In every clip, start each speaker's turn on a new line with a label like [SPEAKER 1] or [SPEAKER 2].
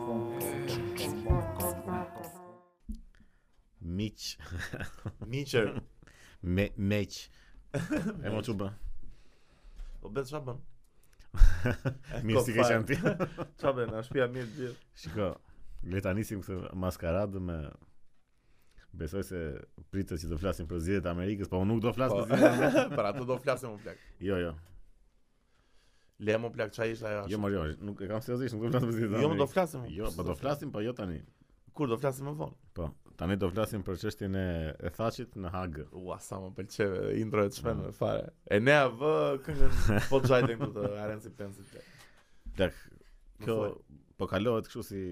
[SPEAKER 1] Miqër,
[SPEAKER 2] Me meq. E mo çu bë.
[SPEAKER 1] po bet çfarë bën? E,
[SPEAKER 2] Mirë
[SPEAKER 1] ko
[SPEAKER 2] si ke
[SPEAKER 1] fare.
[SPEAKER 2] qenë ti.
[SPEAKER 1] Çfarë bën? A shtëpia mirë gjithë.
[SPEAKER 2] Shiko, le ta nisim këtë maskaradë me Besoj se pritet që të flasim për zgjedhjet e Amerikës, po unë nuk do flas
[SPEAKER 1] Po,
[SPEAKER 2] për zgjedhjet. e Amerikës.
[SPEAKER 1] Për ato do flasim unë plak.
[SPEAKER 2] Jo, jo.
[SPEAKER 1] Le më plak çaj ishte ajo.
[SPEAKER 2] Jo, më jo, nuk e kam seriozisht, nuk do flas për zgjedhjet. e
[SPEAKER 1] Jo, më do
[SPEAKER 2] Amerikës.
[SPEAKER 1] flasim.
[SPEAKER 2] Jo, po do flasim, po jo tani.
[SPEAKER 1] Kur do flasim më vonë?
[SPEAKER 2] Po, tani do flasim për çështjen e, e thachit në Hagë.
[SPEAKER 1] Ua, sa më pëlqeve intro e të
[SPEAKER 2] Mm.
[SPEAKER 1] shmenë fare. E ne a vë këngën po të gjajten këtu të arensi pensit. plak.
[SPEAKER 2] Tek,
[SPEAKER 1] Më
[SPEAKER 2] kjo
[SPEAKER 1] thuaj.
[SPEAKER 2] po kalohet kështu si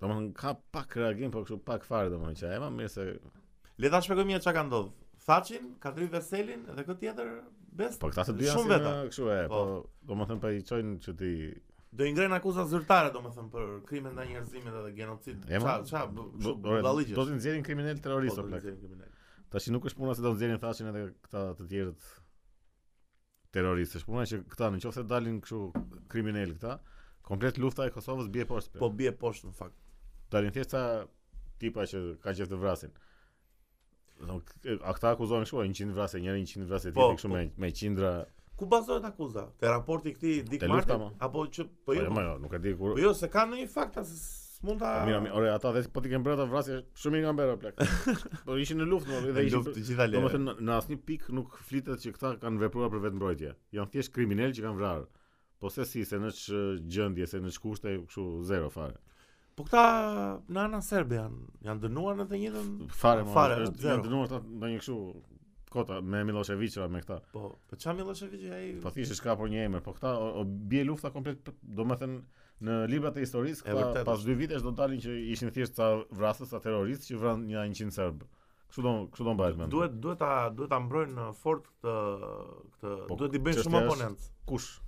[SPEAKER 2] domethënë ka pak reagim, po kështu pak fare domethënë që e më mirë se
[SPEAKER 1] Le ta shpjegoj mirë çka ka ndodhur. Thacin, Katri Veselin dhe këtë tjetër Best.
[SPEAKER 2] po këta të dyja
[SPEAKER 1] Shumë
[SPEAKER 2] si
[SPEAKER 1] veta.
[SPEAKER 2] në kështu e, po domethënë po i çojnë që ti
[SPEAKER 1] Do i ngrenë akuza zyrtare domethënë për krimin ndaj njerëzimit edhe genocid.
[SPEAKER 2] E,
[SPEAKER 1] Ça
[SPEAKER 2] ma-
[SPEAKER 1] ça
[SPEAKER 2] bo- ore,
[SPEAKER 1] dalliqe.
[SPEAKER 2] po, do të nxjerrin kriminal
[SPEAKER 1] Po,
[SPEAKER 2] terrorist o plak. Tash nuk është puna se do të nxjerrin thashin edhe këta të tjerët terroristë. Është puna që këta nëse dalin kështu kriminal këta, komplet lufta e Kosovës bie poshtë.
[SPEAKER 1] Po bie poshtë në fakt.
[SPEAKER 2] dalin thjesht sa tipa që ka qef të vrasin. Do k- a këta akuzojnë kështu, 100 vrasje njëri, 100 vrasje
[SPEAKER 1] Po,
[SPEAKER 2] tjetri kështu
[SPEAKER 1] po.
[SPEAKER 2] me me qindra.
[SPEAKER 1] Ku bazohet akuza? Te raporti i këtij Dick
[SPEAKER 2] Te lufta,
[SPEAKER 1] Martin
[SPEAKER 2] ma.
[SPEAKER 1] apo që
[SPEAKER 2] Po
[SPEAKER 1] po
[SPEAKER 2] jo,
[SPEAKER 1] jo.
[SPEAKER 2] më jo, nuk e di kur.
[SPEAKER 1] Po jo, se ka ndonjë fakt as s'mund ta
[SPEAKER 2] Mira, mi- ore, ata vetë po ti kanë bërë vrasje shumë i kanë bërë o plak. Po ishin në luftë, më,
[SPEAKER 1] Në
[SPEAKER 2] dhe
[SPEAKER 1] luftë
[SPEAKER 2] ishin.
[SPEAKER 1] të gjitha lere.
[SPEAKER 2] Domethënë në- në asnjë pikë nuk flitet që këta kanë vepruar për vetmbrojtje. Janë thjesht kriminal që kanë vrarë. Po se si, se në që gjëndje, se në që kushte, kështu zero fare.
[SPEAKER 1] Po këta në anën serbe janë janë dënuar në të njëjtën
[SPEAKER 2] Fare, mo,
[SPEAKER 1] Fare,
[SPEAKER 2] është,
[SPEAKER 1] zero.
[SPEAKER 2] janë dënuar ta në një kështu kota me Miloševića me këta.
[SPEAKER 1] po po çam Milošević ai
[SPEAKER 2] Po thjesht është ka për një emër, po këta o, o bie lufta komplet, për- do të thënë në librat e historisë,
[SPEAKER 1] E
[SPEAKER 2] këta
[SPEAKER 1] vërtetë
[SPEAKER 2] pas
[SPEAKER 1] është.
[SPEAKER 2] dy vitesh do dalin që ishin thjesht ca vrasës, ca terroristë që vran një 100 serb. Kështu do, kështu do mbahet mend.
[SPEAKER 1] duhet duhet ta duhet ta mbrojnë në fort këtë këtë
[SPEAKER 2] Po,
[SPEAKER 1] duhet i bëjnë
[SPEAKER 2] çështja
[SPEAKER 1] shumë
[SPEAKER 2] është-
[SPEAKER 1] oponent.
[SPEAKER 2] kush?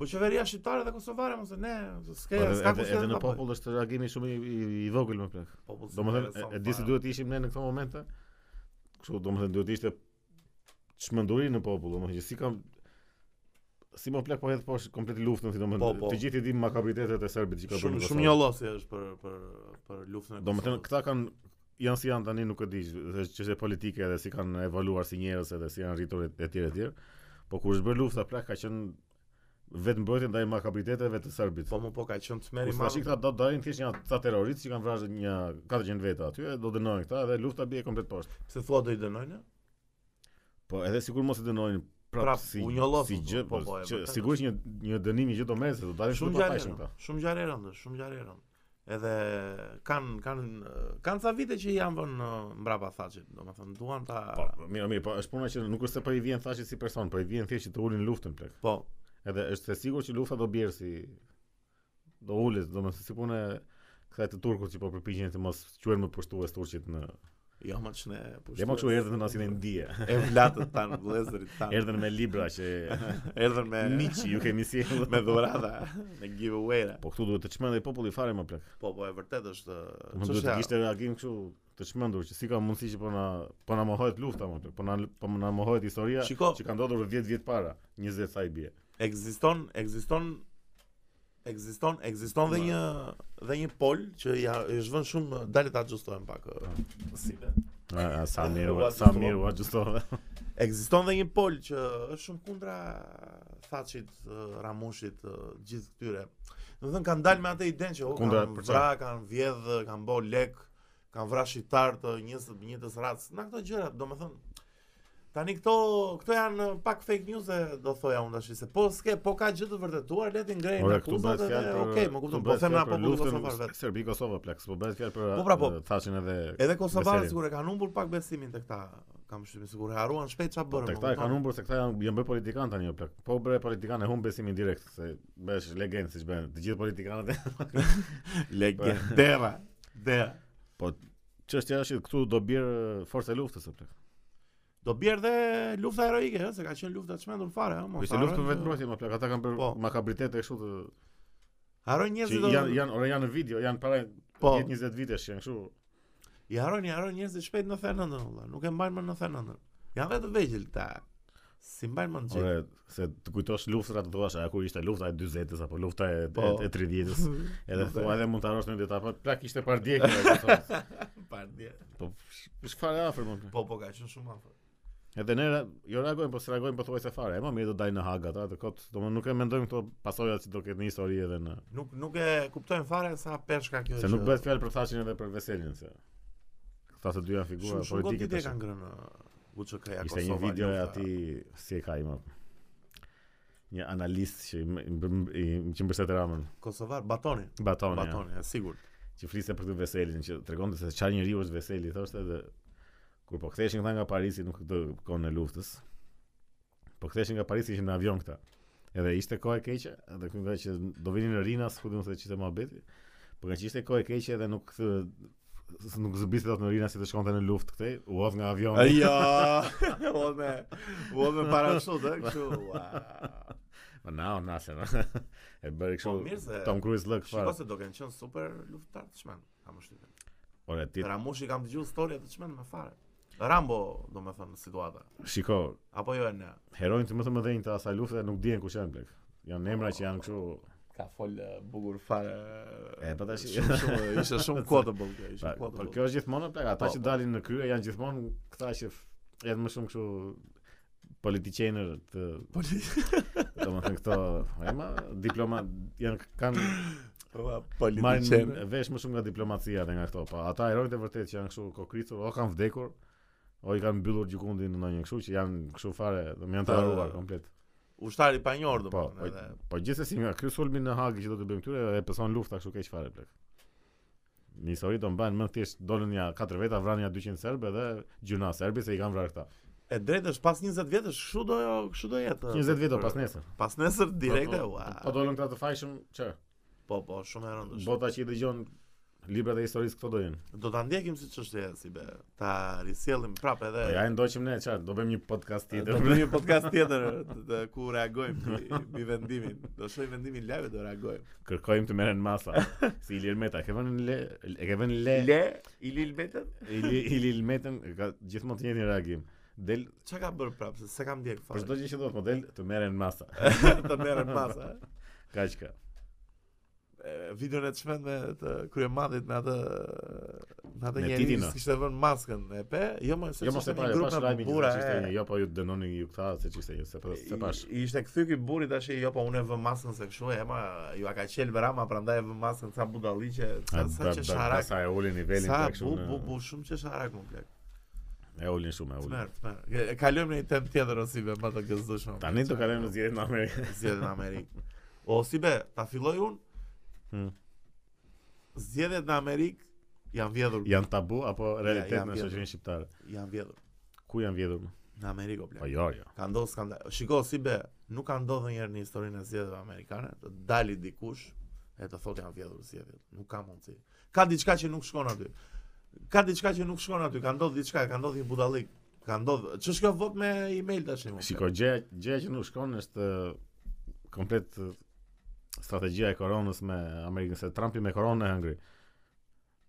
[SPEAKER 1] Po qeveria shqiptare dhe kosovare mos e ne
[SPEAKER 2] Po,
[SPEAKER 1] s'ke
[SPEAKER 2] Edhe,
[SPEAKER 1] s'ka
[SPEAKER 2] edhe, edhe
[SPEAKER 1] kush po. tjetër
[SPEAKER 2] në
[SPEAKER 1] ta bëjë.
[SPEAKER 2] popull është reagimi shumë i, i, i vogël më plak.
[SPEAKER 1] Popull
[SPEAKER 2] Do më
[SPEAKER 1] s'ka
[SPEAKER 2] thënë,
[SPEAKER 1] intereson
[SPEAKER 2] e- e di se
[SPEAKER 1] fare.
[SPEAKER 2] duhet ishim ne në këto momente. Kështu do më thënë duhet ishte çmenduri në popull, do më thënë që si kam si më plak po hedh poshtë komplet luftën, si do më
[SPEAKER 1] Po,
[SPEAKER 2] thënë,
[SPEAKER 1] po.
[SPEAKER 2] të gjithë i dim makabritetet e serbit që ka bërë.
[SPEAKER 1] shumë
[SPEAKER 2] në
[SPEAKER 1] shumë
[SPEAKER 2] Kosovë.
[SPEAKER 1] njollosi është për për për luftën e
[SPEAKER 2] Do më thënë
[SPEAKER 1] Kosovës.
[SPEAKER 2] këta kanë janë si janë tani nuk e di, është çështje politike edhe si kanë evaluar si njerëz edhe si janë rritur e- etj etj. Po kur është bërë lufta plak ka qenë vetëm mbrojtje ndaj makabriteteve të serbit.
[SPEAKER 1] po më po ka qenë
[SPEAKER 2] Kur
[SPEAKER 1] çmeri
[SPEAKER 2] tash
[SPEAKER 1] madh.
[SPEAKER 2] këta do dalin thjesht janë ca terroristë që kanë vrarë një 400 veta aty, e do dënojnë këta dhe lufta bie komplet poshtë.
[SPEAKER 1] Pse thua do i dënojnë?
[SPEAKER 2] Po edhe sikur mos e dënojnë prap,
[SPEAKER 1] Prap,
[SPEAKER 2] si
[SPEAKER 1] u njollosin,
[SPEAKER 2] si gjë,
[SPEAKER 1] po,
[SPEAKER 2] po,
[SPEAKER 1] po, e
[SPEAKER 2] që
[SPEAKER 1] vërtet
[SPEAKER 2] sigurisht një një dënim një gjë do merret, se do dalin shumë
[SPEAKER 1] Shumë
[SPEAKER 2] pafajshëm
[SPEAKER 1] gjarë.
[SPEAKER 2] këta.
[SPEAKER 1] Shumë gjarë rëndë, shumë gjarë rëndë. Edhe kanë kanë kanë ca vite që i janë vënë në mbrapa Thacit, domethënë duan ta
[SPEAKER 2] Po, mirë, mirë, po është puna që nuk është se po i vjen thashë si person, po i vjen thjesht që të ulin luftën plak.
[SPEAKER 1] po
[SPEAKER 2] Edhe është e sigurt që lufta do bjerë si do ulet, domethënë si punë e kësaj të turkut që po përpiqen të mos quhen më poshtues turqit në.
[SPEAKER 1] jo më çne.
[SPEAKER 2] Ja më kështu erdhën në asin e ndije.
[SPEAKER 1] E vlatët tan, vëllezërit tan.
[SPEAKER 2] Erdhën me libra që
[SPEAKER 1] Erdhën me
[SPEAKER 2] miqi ju kemi sjellë.
[SPEAKER 1] me dhurata, me giveaway-ra.
[SPEAKER 2] Po këtu duhet të çmendej populli fare më plak.
[SPEAKER 1] Po po e vërtet është
[SPEAKER 2] Më duhet të
[SPEAKER 1] çështja-
[SPEAKER 2] kishte reagim kështu të çmendur që si ka mundësi që po na po na mohohet lufta më plak, po na po na mohohet historia
[SPEAKER 1] Shiko.
[SPEAKER 2] që ka ndodhur 10 vjet para, 20 sa i bie.
[SPEAKER 1] ekziston ekziston ekziston ekziston dhe një dhe një pol që ja i është vënë shumë dalet ta xhustohen pak
[SPEAKER 2] Po.
[SPEAKER 1] ë, si be.
[SPEAKER 2] A, a, sa mirë,
[SPEAKER 1] U
[SPEAKER 2] u- sa
[SPEAKER 1] ajustova.
[SPEAKER 2] mirë u ajustove.
[SPEAKER 1] Ekziston dhe një pol që është shumë kundra Thacit, ë, Ramushit, ë, gjithë këtyre. Do të thënë kanë dalë me atë idenë që o,
[SPEAKER 2] Kundra,
[SPEAKER 1] kanë
[SPEAKER 2] për
[SPEAKER 1] vra, kanë vjedh, kanë bë lek, kanë vra shqiptar të njës njëtës racë. Na këto gjëra, do më thënë Tani këto këto janë pak fake news e do thoja unë tash se po s'ke po ka gjë të vërtetuar le ti ngrejnë
[SPEAKER 2] Ora këtu
[SPEAKER 1] akuzat
[SPEAKER 2] bëhet
[SPEAKER 1] edhe,
[SPEAKER 2] fjalë për
[SPEAKER 1] Okej, më kupton, po them na po kosovar vet.
[SPEAKER 2] Serbi Kosova plak, po bëhet fjalë për
[SPEAKER 1] Po, pra, po.
[SPEAKER 2] e, thashin edhe
[SPEAKER 1] Edhe kosovarët
[SPEAKER 2] Beserin.
[SPEAKER 1] sigur e kanë humbur pak besimin te këta, kam shtypin sigur e haruan shpejt çfarë bërën.
[SPEAKER 2] Tek
[SPEAKER 1] më
[SPEAKER 2] ta e
[SPEAKER 1] kupton?
[SPEAKER 2] kanë humbur se Po, këta janë janë bërë politikan tani o plak. Po u bëre politikan e humb besimin direkt se bësh legend siç bën të gjithë politikanët.
[SPEAKER 1] legendera. Dera.
[SPEAKER 2] po çështja është që këtu do bjer forca e luftës o plak.
[SPEAKER 1] Do bjerë dhe lufta heroike, ëh, se ka qenë lufta të çmendur fare, ëh,
[SPEAKER 2] Po
[SPEAKER 1] mos.
[SPEAKER 2] ishte luftë për vetmbrojtje më plak. Ata kanë bërë
[SPEAKER 1] Po.
[SPEAKER 2] makabritete kështu të
[SPEAKER 1] Haroj
[SPEAKER 2] që
[SPEAKER 1] njerëzit do.
[SPEAKER 2] janë janë ora janë në video, janë para
[SPEAKER 1] Po.
[SPEAKER 2] 10-20 vitesh që janë kështu.
[SPEAKER 1] I harojnë, i harojnë njerëzit shpejt në 99 valla, nuk e mbajnë më në 99. Janë vetë vegjël këta. Si mbajnë mend
[SPEAKER 2] Ore,
[SPEAKER 1] gjë.
[SPEAKER 2] se të kujtosh luftrat, të thuash, a kur ishte lufta e 40-s apo lufta e,
[SPEAKER 1] Po.
[SPEAKER 2] e, e 30-s. Edhe
[SPEAKER 1] Lufta e-
[SPEAKER 2] thua edhe mund të harosh në dita, po plak ishte pardje kjo.
[SPEAKER 1] Pardje.
[SPEAKER 2] Po sh- çfarë afër më?
[SPEAKER 1] Po po ka qenë shumë afër.
[SPEAKER 2] Edhe ne ra- jo reagojmë, po s'reagojmë po thuajse fare. E më mirë do dajnë në Hag ata, të kot, domethënë nuk e mendojmë këto pasojat që do ketë në histori edhe në
[SPEAKER 1] Nuk nuk e kuptojnë fare sa peshka kjo
[SPEAKER 2] se nuk bëhet fjalë për Thashin edhe për Veselin se. Këta të dy janë figura
[SPEAKER 1] Shumë shumë
[SPEAKER 2] politike
[SPEAKER 1] goditje
[SPEAKER 2] tash.
[SPEAKER 1] kanë ngrënë UÇK-ja Kosova. jo,
[SPEAKER 2] Ishte një video e
[SPEAKER 1] lufta.
[SPEAKER 2] ati si e ka ima. Një analist që i m- i mbër- i- që mbërset Ramën,
[SPEAKER 1] Kosovar Batoni.
[SPEAKER 2] Batoni, ja.
[SPEAKER 1] Batoni, e sigurt.
[SPEAKER 2] që fliste për këtë Veselin, që tregonte se çfarë njeriu është Veseli, thoshte edhe kur po ktheheshin këta nga Parisi nuk këtë kohën e luftës. Po ktheheshin nga Parisi ishin në avion këta. Edhe ishte kohë e keqe, edhe këtu nga që do vinin në Rinas, ku diun se ç'ishte mohabeti. Po nga që ishte kohë e keqe edhe nuk kthë- s- nuk zbiste dot në Rinas si të shkonte në luftë këtej, u hodh nga avioni.
[SPEAKER 1] Ja, vone, vone para kështu, ë, eh, kështu. ua.
[SPEAKER 2] Po na, na se na. E bëri
[SPEAKER 1] Po mirë se-
[SPEAKER 2] kështu Tom Cruise lëk
[SPEAKER 1] Shiko
[SPEAKER 2] fare.
[SPEAKER 1] se do kanë qenë super luftëtar të çmend, kam vështirë.
[SPEAKER 2] Ore ti
[SPEAKER 1] Ramushi kam dëgjuar story të çmend me fare. Rambo, domethënë situata.
[SPEAKER 2] shiko,
[SPEAKER 1] Apo jo e ne.
[SPEAKER 2] heronjt më të mëdhenj të asaj lufte nuk dihen kush janë blek. Janë emra që janë kështu
[SPEAKER 1] Ka fol eh, bukur fare.
[SPEAKER 2] E, po tash-
[SPEAKER 1] shumë shumë ishte shumë quotable kjo, ishte
[SPEAKER 2] Pa, po
[SPEAKER 1] quotable.
[SPEAKER 2] kjo është gjithmonë plak, ata
[SPEAKER 1] Po,
[SPEAKER 2] që
[SPEAKER 1] po.
[SPEAKER 2] dalin në krye janë gjithmonë këta që f- janë më shumë kështu politiqener të
[SPEAKER 1] Poli-
[SPEAKER 2] domethënë këto ema diploma janë kanë
[SPEAKER 1] Ua,
[SPEAKER 2] marrin
[SPEAKER 1] politiqenë.
[SPEAKER 2] vesh më shumë nga diplomacia dhe nga këto. Po ata herojtë e vërtet që janë kështu kokritur, o kanë vdekur, o i kanë mbyllur gjykundin në ndonjë kështu që janë kështu fare, do më janë të
[SPEAKER 1] Po.
[SPEAKER 2] haruar komplet.
[SPEAKER 1] Ushtari pa njohur
[SPEAKER 2] Po,
[SPEAKER 1] domethënë.
[SPEAKER 2] po,
[SPEAKER 1] edhe-
[SPEAKER 2] po gjithsesi nga ky sulmi në Hagë që do të bëjmë këtyre e pëson lufta kështu keq fare plak. Në histori do mban më thjesht dolën ja 4 veta, vranë ja 200 serbë dhe gjuna serbi se i kanë vrarë këta.
[SPEAKER 1] E drejtë është pas 20 vjetësh, kështu do jo, kështu do jetë.
[SPEAKER 2] 20 vjet o
[SPEAKER 1] po,
[SPEAKER 2] pas nesër.
[SPEAKER 1] Pas nesër direkte,
[SPEAKER 2] Po, po,
[SPEAKER 1] ua.
[SPEAKER 2] Po dolën këta të fajshëm, çë?
[SPEAKER 1] Po, po, shumë e rëndë. është.
[SPEAKER 2] Bota që i dëgjon librat e historisë këto do jenë.
[SPEAKER 1] Do ta ndjekim si çështje si be. Ta risjellim prapë edhe.
[SPEAKER 2] Po ja e ndoqim ne çfarë, do bëjmë një podcast
[SPEAKER 1] Do
[SPEAKER 2] tjetër.
[SPEAKER 1] bëjmë një podcast tjetër të- të- ku reagojmë mbi, mbi vendimin. Do shohim vendimin live do reagojmë.
[SPEAKER 2] Kërkojmë të merren masa. Si Ilir Meta, e ke vënë le, e ke vënë le,
[SPEAKER 1] Le i lil betën?
[SPEAKER 2] Ili- Ilir Metën ka gjithmonë të njëjtin reagim. Del
[SPEAKER 1] Çka ka bërë prapë? Se se kam ndjek
[SPEAKER 2] për
[SPEAKER 1] fare.
[SPEAKER 2] çdo gjë që do të model të merren masa.
[SPEAKER 1] të merren masa.
[SPEAKER 2] Kaq ka.
[SPEAKER 1] E, Videon e çmend me të kryemadit me atë me atë
[SPEAKER 2] Me
[SPEAKER 1] njerëz
[SPEAKER 2] Titina.
[SPEAKER 1] që kishte vënë maskën e pe. Jo më se
[SPEAKER 2] Jo mos e
[SPEAKER 1] ishte
[SPEAKER 2] pa, jo
[SPEAKER 1] një grup
[SPEAKER 2] pas
[SPEAKER 1] me
[SPEAKER 2] lajmin
[SPEAKER 1] burra,
[SPEAKER 2] që ishte
[SPEAKER 1] e.
[SPEAKER 2] një, jo po ju dënoni ju këta se ç'ishte ju, se po se pash.
[SPEAKER 1] I, ishte kthy ky burri tash jo po unë e vë maskën se kështu e ma ju a ka qel Rama prandaj e vë maskën sa budalliqe sa, sa që sharak.
[SPEAKER 2] sa e ulin nivelin
[SPEAKER 1] Sa
[SPEAKER 2] tek Po.
[SPEAKER 1] bu bu
[SPEAKER 2] kështu.
[SPEAKER 1] bu shumë që sharak më plak.
[SPEAKER 2] E ulin shumë, e ulin.
[SPEAKER 1] Tmer, tmer. E kalojmë në një temë tjetër ose be më të gëzdueshme.
[SPEAKER 2] Tani do kalojmë në zgjedhjet në Amerikë.
[SPEAKER 1] zgjedhjen në Amerikë. O si be, ta filloj unë?
[SPEAKER 2] Hmm.
[SPEAKER 1] Zgjedhjet në Amerikë janë vjedhur.
[SPEAKER 2] Janë tabu apo realitet
[SPEAKER 1] janë
[SPEAKER 2] në
[SPEAKER 1] vjedhur.
[SPEAKER 2] shoqërinë shqiptare?
[SPEAKER 1] Janë vjedhur
[SPEAKER 2] Ku janë vjedhur? më?
[SPEAKER 1] në Amerikë o
[SPEAKER 2] Po
[SPEAKER 1] plak.
[SPEAKER 2] jo, jo.
[SPEAKER 1] Ka ndodhur skandal. Shiko si be, nuk ka ndodhur ndonjëherë në historinë e zgjedhjeve amerikane të dali dikush e të thotë janë vjedhur zgjedhjet. Nuk ka mundësi. Ka diçka që nuk shkon aty. Ka diçka që nuk shkon aty. Ka ndodhur diçka, ka ndodhur një budallik. Ka ndodhur. Ç'është kjo vot me email tash? më plak?
[SPEAKER 2] Shiko, gjëja gjëja që nuk shkon është eh, komplet eh, strategjia e koronës me Amerikën se Trumpi me koronën e hëngri.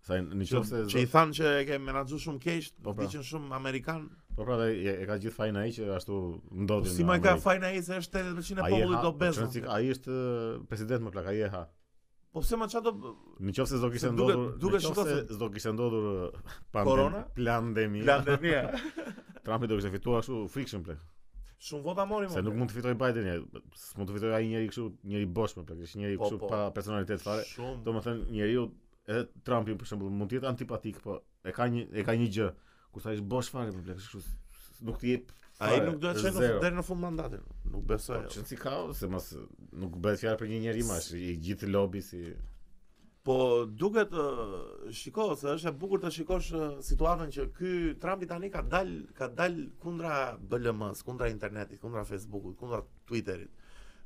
[SPEAKER 2] Sa në
[SPEAKER 1] Që,
[SPEAKER 2] qoftë
[SPEAKER 1] që
[SPEAKER 2] se
[SPEAKER 1] i thanë që e ke menaxhu shumë keq,
[SPEAKER 2] Po,
[SPEAKER 1] po
[SPEAKER 2] pra.
[SPEAKER 1] diqen shumë amerikan.
[SPEAKER 2] po pra e, e ka gjithë fajin ai që ashtu ndodhi.
[SPEAKER 1] Po si
[SPEAKER 2] në
[SPEAKER 1] më ka
[SPEAKER 2] Amerikë.
[SPEAKER 1] fajna ai se është 80% e
[SPEAKER 2] Ai e ha,
[SPEAKER 1] popullit do
[SPEAKER 2] po
[SPEAKER 1] bezën.
[SPEAKER 2] çon si- Ai është eh, president më plak, ai e ha.
[SPEAKER 1] Po pse më çfarë do
[SPEAKER 2] Në qoftë se s'do kishte
[SPEAKER 1] Se duket-
[SPEAKER 2] ndodhur, në
[SPEAKER 1] duket
[SPEAKER 2] qoftë
[SPEAKER 1] shiko
[SPEAKER 2] se s'do kishte ndodhur uh, pandem-
[SPEAKER 1] Korona?
[SPEAKER 2] pandemia,
[SPEAKER 1] pandemia?
[SPEAKER 2] Trumpi do kishte fituar ashtu frikshëm plak.
[SPEAKER 1] Shumë vota mori më.
[SPEAKER 2] Se nuk mund të fitoj Biden, ja, s'mund të fitoj ai njeri kështu, njeri bosh më plak, është njeri
[SPEAKER 1] Po,
[SPEAKER 2] kështu
[SPEAKER 1] po.
[SPEAKER 2] pa personalitet fare.
[SPEAKER 1] Shumë.
[SPEAKER 2] Domethënë njeriu edhe Trumpi për shembull mund të jetë antipatik, po e ka një e ka një gjë. Kur sa është bosh fare më plak, është kështu s- nuk të jep
[SPEAKER 1] Ai
[SPEAKER 2] fare,
[SPEAKER 1] nuk do të
[SPEAKER 2] është
[SPEAKER 1] çojë në-
[SPEAKER 2] zero.
[SPEAKER 1] deri në fund mandatin. Nuk
[SPEAKER 2] Po,
[SPEAKER 1] besoj.
[SPEAKER 2] Që si ka, se mos nuk bëhet fjalë për një njerëz më, është i gjithë lobi si
[SPEAKER 1] Po duket ë, shiko se është e bukur të shikosh ë, situatën që ky Trumpi tani ka dal ka dal kundra BLM-s, kundra internetit, kundra Facebookut, kundra Twitterit,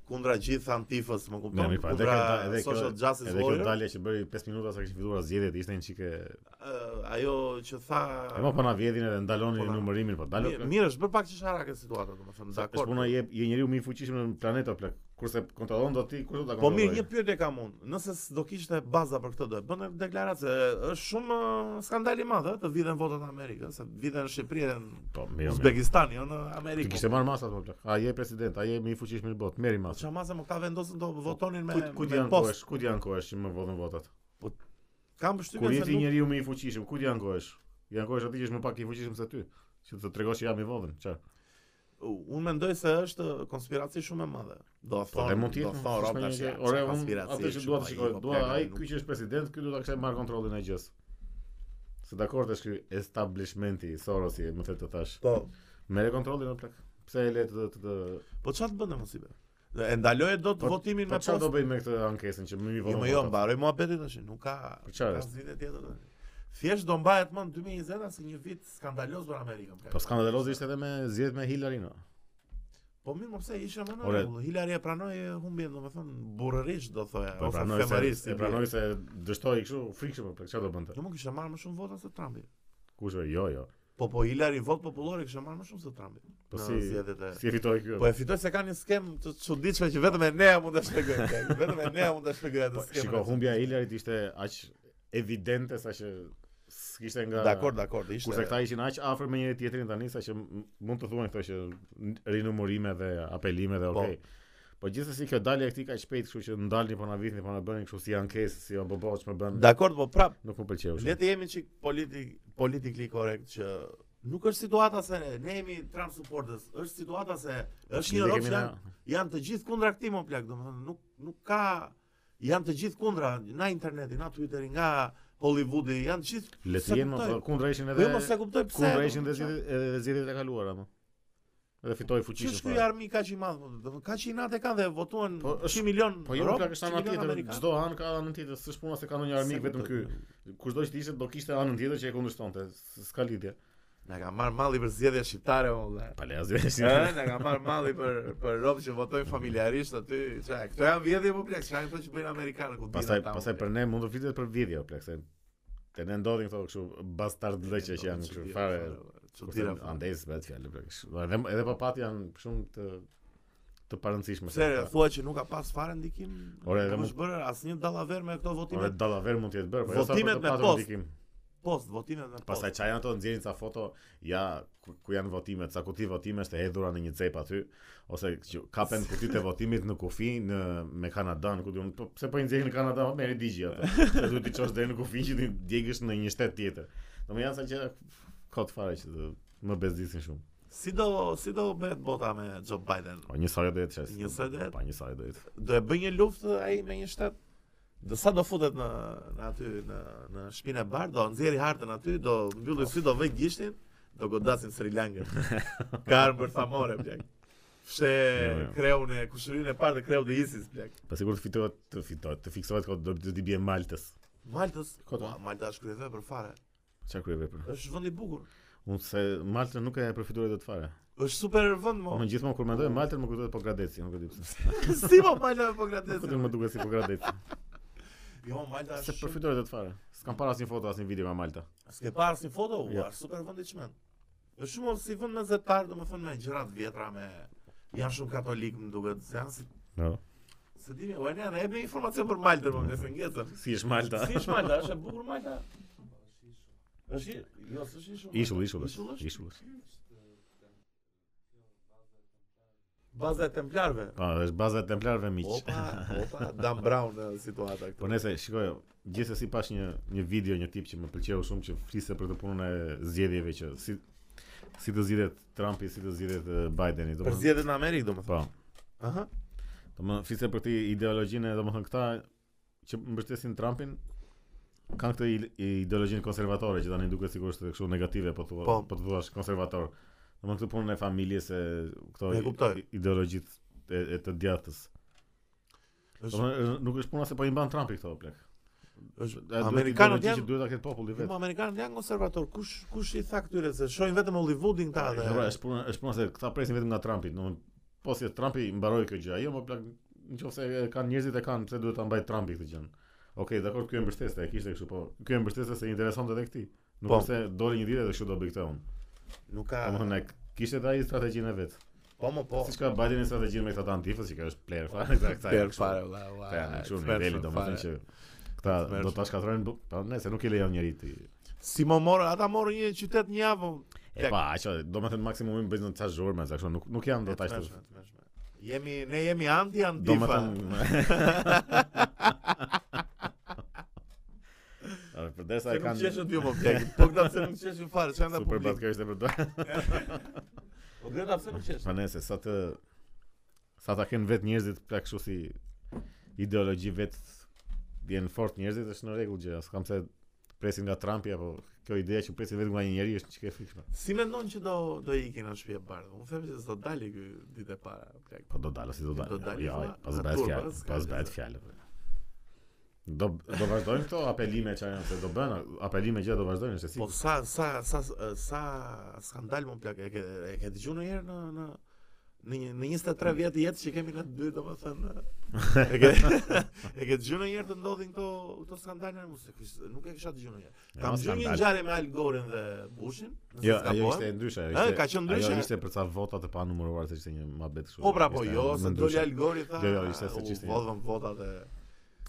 [SPEAKER 1] kundra gjithë antifës, më
[SPEAKER 2] Mirë,
[SPEAKER 1] kupton?
[SPEAKER 2] mirë, pa, edhe
[SPEAKER 1] kundra
[SPEAKER 2] kjo edhe kjo
[SPEAKER 1] Pra, social justice
[SPEAKER 2] edhe kjo
[SPEAKER 1] warrior.
[SPEAKER 2] dalje që bëri 5 minuta sa kishin filluar zgjedhjet, ishte një çike
[SPEAKER 1] Ë, ajo që tha
[SPEAKER 2] E mo po na vjedhin edhe ndaloni
[SPEAKER 1] Ah. Po na-
[SPEAKER 2] numërimin, po dalo.
[SPEAKER 1] Mi- Mirë, është bërë pak çesharake situata, domethënë, dakor.
[SPEAKER 2] Është puna je je njeriu më i fuqishëm në planet o plak. Kurse kontrollon do ti, kush do ta
[SPEAKER 1] Po
[SPEAKER 2] kontrolloj?
[SPEAKER 1] mirë, një pyetje kam unë. Nëse s'do kishte baza për këtë do e bënte deklaratë. e, Është shumë ë, skandal i madh ë, të viden votat në Amerikë, ë, se viden në Shqipëri e në
[SPEAKER 2] Po mirë. mirë.
[SPEAKER 1] Uzbekistan, jo në
[SPEAKER 2] Ti
[SPEAKER 1] Amerikë.
[SPEAKER 2] kishte marrë masat më plak. A je president, a je më i fuqishëm në botë, merri
[SPEAKER 1] Po
[SPEAKER 2] masat.
[SPEAKER 1] çamase më ka vendosën do votonin me
[SPEAKER 2] Po, Ku ku ti
[SPEAKER 1] me
[SPEAKER 2] janë po,
[SPEAKER 1] post.
[SPEAKER 2] kohësh? Ku ti janë kohësh që më votën votat?
[SPEAKER 1] Kam
[SPEAKER 2] Kur
[SPEAKER 1] përshtypjen
[SPEAKER 2] je
[SPEAKER 1] se
[SPEAKER 2] ti
[SPEAKER 1] nuk
[SPEAKER 2] njeriu më i fuqishëm, ku ti janë kohësh? Janë kohësh aty që është më pak i fuqishëm se ty, që të tregosh që jam i votën. Çfarë?
[SPEAKER 1] unë mendoj se është konspiraci shumë e madhe. Do
[SPEAKER 2] Po
[SPEAKER 1] thonë,
[SPEAKER 2] dhe mund të jetë
[SPEAKER 1] do
[SPEAKER 2] më shumë
[SPEAKER 1] thonë rob
[SPEAKER 2] një
[SPEAKER 1] tash.
[SPEAKER 2] gjë.
[SPEAKER 1] ja,
[SPEAKER 2] Ore
[SPEAKER 1] çfarë
[SPEAKER 2] unë
[SPEAKER 1] konspiraci
[SPEAKER 2] atë që
[SPEAKER 1] është,
[SPEAKER 2] dua
[SPEAKER 1] ai,
[SPEAKER 2] të shikoj,
[SPEAKER 1] po,
[SPEAKER 2] dua
[SPEAKER 1] plak,
[SPEAKER 2] ai
[SPEAKER 1] nuk-
[SPEAKER 2] ky që është president, ky do ta kishte marr kontrollin e gjës. Se dakord është ky establishmenti i Sorosi, më thënë të thash.
[SPEAKER 1] Po,
[SPEAKER 2] Merre kontrollin në plak. Pse e le të të të
[SPEAKER 1] po çfarë të bënte mos i bë? Dhe E ndaloje dot
[SPEAKER 2] Po-
[SPEAKER 1] votimin me
[SPEAKER 2] Po çfarë do
[SPEAKER 1] post.
[SPEAKER 2] bëjmë me këtë ankesën që më i
[SPEAKER 1] Jo,
[SPEAKER 2] vonon?
[SPEAKER 1] më jo,
[SPEAKER 2] votat?
[SPEAKER 1] mbaroj muhabetin tash, nuk ka.
[SPEAKER 2] Për po. çfarë
[SPEAKER 1] ka
[SPEAKER 2] është?
[SPEAKER 1] zgjidhje tjetër. tash. Thjesht do mbahet më në 2020 si një vit skandaloz për Amerikën. plak.
[SPEAKER 2] Po skandalozi ishte edhe me zgjedhjet me Hillary no.
[SPEAKER 1] Po mirë, mos e ishte më në
[SPEAKER 2] Ore.
[SPEAKER 1] rregull. Hillary e pranoi humbjen, domethënë burrërisht do thoja,
[SPEAKER 2] Po
[SPEAKER 1] ose
[SPEAKER 2] pranoi se
[SPEAKER 1] femërisht.
[SPEAKER 2] e pranoi se dështoi kështu frikshëm për çfarë do bënte.
[SPEAKER 1] Jo, më kishte marrë më shumë vota se Trumpi.
[SPEAKER 2] Kush e jo jo.
[SPEAKER 1] Po po Hillary vot popullore kishte marrë më shumë se Trumpi.
[SPEAKER 2] Po
[SPEAKER 1] Në
[SPEAKER 2] si
[SPEAKER 1] zgjedhjet e-
[SPEAKER 2] si e fitoi ky?
[SPEAKER 1] Po e fitoj se ka një skem të çuditshme që vetëm e nea mund ta shpjegoj. tek, Vetëm e nea mund ta shpjegoj atë
[SPEAKER 2] Po,
[SPEAKER 1] skem.
[SPEAKER 2] Shiko, humbja e Hillaryt ishte aq evidente sa që s'kishte nga
[SPEAKER 1] Dakor, dakor, ishte.
[SPEAKER 2] Kurse këta ishin aq afër me njëri tjetrin tani sa që m- mund të thuajnë këto që n- rinumërime dhe apelime dhe
[SPEAKER 1] Po.
[SPEAKER 2] okay. Po gjithsesi kjo dalje e këtij kaq shpejt, kështu që ndalni po na vitni, po na bëni kështu si ankesë, si o boboç më bën.
[SPEAKER 1] Dakor, po prap,
[SPEAKER 2] Nuk më pëlqeu. shumë.
[SPEAKER 1] le të jemi çik politik politikli korrekt që nuk është situata se ne, ne jemi Trump supporters, është situata se është një
[SPEAKER 2] Ne
[SPEAKER 1] Europë
[SPEAKER 2] Po, kemi
[SPEAKER 1] që
[SPEAKER 2] na-
[SPEAKER 1] janë, janë të gjithë kundra këtij më plak, domethënë nuk nuk ka janë të gjithë kundra nga interneti, nga Twitteri, nga Hollywoodi, janë të gjithë.
[SPEAKER 2] Le të
[SPEAKER 1] se
[SPEAKER 2] jenë,
[SPEAKER 1] kuptoj.
[SPEAKER 2] më, kundra ishin
[SPEAKER 1] Po jo, mos e
[SPEAKER 2] edhe
[SPEAKER 1] kuptoj pse.
[SPEAKER 2] kundra ishin edhe
[SPEAKER 1] domethënë, çfarë-
[SPEAKER 2] zgjedhjet edhe zgjedhjet e kaluara më. Edhe fitoi
[SPEAKER 1] Që
[SPEAKER 2] fuqishëm. po.
[SPEAKER 1] është ky
[SPEAKER 2] fare.
[SPEAKER 1] armi kaq i madh, do të thonë kaq i natë kanë dhe votuan
[SPEAKER 2] Po,
[SPEAKER 1] 100
[SPEAKER 2] është-
[SPEAKER 1] milion.
[SPEAKER 2] Po jo,
[SPEAKER 1] rob,
[SPEAKER 2] plak është
[SPEAKER 1] 100
[SPEAKER 2] anë
[SPEAKER 1] milion
[SPEAKER 2] tjetër.
[SPEAKER 1] amerikanë.
[SPEAKER 2] Çdo anë ka anën tjetër, s'është puna se ka ndonjë armik
[SPEAKER 1] Se
[SPEAKER 2] vetëm ky.
[SPEAKER 1] kuptoj.
[SPEAKER 2] Kushdo që të ishte do kishte anën tjetër që e kundërshtonte. s- S'ka lidhje.
[SPEAKER 1] Na ka marr malli për zgjedhje shqiptare o vëlla.
[SPEAKER 2] Pa le asgjë.
[SPEAKER 1] Ë, Eh, na ka marr malli për për rob që votojnë familjarisht aty. Çka, këto janë vjedhje po plak, çka janë këto që bëjnë amerikanë ku dinë
[SPEAKER 2] Pastaj
[SPEAKER 1] ata, mo,
[SPEAKER 2] pastaj për
[SPEAKER 1] plak.
[SPEAKER 2] ne mund të flitet për video plak se te ne ndodhin këto kështu bastard lëqe që janë kështu fare.
[SPEAKER 1] Çuditëra.
[SPEAKER 2] Andaj s'bëhet fjalë plak. kështu. Edhe edhe papat janë shumë të të parëndësishme.
[SPEAKER 1] Pse thua që nuk ka pas fare ndikim?
[SPEAKER 2] Ore, edhe
[SPEAKER 1] nuk
[SPEAKER 2] mu-
[SPEAKER 1] është bërë asnjë dallaver me këto
[SPEAKER 2] Ore
[SPEAKER 1] votime
[SPEAKER 2] dallaver mund të jetë bërë, po jo sa për të
[SPEAKER 1] Votimet me
[SPEAKER 2] patur
[SPEAKER 1] post.
[SPEAKER 2] ndikim.
[SPEAKER 1] post, votimet me post.
[SPEAKER 2] Pastaj çaj janë ato nxjerrin ca foto, ja ku, ku janë votimet, ca kuti votimesh të hedhura në një cep aty, ose që kapen kutit e votimit në kufi në me Kanadan, ku diun, po pse po i nxjerrin në Kanada, po merri digji atë. Se duhet të çosh deri në kufi që ti djegësh në një shtet tjetër. Domethënë janë sa gjëra kot fare që të më bezdisin shumë.
[SPEAKER 1] Si do si do bëhet bota me Joe Biden?
[SPEAKER 2] Po një sajë do jetë çes.
[SPEAKER 1] Njësoj do jetë.
[SPEAKER 2] Po një sajë do jetë.
[SPEAKER 1] do e bëj një luftë ai me një shtet. Do sa do futet në në aty në në shtëpinë e Bardh, do nxjerri hartën aty, do mbylli sy, do vë gishtin, do godasin Sri Lankën. Ka armë bërthamore plak. Fshe
[SPEAKER 2] jo.
[SPEAKER 1] kreun e kushërinë e parë të kreut të ISIS plak.
[SPEAKER 2] Po sigurt të fitohet, të fitohet, të fiksohet kot do do t'i bie Maltës.
[SPEAKER 1] Maltës,
[SPEAKER 2] Kota.
[SPEAKER 1] Ua, Malta është kryeve për fare.
[SPEAKER 2] Çfarë kryevepër?
[SPEAKER 1] Është vend i bukur.
[SPEAKER 2] Unë se Maltën nuk e përfituar dot fare.
[SPEAKER 1] Është super vend mo.
[SPEAKER 2] Unë gjithmonë kur mendoj Maltën më kujtohet po Gradeci, nuk e di pse.
[SPEAKER 1] si po Malta
[SPEAKER 2] Po
[SPEAKER 1] po gradesin.
[SPEAKER 2] të më duket si po Gradeci.
[SPEAKER 1] Jo, Malta
[SPEAKER 2] Se
[SPEAKER 1] është. shumë-
[SPEAKER 2] përfitore do të fare. S'kam parë asnjë foto, asnjë video nga Malta.
[SPEAKER 1] S'ke parë si foto, u,
[SPEAKER 2] Jo.
[SPEAKER 1] është super vend i çmend. Është Jo, shumë si vend mezetar, domethënë me gjëra të vjetra me janë shumë katolik, më duket, se janë si
[SPEAKER 2] Jo.
[SPEAKER 1] se di, u ne ne me informacion për Maltën, po nëse ngjetëm.
[SPEAKER 2] Si është Malta?
[SPEAKER 1] Si është Malta, është e bukur Malta. Është i- jo, s'është ishull.
[SPEAKER 2] Ishull, ishull.
[SPEAKER 1] Ishull
[SPEAKER 2] është.
[SPEAKER 1] është
[SPEAKER 2] Ishull. është.
[SPEAKER 1] baza e templarëve.
[SPEAKER 2] Po, është baza e templarëve miq.
[SPEAKER 1] Opa, opa, Dan Brown në situata
[SPEAKER 2] Po
[SPEAKER 1] këtu.
[SPEAKER 2] nëse shikoj, gjithsesi pash një një video një tip që më pëlqeu shumë që fliste për këtë punën e zgjedhjeve që si si të zgjidhet Trumpi, si të zgjidhet eh, Bideni,
[SPEAKER 1] Për
[SPEAKER 2] domethënë.
[SPEAKER 1] zgjedhjen në Amerikë domethënë.
[SPEAKER 2] Po.
[SPEAKER 1] Aha.
[SPEAKER 2] Domethënë fliste për këtë ideologjinë, e, domethënë këta që mbështesin Trumpin kanë këtë i- i- ideologjinë konservatore që tani duket sikur është kështu negative po thua,
[SPEAKER 1] Po.
[SPEAKER 2] po të thuash konservator. Domethënë këtë punën e familjes e këto
[SPEAKER 1] E
[SPEAKER 2] i-
[SPEAKER 1] kuptoj.
[SPEAKER 2] ideologjitë e, e të djathtës. Po
[SPEAKER 1] Është
[SPEAKER 2] Domethënë nuk është puna se po i mban Trumpi këto plak.
[SPEAKER 1] është
[SPEAKER 2] Duhet
[SPEAKER 1] amerikanët
[SPEAKER 2] ideologji
[SPEAKER 1] janë
[SPEAKER 2] që duhet ta ketë populli
[SPEAKER 1] Po
[SPEAKER 2] vet.
[SPEAKER 1] amerikanët janë konservator. Kush kush i tha këtyre se shohin vetëm Hollywoodin këta dhe
[SPEAKER 2] Dobra, është puna është puna se këta presin vetëm nga Trumpi, domethënë po si Trumpi mbaroi këtë gjë. Ajo më plak nëse e kanë njerëzit e kanë, pse duhet ta mbaj Trumpi këtë gjë. Okej, dakor, ky e mbështeste, e kishte kështu, po ky e mbështeste se i interesonte edhe këtij. Nuk
[SPEAKER 1] Po. Ah.
[SPEAKER 2] është se doli një ditë dhe kështu do bëj këtë unë.
[SPEAKER 1] nuk ka
[SPEAKER 2] Domethënë e kishte edhe ai strategjinë e vet.
[SPEAKER 1] Po mo po.
[SPEAKER 2] Siç ka Biden në strategjinë me këta të antifës, që kjo është player fare këta.
[SPEAKER 1] Player fare valla.
[SPEAKER 2] Player në çun niveli domethënë që këta do ta shkatrojnë, bu- po nëse nuk i lejon njëri ti.
[SPEAKER 1] Si mo morë, ata morën një qytet një javë.
[SPEAKER 2] E pa, aqo, domethënë maksimumi bëjnë në 6 zhurmë, sa kështu nuk nuk janë do ta ashtu.
[SPEAKER 1] Tmeshme, tmeshme. Jemi ne jemi anti antifa.
[SPEAKER 2] Domethënë. Ora, për desa
[SPEAKER 1] Se
[SPEAKER 2] e
[SPEAKER 1] nuk
[SPEAKER 2] kanë
[SPEAKER 1] qeshën ju më vlek. Po këta se nuk qeshën fare, çan ta
[SPEAKER 2] super
[SPEAKER 1] publik.
[SPEAKER 2] batkë është e përdor.
[SPEAKER 1] Po këta pse nuk qeshën.
[SPEAKER 2] Po nëse sa të sa ta kenë vetë njerëzit plak kështu si ideologji vetë janë fort njerëzit është në rregull gjëra, s'kam se presin nga Trumpi apo kjo ide që presin vetëm nga një njeri është çka e fikshme.
[SPEAKER 1] Si mendon që do do ikin në shtëpi e bardhë? Unë them që s'do dali ky ditë e para. Plak.
[SPEAKER 2] Po do dalë si do dalë.
[SPEAKER 1] Do dalë,
[SPEAKER 2] Jo,
[SPEAKER 1] do
[SPEAKER 2] jo,
[SPEAKER 1] dalë.
[SPEAKER 2] pas bëhet fjalë,
[SPEAKER 1] Në turp, s'ka
[SPEAKER 2] pas
[SPEAKER 1] gjë,
[SPEAKER 2] bëhet
[SPEAKER 1] s'ka.
[SPEAKER 2] fjalë. po. Do do vazhdojnë këto apelime që janë se do bën, apelime gjë do vazhdojnë është e
[SPEAKER 1] Po
[SPEAKER 2] sigurt.
[SPEAKER 1] sa sa sa sa skandal më plak. E ke e ke dëgjuar ndonjëherë në në në një- në 23 vjet jetë që kemi ne dy domethënë. E ke e ke dëgjuar ndonjëherë të ndodhin këto këto skandale në muzikë? Nuk e kisha dëgjuar ndonjëherë.
[SPEAKER 2] Ja,
[SPEAKER 1] Kam dëgjuar një
[SPEAKER 2] skandal.
[SPEAKER 1] ngjarje me Al Gore-in dhe Bushin. nëse
[SPEAKER 2] Jo,
[SPEAKER 1] s'ka
[SPEAKER 2] ajo
[SPEAKER 1] po,
[SPEAKER 2] ishte e ndryshe, ajo
[SPEAKER 1] Eh,
[SPEAKER 2] ishte.
[SPEAKER 1] ka qenë ndryshe?
[SPEAKER 2] Ajo ishte për ca vota të panumëruara, se ishte një mohabet kështu.
[SPEAKER 1] Po pra po
[SPEAKER 2] ishte
[SPEAKER 1] jo,
[SPEAKER 2] më
[SPEAKER 1] se
[SPEAKER 2] ndryshe.
[SPEAKER 1] doli Algori tha.
[SPEAKER 2] Jo, jo, ishte se
[SPEAKER 1] u
[SPEAKER 2] çishte një-
[SPEAKER 1] Vodhëm votat e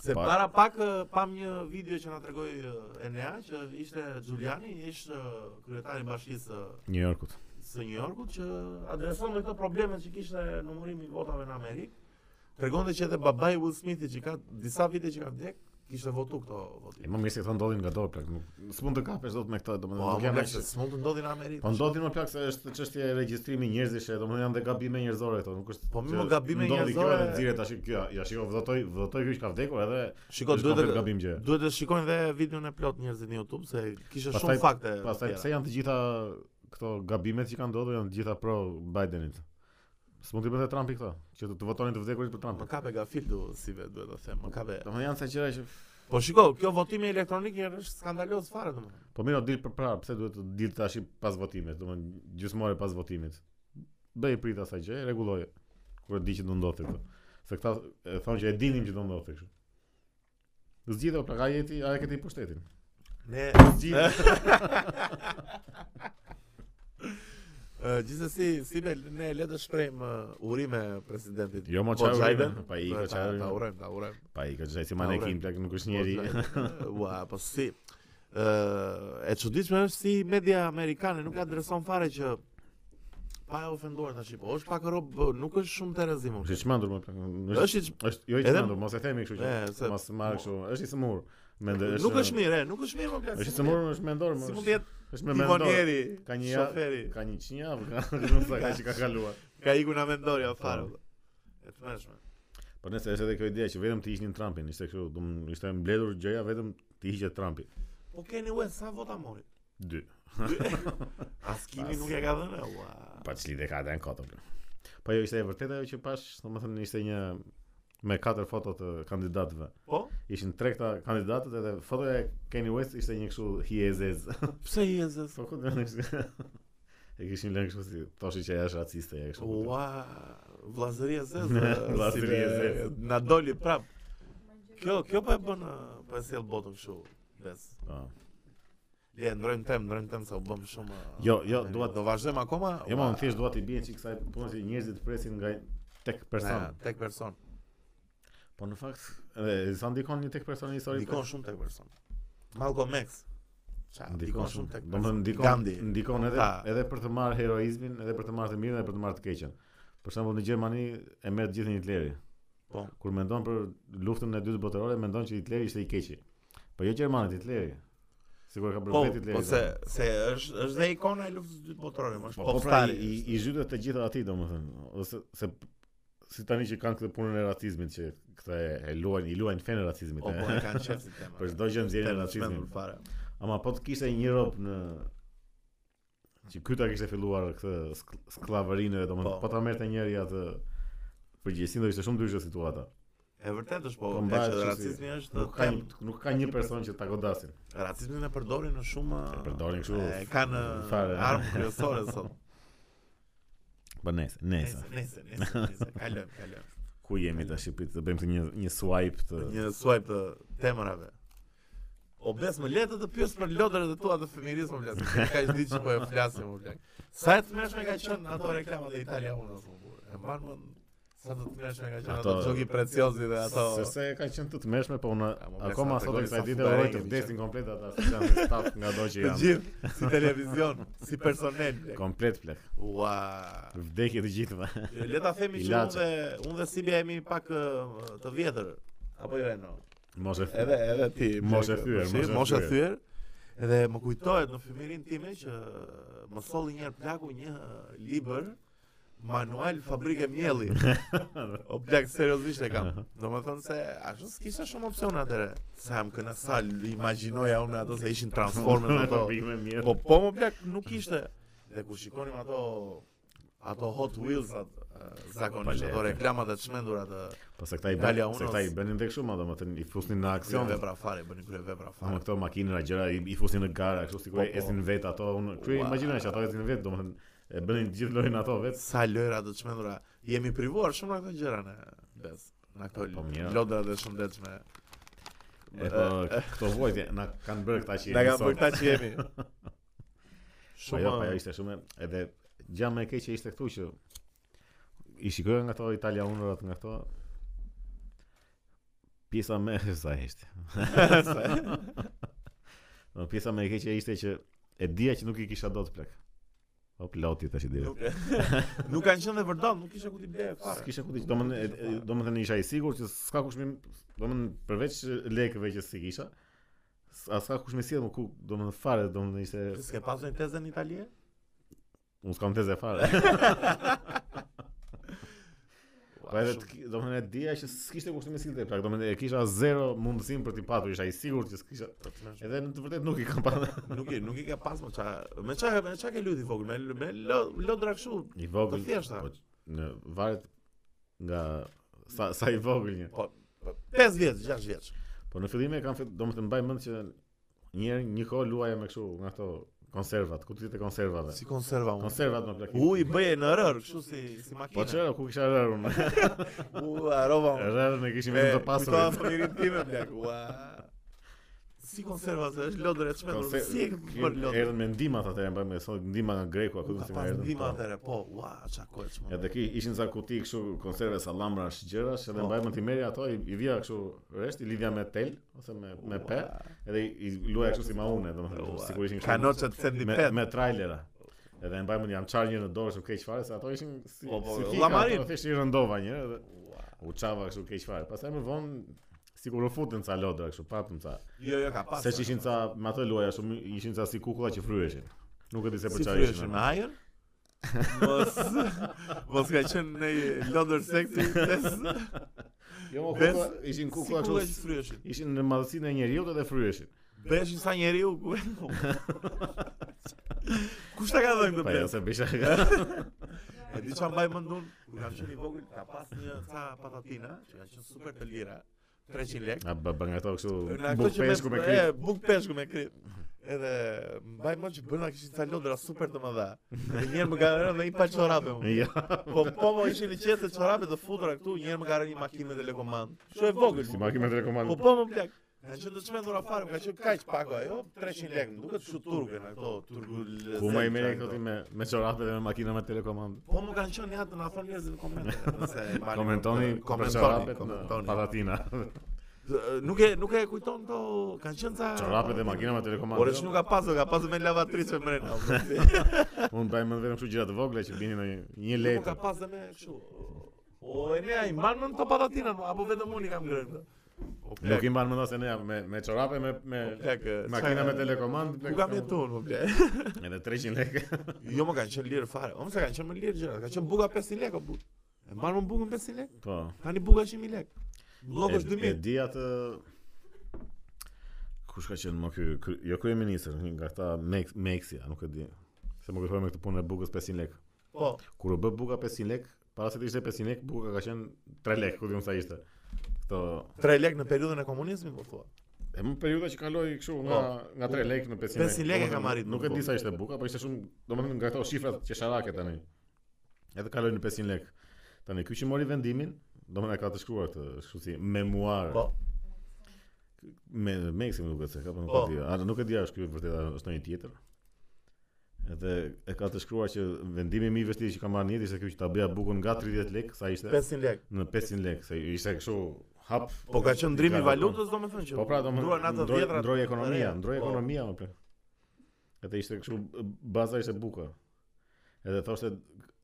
[SPEAKER 1] Se
[SPEAKER 2] Pa-
[SPEAKER 1] para pak eh, pam një video që na tregoi eh, Enea që ishte Giuliani, ishte eh, kryetari i bashkisë eh,
[SPEAKER 2] New Yorkut.
[SPEAKER 1] së New Yorkut që adreson me këto problemet që kishte numërimi i votave në Amerikë. Tregonte që edhe babai Will Smithi që ka disa vite që ka vdek, kishte votu këto
[SPEAKER 2] E
[SPEAKER 1] votime.
[SPEAKER 2] më mirë se këto ndodhin nga dorë plak. nuk- S'mund të kapesh dot me këto,
[SPEAKER 1] Po,
[SPEAKER 2] domethënë
[SPEAKER 1] më
[SPEAKER 2] nuk janë
[SPEAKER 1] plak
[SPEAKER 2] as-
[SPEAKER 1] se s'mund të ndodhi në Amerikë.
[SPEAKER 2] Po ndodhin më plak se është çështje e regjistrimi njerëzish, domethënë janë dhe gabime njerëzore këto, nuk është.
[SPEAKER 1] Po, mi
[SPEAKER 2] që
[SPEAKER 1] më gabime
[SPEAKER 2] ndodhi
[SPEAKER 1] njerëzore-
[SPEAKER 2] Kjo edhe nxirret tash kjo, ja shiko votoi, votoi ky që ka vdekur edhe
[SPEAKER 1] Shiko,
[SPEAKER 2] është
[SPEAKER 1] duhet
[SPEAKER 2] komplet
[SPEAKER 1] të
[SPEAKER 2] gabim gjë.
[SPEAKER 1] duhet të shikojnë dhe videon e plot njerëzit në YouTube se kishte
[SPEAKER 2] Pastaj-
[SPEAKER 1] shumë fakte. të
[SPEAKER 2] pastaj
[SPEAKER 1] tjera.
[SPEAKER 2] pse janë të gjitha këto gabimet që kanë ndodhur janë të gjitha pro Bidenit. S'mund të bëhet Trumpi këto, që të, të votonin të vdekurit për
[SPEAKER 1] Më
[SPEAKER 2] Trumpin.
[SPEAKER 1] kape ga fildu, si ve duhet të them, më kape.
[SPEAKER 2] Domethënë janë sa gjëra që
[SPEAKER 1] Po shiko, kjo votimi elektronik njerë është skandaloz fare domethënë.
[SPEAKER 2] Po mirë, o dil për prapë, pse duhet të dil tash pas votimit, domethënë gjysmore pas votimit. Bëj prit asaj gjë, rregulloje. Kur e di që do ndodhte këtë. Se këta e thonë që e dinim që do ndodhte kështu. Zgjidhë o plak, a jeti, a e këti pushtetin.
[SPEAKER 1] Ne
[SPEAKER 2] Zgjidhë.
[SPEAKER 1] ë, gjithsesi si ve ne le të shprejmë ë, urime presidentit.
[SPEAKER 2] jo mo
[SPEAKER 1] Po,
[SPEAKER 2] çaj urime,
[SPEAKER 1] Biden?
[SPEAKER 2] pa i
[SPEAKER 1] Ta-
[SPEAKER 2] ka çaj
[SPEAKER 1] Ta
[SPEAKER 2] urime.
[SPEAKER 1] urem, ta urem.
[SPEAKER 2] Pa i ka çaj si
[SPEAKER 1] Ta
[SPEAKER 2] manekin,
[SPEAKER 1] urem.
[SPEAKER 2] plak nuk është
[SPEAKER 1] Po,
[SPEAKER 2] njeri.
[SPEAKER 1] Biden, Ua, po si. Ë, e çuditshme është si media amerikane nuk adreson fare që pa e ofenduar tash, po është pak rob, nuk është shumë terezim. o.
[SPEAKER 2] Është i çmendur më plak. Është
[SPEAKER 1] Është i ç-
[SPEAKER 2] është jo i
[SPEAKER 1] Edhe-
[SPEAKER 2] çmendur, mos e themi kështu që.
[SPEAKER 1] E, se-
[SPEAKER 2] Mos marr kështu. Është i smur. Mende
[SPEAKER 1] nuk është mirë, e, nuk është mirë më plak.
[SPEAKER 2] Është
[SPEAKER 1] si
[SPEAKER 2] i
[SPEAKER 1] mund
[SPEAKER 2] smur, është mendor,
[SPEAKER 1] jetë- Si mund të
[SPEAKER 2] më.
[SPEAKER 1] jetë
[SPEAKER 2] Është me mendor.
[SPEAKER 1] timonieri,
[SPEAKER 2] Ka një ja-
[SPEAKER 1] shoferi.
[SPEAKER 2] Ka një qinjavë, ka nuk sa ka që ka kaluar.
[SPEAKER 1] Ka iku nga mendorja fare.
[SPEAKER 2] Po.
[SPEAKER 1] valla. E të mërshme.
[SPEAKER 2] Por Po nëse është edhe kjo ide që vetëm të hiqnin Trumpin, ishte kështu, do më- ishte mbledhur gjëja vetëm të hiqet Trumpi.
[SPEAKER 1] Po Kanye West sa vota mori?
[SPEAKER 2] 2.
[SPEAKER 1] As kimi
[SPEAKER 2] As-
[SPEAKER 1] nuk e ka dhënë. Ua.
[SPEAKER 2] Pa Po çli dekada në kotë. bro. Po jo ishte e vërtetë ajo që pash, domethënë ishte një me katër foto të kandidatëve.
[SPEAKER 1] Po,
[SPEAKER 2] Ishin tre këta kandidatët edhe fotoja e Kanye West ishte një kështu hiezez.
[SPEAKER 1] pse i e zës?
[SPEAKER 2] Po ku do ishte? E kishin lënë kështu si thoshin që ajo është raciste, e kështu.
[SPEAKER 1] Ua, vllazëria e zës.
[SPEAKER 2] Vllazëria e
[SPEAKER 1] si be, Na doli prap. Kjo, kjo po e bën, uh, po e sjell botën kështu. Bes.
[SPEAKER 2] Po.
[SPEAKER 1] Le ndrojmë tem, ndrojmë tem sa u bëm shumë. uh,
[SPEAKER 2] Jo, jo,
[SPEAKER 1] ne-
[SPEAKER 2] dua-
[SPEAKER 1] do vazhdojmë akoma.
[SPEAKER 2] Jo,
[SPEAKER 1] Ua,
[SPEAKER 2] më thjesht dua t'i bien çik kësaj punë që njerëzit presin nga tek
[SPEAKER 1] na,
[SPEAKER 2] person.
[SPEAKER 1] tek person.
[SPEAKER 2] Po në fakt, edhe sa ndikon një tek personi histori.
[SPEAKER 1] Ndikon shumë tek person. Malcolm X. Ça,
[SPEAKER 2] Ndikon shumë tek. Do të thonë ndikon,
[SPEAKER 1] Gandhi.
[SPEAKER 2] ndikon edhe
[SPEAKER 1] Ta.
[SPEAKER 2] edhe për të marrë heroizmin, edhe për të marrë të mirën, edhe për të marrë të keqen. Për shembull në Gjermani e merr gjithë Hitleri.
[SPEAKER 1] Po.
[SPEAKER 2] Kur mendon për luftën e dytë botërore, mendon që Hitleri ishte i keqi. Po jo Gjermanët, Hitleri. Sigur ka bërë
[SPEAKER 1] Po,
[SPEAKER 2] vetë Hitleri.
[SPEAKER 1] po se se është është dhe ikona e luftës së dytë botërore, më është
[SPEAKER 2] po, po pra
[SPEAKER 1] popstari.
[SPEAKER 2] i, i zhytet të gjitha aty domethënë, ose se si tani që kanë këtë punën e racizmit që këta e, e luajnë, i luajnë fen e racizmit.
[SPEAKER 1] Po,
[SPEAKER 2] e.
[SPEAKER 1] po, e kanë qenë si tema.
[SPEAKER 2] Për çdo gjë nxjerrin
[SPEAKER 1] Tema
[SPEAKER 2] racizmin.
[SPEAKER 1] çmendur fare.
[SPEAKER 2] Ama po të kishte një rob në që ky ta kishte filluar këtë sk- sklavërinë, domethënë
[SPEAKER 1] Po.
[SPEAKER 2] po ta merrte njëri atë përgjegjësinë do ishte shumë ndryshe situata.
[SPEAKER 1] E vërtet është po,
[SPEAKER 2] Po,
[SPEAKER 1] e
[SPEAKER 2] mbahet
[SPEAKER 1] që
[SPEAKER 2] kështu si-
[SPEAKER 1] racizmi është
[SPEAKER 2] Nuk ka
[SPEAKER 1] tem.
[SPEAKER 2] një, nuk ka një person që ta godasin.
[SPEAKER 1] racizmin e përdorin në shumë
[SPEAKER 2] E përdorin kështu,
[SPEAKER 1] e kanë
[SPEAKER 2] fare.
[SPEAKER 1] armë kryesore sot.
[SPEAKER 2] Po nesër,
[SPEAKER 1] Nëse,
[SPEAKER 2] nesër.
[SPEAKER 1] nëse, nëse, nëse, kalojmë, kalojmë.
[SPEAKER 2] Ku jemi tash prit të bëjmë këtë një një swipe të
[SPEAKER 1] Një swipe të temërave. obes më letë të pyes për lodrat e tua të fëmirisë më flas. Ka një ditë që po e flasim më flas. Sa e tmeshme ka qenë ato reklamat e Italia unë më burr. E mban më sa të tmeshme ka qenë ato
[SPEAKER 2] Ato-
[SPEAKER 1] çoki preciozi dhe ato.
[SPEAKER 2] Se se kanë qenë të tmeshme, po unë
[SPEAKER 1] Ja, mo, blesa,
[SPEAKER 2] akoma
[SPEAKER 1] të
[SPEAKER 2] sot e
[SPEAKER 1] goli
[SPEAKER 2] kësaj
[SPEAKER 1] sa
[SPEAKER 2] dite
[SPEAKER 1] futare
[SPEAKER 2] uroj të
[SPEAKER 1] kemi
[SPEAKER 2] vdesin
[SPEAKER 1] qenë.
[SPEAKER 2] komplet ata se janë staf nga do që
[SPEAKER 1] Të
[SPEAKER 2] janë.
[SPEAKER 1] gjithë si televizion, si personel. plak.
[SPEAKER 2] Komplet plek.
[SPEAKER 1] Ua.
[SPEAKER 2] Vdekje të gjithëve.
[SPEAKER 1] Le ta themi që unë
[SPEAKER 2] Ilaçe.
[SPEAKER 1] dhe unë dhe Sibia jemi pak ë, të vjetër. Apo jo e no.
[SPEAKER 2] Mos e
[SPEAKER 1] Edhe edhe ti
[SPEAKER 2] Moshe
[SPEAKER 1] plak,
[SPEAKER 2] thyer,
[SPEAKER 1] përshir,
[SPEAKER 2] moshe
[SPEAKER 1] moshe
[SPEAKER 2] thyer.
[SPEAKER 1] thyer. Edhe më kujtohet në fëmirin time që më solli një herë plaku një libër manual fabrike mjelli. o plak seriozisht e kam. Domethënë se ashtu s'kisha shumë opsione atëre. Sa më këna sa imagjinoja unë ato se ishin transformers ato.
[SPEAKER 2] Bime mirë.
[SPEAKER 1] Po po më plak nuk ishte. Dhe kur shikonim ato ato Hot Wheels atë eh, zakonisht ato reklamat e të çmendura të
[SPEAKER 2] Po se këta i
[SPEAKER 1] Italia
[SPEAKER 2] bënin, se
[SPEAKER 1] Unos.
[SPEAKER 2] këta i bënin tek shumë, domethënë i fusnin në aksion.
[SPEAKER 1] vepra fare, bënin krye vepra
[SPEAKER 2] Ama
[SPEAKER 1] fare.
[SPEAKER 2] këto makina gjëra i, i fusin në gara, kështu sikur
[SPEAKER 1] Po,
[SPEAKER 2] e
[SPEAKER 1] po.
[SPEAKER 2] ecin vet ato. Unë krye
[SPEAKER 1] Ua.
[SPEAKER 2] imagjinoj që ato ecin vet, domethënë e bënin të gjithë lojën ato vet.
[SPEAKER 1] sa lëra të çmendura. Jemi privuar shumë nga këto gjëra ne. Bes. Nga këto
[SPEAKER 2] Po, mirë.
[SPEAKER 1] lodra të shëndetshme.
[SPEAKER 2] E po këto vojtje na kanë bërë këta që
[SPEAKER 1] Na
[SPEAKER 2] jemi
[SPEAKER 1] ka për
[SPEAKER 2] sot. Po,
[SPEAKER 1] këta që jemi.
[SPEAKER 2] Ajo,
[SPEAKER 1] Shumë
[SPEAKER 2] ajo jo, ishte shumë edhe gjë më e keqe ishte këtu që i shikoja nga ato Italia Unorat nga këto pjesa më sa ishte. Në pjesa më e keqe ishte që e dija që nuk i kisha dot plak. O piloti tash i dija.
[SPEAKER 1] nuk nuk kanë qenë dhe vërdon, nuk kisha ku ti bleje fare.
[SPEAKER 2] S'kisha ku t'i domethënë e- e- domethënë isha i sigurt që s'ka kush më domethënë përveç lekëve që si kisha as ka kush më sjell më ku domethënë fare domethënë ishte
[SPEAKER 1] S'ke pasur një tezë në Itali?
[SPEAKER 2] unë s'kam tezë fare. Po edhe të ki- domethënë e dija që s'kishte kush më sillte plak, domethënë e kisha zero mundësinë për t'i patur, isha i sigurt që s'kisha. Edhe në të vërtetë nuk i kam patur.
[SPEAKER 1] Nuk i nuk i ka pas më ça. Me ça me ça ke luti vogël, me me lo- lodra kështu.
[SPEAKER 2] I vogël.
[SPEAKER 1] Të thjeshta.
[SPEAKER 2] po, Në varet nga sa sa i vogël një.
[SPEAKER 1] 5 vjeç, 6 vjeç.
[SPEAKER 2] Po në fillim e kam fit, domethënë mbaj mend që një herë një kohë luaja me kështu nga ato konservat, kutit e konservave.
[SPEAKER 1] Si konserva unë.
[SPEAKER 2] Konservat në plakinë.
[SPEAKER 1] U i bëje në rër, kështu si si makinë.
[SPEAKER 2] Po çera ku kisha rërën.
[SPEAKER 1] U arova unë.
[SPEAKER 2] Rërën Po. e kishim
[SPEAKER 1] Me
[SPEAKER 2] vetëm të pasur.
[SPEAKER 1] Kujtoa fëmirin time plak. Ua. Si konserva se është lodër e çmendur.
[SPEAKER 2] Konser-
[SPEAKER 1] Si e ke
[SPEAKER 2] Ky-
[SPEAKER 1] bër lodër?
[SPEAKER 2] Erdhën me ndimat atëherë, mbaj me thonë ndima nga greku,
[SPEAKER 1] U
[SPEAKER 2] aku
[SPEAKER 1] ka
[SPEAKER 2] se nga
[SPEAKER 1] pas
[SPEAKER 2] erdhën.
[SPEAKER 1] ndima
[SPEAKER 2] po.
[SPEAKER 1] atëre, po, ua, çka kohë çmendur.
[SPEAKER 2] Edhe ki ishin sa kuti kështu konserve sallamra, gjërash, edhe
[SPEAKER 1] Po.
[SPEAKER 2] mbaj mend ti merja ato, i, i vija kështu resht, i lidhja me tel ose me me pe, edhe i, i luaja kështu si maune, domethënë sigurisht ishin kështu-
[SPEAKER 1] kanoçe të sendi
[SPEAKER 2] me,
[SPEAKER 1] pet.
[SPEAKER 2] me trailera. Edhe mbaj mund jam çar një në dorë shumë keq fare se ato ishin si
[SPEAKER 1] Po, po,
[SPEAKER 2] si
[SPEAKER 1] llamarin.
[SPEAKER 2] ato thjesht i rëndova një herë dhe u çava kështu keq fare. Pastaj më vonë sikur u futën ca lodra kështu patëm ca.
[SPEAKER 1] Jo, jo, ka pas.
[SPEAKER 2] Se që ishin ca me ato loja shumë ishin ca si kukulla që fryheshin. Nuk e di se për
[SPEAKER 1] si
[SPEAKER 2] çfarë
[SPEAKER 1] fryshën
[SPEAKER 2] ishin.
[SPEAKER 1] me ajër. Mos mos ka qenë në lodër seksi. tes-
[SPEAKER 2] Jo, mo
[SPEAKER 1] Bes-
[SPEAKER 2] kukulla ishin
[SPEAKER 1] Si
[SPEAKER 2] kukulla
[SPEAKER 1] kulla që
[SPEAKER 2] kështu
[SPEAKER 1] fryshën.
[SPEAKER 2] ishin në madhësinë e njeriu dhe fryheshin.
[SPEAKER 1] Beshin sa njeriu ku. Kush ta ka dhënë këtë
[SPEAKER 2] Po ja
[SPEAKER 1] bes?
[SPEAKER 2] se bisha.
[SPEAKER 1] E di çfarë mbaj mend unë, kur kam qenë i vogël, ka pas një ca patatina që kanë qenë super të lira, 300 lekë.
[SPEAKER 2] A bë bën ato kështu
[SPEAKER 1] Në ato
[SPEAKER 2] buk
[SPEAKER 1] që me
[SPEAKER 2] peshku me krip.
[SPEAKER 1] e, buk peshku me krip. Edhe mbaj mend që bëna kishin ca lodra super të mëdha. Dhe një herë më ka rënë dhe një palë çorape unë.
[SPEAKER 2] Jo.
[SPEAKER 1] Po po më ishin i qetë çorape të futura këtu, një herë më ka rënë një makinë me telekomand. Shumë e vogël.
[SPEAKER 2] Si makinë me telekomand.
[SPEAKER 1] Po po më plak. Ka qenë të çmendur afare, më ka qenë kaq pak ajo, 300 lekë, më duket çu turke në ato turku.
[SPEAKER 2] Ku më i merr këto ti me me çorape dhe me makina me telekomand.
[SPEAKER 1] Po më kanë qenë jatë na thonë njerëzit në komente, nëse e mbani-
[SPEAKER 2] Komentoni,
[SPEAKER 1] komentoni,
[SPEAKER 2] për çorapet në
[SPEAKER 1] komentoni.
[SPEAKER 2] Patatina.
[SPEAKER 1] Ë, Nuk e nuk e kujton këto, kanë qenë ca
[SPEAKER 2] Çorapet dhe makina me telekomand.
[SPEAKER 1] Por është nuk ka pasur, ka pasur me lavatrice mrena.
[SPEAKER 2] Unë bëj mend vetëm kështu gjëra të vogla që binin në një- një
[SPEAKER 1] Nuk ka
[SPEAKER 2] letër.
[SPEAKER 1] pasur me kështu. O e ne ai mban në to patatina, apo vetëm unë i kam ngrënë. këtë? O
[SPEAKER 2] Nuk
[SPEAKER 1] plak,
[SPEAKER 2] i mban mend as ne me me çorape me me
[SPEAKER 1] o plak, e,
[SPEAKER 2] makina
[SPEAKER 1] çfarë-
[SPEAKER 2] me telekomand.
[SPEAKER 1] Ku kam jetuar më po, plak?
[SPEAKER 2] Edhe 300 lekë.
[SPEAKER 1] Jo më kanë qenë lirë fare. O më se kanë qenë më lirë gjëra. Ka qenë buka 500 lekë o buk. E mban më bukën 500 lekë.
[SPEAKER 2] Po.
[SPEAKER 1] Tani buka 100 lekë. Blloku
[SPEAKER 2] E-
[SPEAKER 1] është
[SPEAKER 2] E
[SPEAKER 1] 2000.
[SPEAKER 2] di atë kush ka qenë më ky kry- jo kryeministër, një nga këta Mex- Meksia, nuk e di. Se më kujtohet me këtë punë e bukës 500 lekë.
[SPEAKER 1] Po,
[SPEAKER 2] Kur u bë buka 500 lekë, para se të ishte 500 lekë, buka ka qenë 3 lekë, ku diun sa ishte. Kto
[SPEAKER 1] 3 lekë në periudhën e komunizmit po thua.
[SPEAKER 2] E më periudha që kaloi kështu nga nga 3 lekë në 500
[SPEAKER 1] 500 lekë e kam arrit,
[SPEAKER 2] Nuk e di sa ishte buka, po ishte shumë, domethënë nga ato shifrat që sharake tani. Edhe kaloi në 500 lekë. Po. Tani ky që mori vendimin, domethënë e ka të shkruar këtë, kështu si memuar.
[SPEAKER 1] Po.
[SPEAKER 2] Me Meksi më duket se ka po nuk
[SPEAKER 1] Po.
[SPEAKER 2] e di. A nuk e di a është ky vërtet a është ndonjë tjetër. Edhe e ka të shkruar që vendimi më i vështirë që ka marrë njëti ishte ky që ta bëja bukun nga 30 lekë sa ishte
[SPEAKER 1] 500 lekë.
[SPEAKER 2] në 500 lekë, se ishte kështu hap.
[SPEAKER 1] Po ka qenë ndrimi i
[SPEAKER 2] Ka-
[SPEAKER 1] valutës domethënë që.
[SPEAKER 2] Po pra, do më
[SPEAKER 1] ndruan ato
[SPEAKER 2] ndroi-
[SPEAKER 1] vjetrat
[SPEAKER 2] ndroi
[SPEAKER 1] të
[SPEAKER 2] ekonomia,
[SPEAKER 1] reja.
[SPEAKER 2] ndroi
[SPEAKER 1] Po.
[SPEAKER 2] ekonomia më plot. Edhe ishte kështu baza ishte buka. Edhe thoshte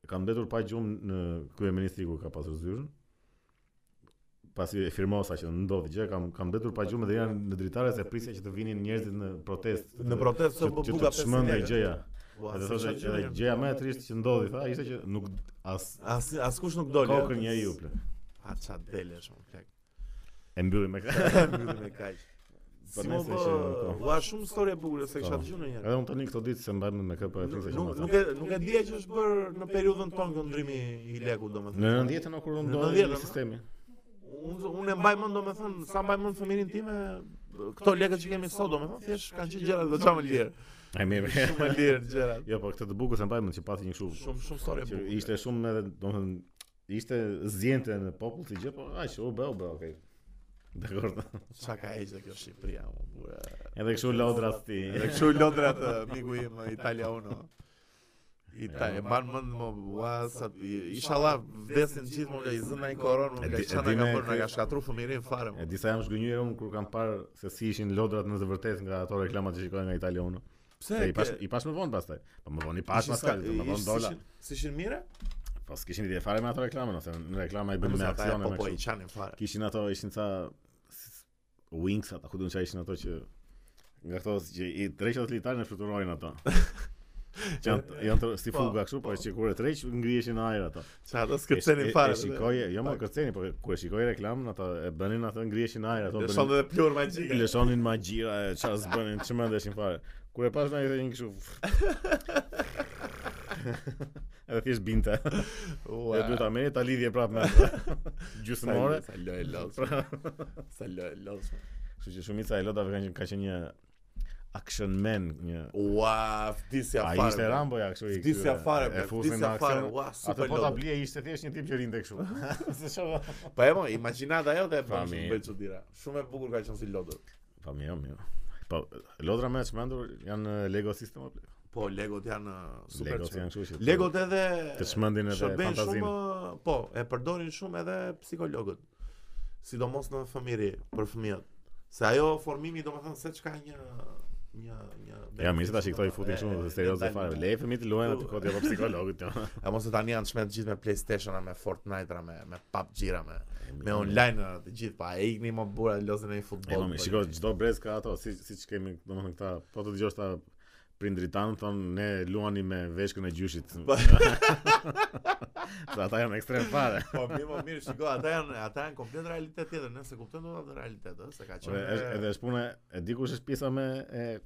[SPEAKER 2] ka mbetur pa gjumë në kryeministri ku ka pasur zyrën. Pasi e firmosa që ndodhi gjë, kam kam mbetur pa gjumë dhe janë në dritare se prisja që të vinin njerëzit në protestë.
[SPEAKER 1] Në protestë
[SPEAKER 2] që-
[SPEAKER 1] së
[SPEAKER 2] që të
[SPEAKER 1] buka 500
[SPEAKER 2] shmendej
[SPEAKER 1] lekë.
[SPEAKER 2] gjëja.
[SPEAKER 1] Po,
[SPEAKER 2] Edhe
[SPEAKER 1] as-
[SPEAKER 2] thoshte
[SPEAKER 1] as-
[SPEAKER 2] edhe gjëja më e trishtë që ndodhi, tha, ishte që nuk as
[SPEAKER 1] As askush nuk doli.
[SPEAKER 2] kokën njeriu plot.
[SPEAKER 1] Ha ça delesh më plak.
[SPEAKER 2] E mbylli me këtë.
[SPEAKER 1] Mbyllim me kaq.
[SPEAKER 2] Po
[SPEAKER 1] Si më
[SPEAKER 2] nëse
[SPEAKER 1] bë,
[SPEAKER 2] që këto.
[SPEAKER 1] ua shumë story e bukur se kisha
[SPEAKER 2] Po.
[SPEAKER 1] dëgjuar ndonjëherë.
[SPEAKER 2] Edhe unë tani këto ditë se mbajmë me këtë po e flisë.
[SPEAKER 1] Nuk nuk e nuk e dija që është bërë në periudhën tonë kjo ndrimi i lekut domethënë.
[SPEAKER 2] Në 90-ën o kur unë
[SPEAKER 1] Në
[SPEAKER 2] ndodhi
[SPEAKER 1] 90-ën, a?
[SPEAKER 2] sistemi.
[SPEAKER 1] Unë unë e mbaj mend domethënë sa mbaj mend fëmirin tim këto lekët që kemi sot domethënë thjesht kanë qenë gjëra goxha më lirë.
[SPEAKER 2] Ai më.
[SPEAKER 1] Shumë më lirë gjërat.
[SPEAKER 2] Jo, po këtë të bukur se mbajmë që pati një kështu.
[SPEAKER 1] Shumë shumë story e
[SPEAKER 2] Që
[SPEAKER 1] bukur.
[SPEAKER 2] ishte shumë edhe domethënë ishte zjente në popull si gjë, po aq u bë, u bë, okay. Dakor.
[SPEAKER 1] Çka ka heqë kjo Shqipëria, o burë.
[SPEAKER 2] Edhe kështu lodra ti.
[SPEAKER 1] Edhe kështu lodrat miku im Italia Uno. Italia, mban mend më ua sa inshallah vdesin gjithmonë i zënë ai koronë,
[SPEAKER 2] E
[SPEAKER 1] unë
[SPEAKER 2] di-
[SPEAKER 1] ka
[SPEAKER 2] e
[SPEAKER 1] çana
[SPEAKER 2] di
[SPEAKER 1] ka
[SPEAKER 2] me
[SPEAKER 1] bërë, na
[SPEAKER 2] kë-
[SPEAKER 1] ka shkatru fëmirin fare.
[SPEAKER 2] E
[SPEAKER 1] mo.
[SPEAKER 2] disa jam zgënjur unë kur kam parë se si ishin lodrat në të vërtetë nga ato reklamat që shikoj nga Italia unë.
[SPEAKER 1] Pse?
[SPEAKER 2] Se i pash
[SPEAKER 1] ke-
[SPEAKER 2] i pash më vonë pastaj. Po më vonë i
[SPEAKER 1] ishin
[SPEAKER 2] pash
[SPEAKER 1] ska-
[SPEAKER 2] Pascal, më
[SPEAKER 1] ishin-
[SPEAKER 2] vonë dola.
[SPEAKER 1] ishin- Si ishin mire?
[SPEAKER 2] Po s'kishin ide fare me ato reklamën ose në reklama i
[SPEAKER 1] Po
[SPEAKER 2] bën me
[SPEAKER 1] sa ta-
[SPEAKER 2] aksione
[SPEAKER 1] po
[SPEAKER 2] me
[SPEAKER 1] po i
[SPEAKER 2] kështu.
[SPEAKER 1] çanin fare.
[SPEAKER 2] Kishin ato, ishin ca s- wings ata, ku duan çfarë ishin ato që nga ato që i treqët litarë në fluturojnë ato. që janë janë të, si
[SPEAKER 1] Po,
[SPEAKER 2] fuga kështu, po që kur e treq ngrihesin në ajër ato.
[SPEAKER 1] Ça ato
[SPEAKER 2] E sh- e-
[SPEAKER 1] skërcenin fare.
[SPEAKER 2] E shikoj, jo më kërceni, po kur e shikoj reklamën ato e bënin ato ngrihesin në ajër ato.
[SPEAKER 1] Do
[SPEAKER 2] bënin-
[SPEAKER 1] shon edhe plur magjike.
[SPEAKER 2] lëshonin magjira e çfarë s'bënin, çmendeshin fare. Kur e pash na i thënë kështu. Edhe thjesht binte.
[SPEAKER 1] Ua.
[SPEAKER 2] E duhet ta merri ta lidhje prapë me.
[SPEAKER 1] Sa-
[SPEAKER 2] Gjysmë ore.
[SPEAKER 1] Sa lo e los. Sa lo e los. mo.
[SPEAKER 2] Kështu që shumica e lodave kanë qenë- ka qenë një action man, një
[SPEAKER 1] Ua, vdisja
[SPEAKER 2] Ai
[SPEAKER 1] fare.
[SPEAKER 2] ishte
[SPEAKER 1] mo.
[SPEAKER 2] Rambo ja kështu i.
[SPEAKER 1] Vdisja
[SPEAKER 2] këtyre,
[SPEAKER 1] fare,
[SPEAKER 2] e
[SPEAKER 1] bler,
[SPEAKER 2] fusin në
[SPEAKER 1] vdisja fare.
[SPEAKER 2] aksion.
[SPEAKER 1] Ua,
[SPEAKER 2] Atë
[SPEAKER 1] super
[SPEAKER 2] po ta
[SPEAKER 1] lodë.
[SPEAKER 2] blije ishte thjesht një tip që rinte kështu. Se çfarë?
[SPEAKER 1] Po e mo, imagjinata jote e bën
[SPEAKER 2] Fami.
[SPEAKER 1] shumë bëj çuditëra. Shumë e bukur ka qenë si lodër.
[SPEAKER 2] Po mirë, mirë. Po lodra më të çmendur janë Lego System apo?
[SPEAKER 1] Po Legot janë uh, super
[SPEAKER 2] Lego
[SPEAKER 1] çuditëra.
[SPEAKER 2] janë kështu që. të-
[SPEAKER 1] Legot edhe
[SPEAKER 2] të çmendin edhe
[SPEAKER 1] shërbejnë
[SPEAKER 2] fantazinë.
[SPEAKER 1] Shumë, uh, po, e përdorin shumë edhe psikologët. Sidomos në fëmiri, për fëmijët. Se ajo formimi domethënë se çka një një një
[SPEAKER 2] Ja, mirë se tash i këto i futin
[SPEAKER 1] Ε,
[SPEAKER 2] shumë serioze fare. Le fëmit të luajnë atë
[SPEAKER 1] Tu-
[SPEAKER 2] kodja apo psikologut. jo.
[SPEAKER 1] E mos e tani janë shmet gjithë me PlayStation-a, me Fortnite-a, me me PUBG-ra, me me online-a, të gjithë pa e ikni më burra lozën në
[SPEAKER 2] E
[SPEAKER 1] futboll.
[SPEAKER 2] mami,
[SPEAKER 1] po,
[SPEAKER 2] shiko, çdo brez ka ato, si siç kemi domethënë këta, po të dëgjosh ta prindrit tanë thonë ne luani me veshkën e gjyshit.
[SPEAKER 1] Po.
[SPEAKER 2] Sa ata janë ekstrem fare.
[SPEAKER 1] Po mirë, po mirë, shiko, ata janë ata janë komplet realitet tjetër, nëse kupton do të realitet, ëh, se ka
[SPEAKER 2] Ore,
[SPEAKER 1] qenë.
[SPEAKER 2] është- Edhe është puna, e di kush është pjesa me e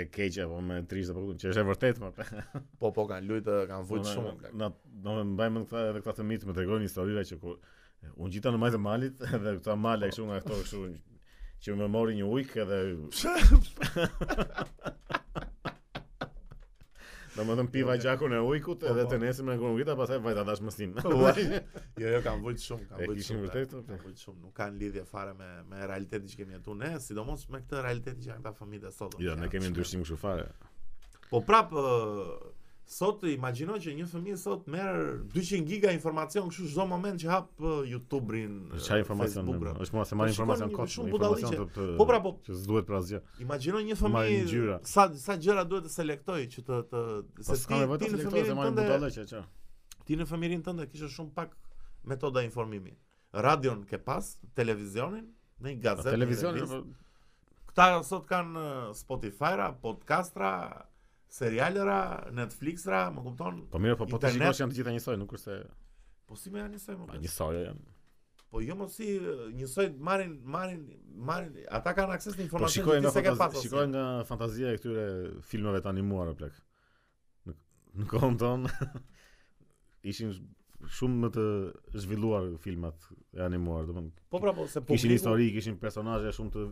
[SPEAKER 2] e keqe apo me trishtë apo që është e vërtetë më.
[SPEAKER 1] Po po kanë lujtë, kanë vujt shumë. plak.
[SPEAKER 2] Na do të mbajmë këta edhe këta të mitë më tregojnë historira që kur unë gjita në majtë e malit edhe këta male kështu nga këto kështu që më mori një ujk edhe Do më thëmë piva gjakun e ujkut
[SPEAKER 1] Po,
[SPEAKER 2] edhe të nesim në kërën gjita pasaj vajta dash mësim
[SPEAKER 1] Ua, jo, jo, kanë vujt shumë, kanë
[SPEAKER 2] E
[SPEAKER 1] vujt
[SPEAKER 2] kishin
[SPEAKER 1] shumë. plak.
[SPEAKER 2] vërtet, o, plak.
[SPEAKER 1] Kanë vujt shumë, nuk kanë lidhje fare me me realitetin që kemi jetuar ne, sidomos me këtë realitet që janë ta fëmijët e sot.
[SPEAKER 2] Jo, ne
[SPEAKER 1] Janë
[SPEAKER 2] kemi
[SPEAKER 1] shumë-
[SPEAKER 2] ndryshim kështu fare
[SPEAKER 1] Po prap ë, sot imagjino që një fëmijë sot merr 200 giga informacion kështu çdo moment që hap ë, YouTube-rin. ë,
[SPEAKER 2] Çfarë informacion?
[SPEAKER 1] Facebook-ra.
[SPEAKER 2] Është mua se marr
[SPEAKER 1] Po, shikon
[SPEAKER 2] informacion
[SPEAKER 1] një-
[SPEAKER 2] kot,
[SPEAKER 1] shumë
[SPEAKER 2] informacion
[SPEAKER 1] budalliqe.
[SPEAKER 2] të- të-
[SPEAKER 1] Po, pra, po.
[SPEAKER 2] që s'duhet për asgjë.
[SPEAKER 1] Imagjino një
[SPEAKER 2] Marrin
[SPEAKER 1] fëmijë
[SPEAKER 2] ngjyra.
[SPEAKER 1] sa sa gjëra duhet të selektoj që të të
[SPEAKER 2] Po s'ka nevojë të
[SPEAKER 1] në
[SPEAKER 2] selektoj se
[SPEAKER 1] fëmirin
[SPEAKER 2] marrin
[SPEAKER 1] tënde-
[SPEAKER 2] budalliqe çfarë.
[SPEAKER 1] ti në fëmirin tënde kishe shumë pak metoda informimi. Radion ke pas, televizionin, në një gazetë.
[SPEAKER 2] Televizioni
[SPEAKER 1] një revistë. Këta sot kanë eh, Spotify-ra, podcastra, serialera, Netflix-ra, më kupton?
[SPEAKER 2] Po mirë, po po të
[SPEAKER 1] Internet.
[SPEAKER 2] shikosh janë të gjitha njësoj, nuk është se
[SPEAKER 1] Po si më janë njësoj më?
[SPEAKER 2] pa
[SPEAKER 1] pres?
[SPEAKER 2] njësoj janë.
[SPEAKER 1] Po jo mos si eh, njësoj marrin marrin marrin ata kanë akses në
[SPEAKER 2] Po
[SPEAKER 1] informacion
[SPEAKER 2] shikoj
[SPEAKER 1] që
[SPEAKER 2] nga
[SPEAKER 1] ti s'e ke
[SPEAKER 2] fantazi-
[SPEAKER 1] pasur.
[SPEAKER 2] shikoj nga fantazia e këtyre filmave të animuara plak. Në në kohën tonë ishin shumë më të zhvilluar filmat e animuar, domethënë
[SPEAKER 1] Po pra po se po.
[SPEAKER 2] kishin histori, kishin personazhe shumë të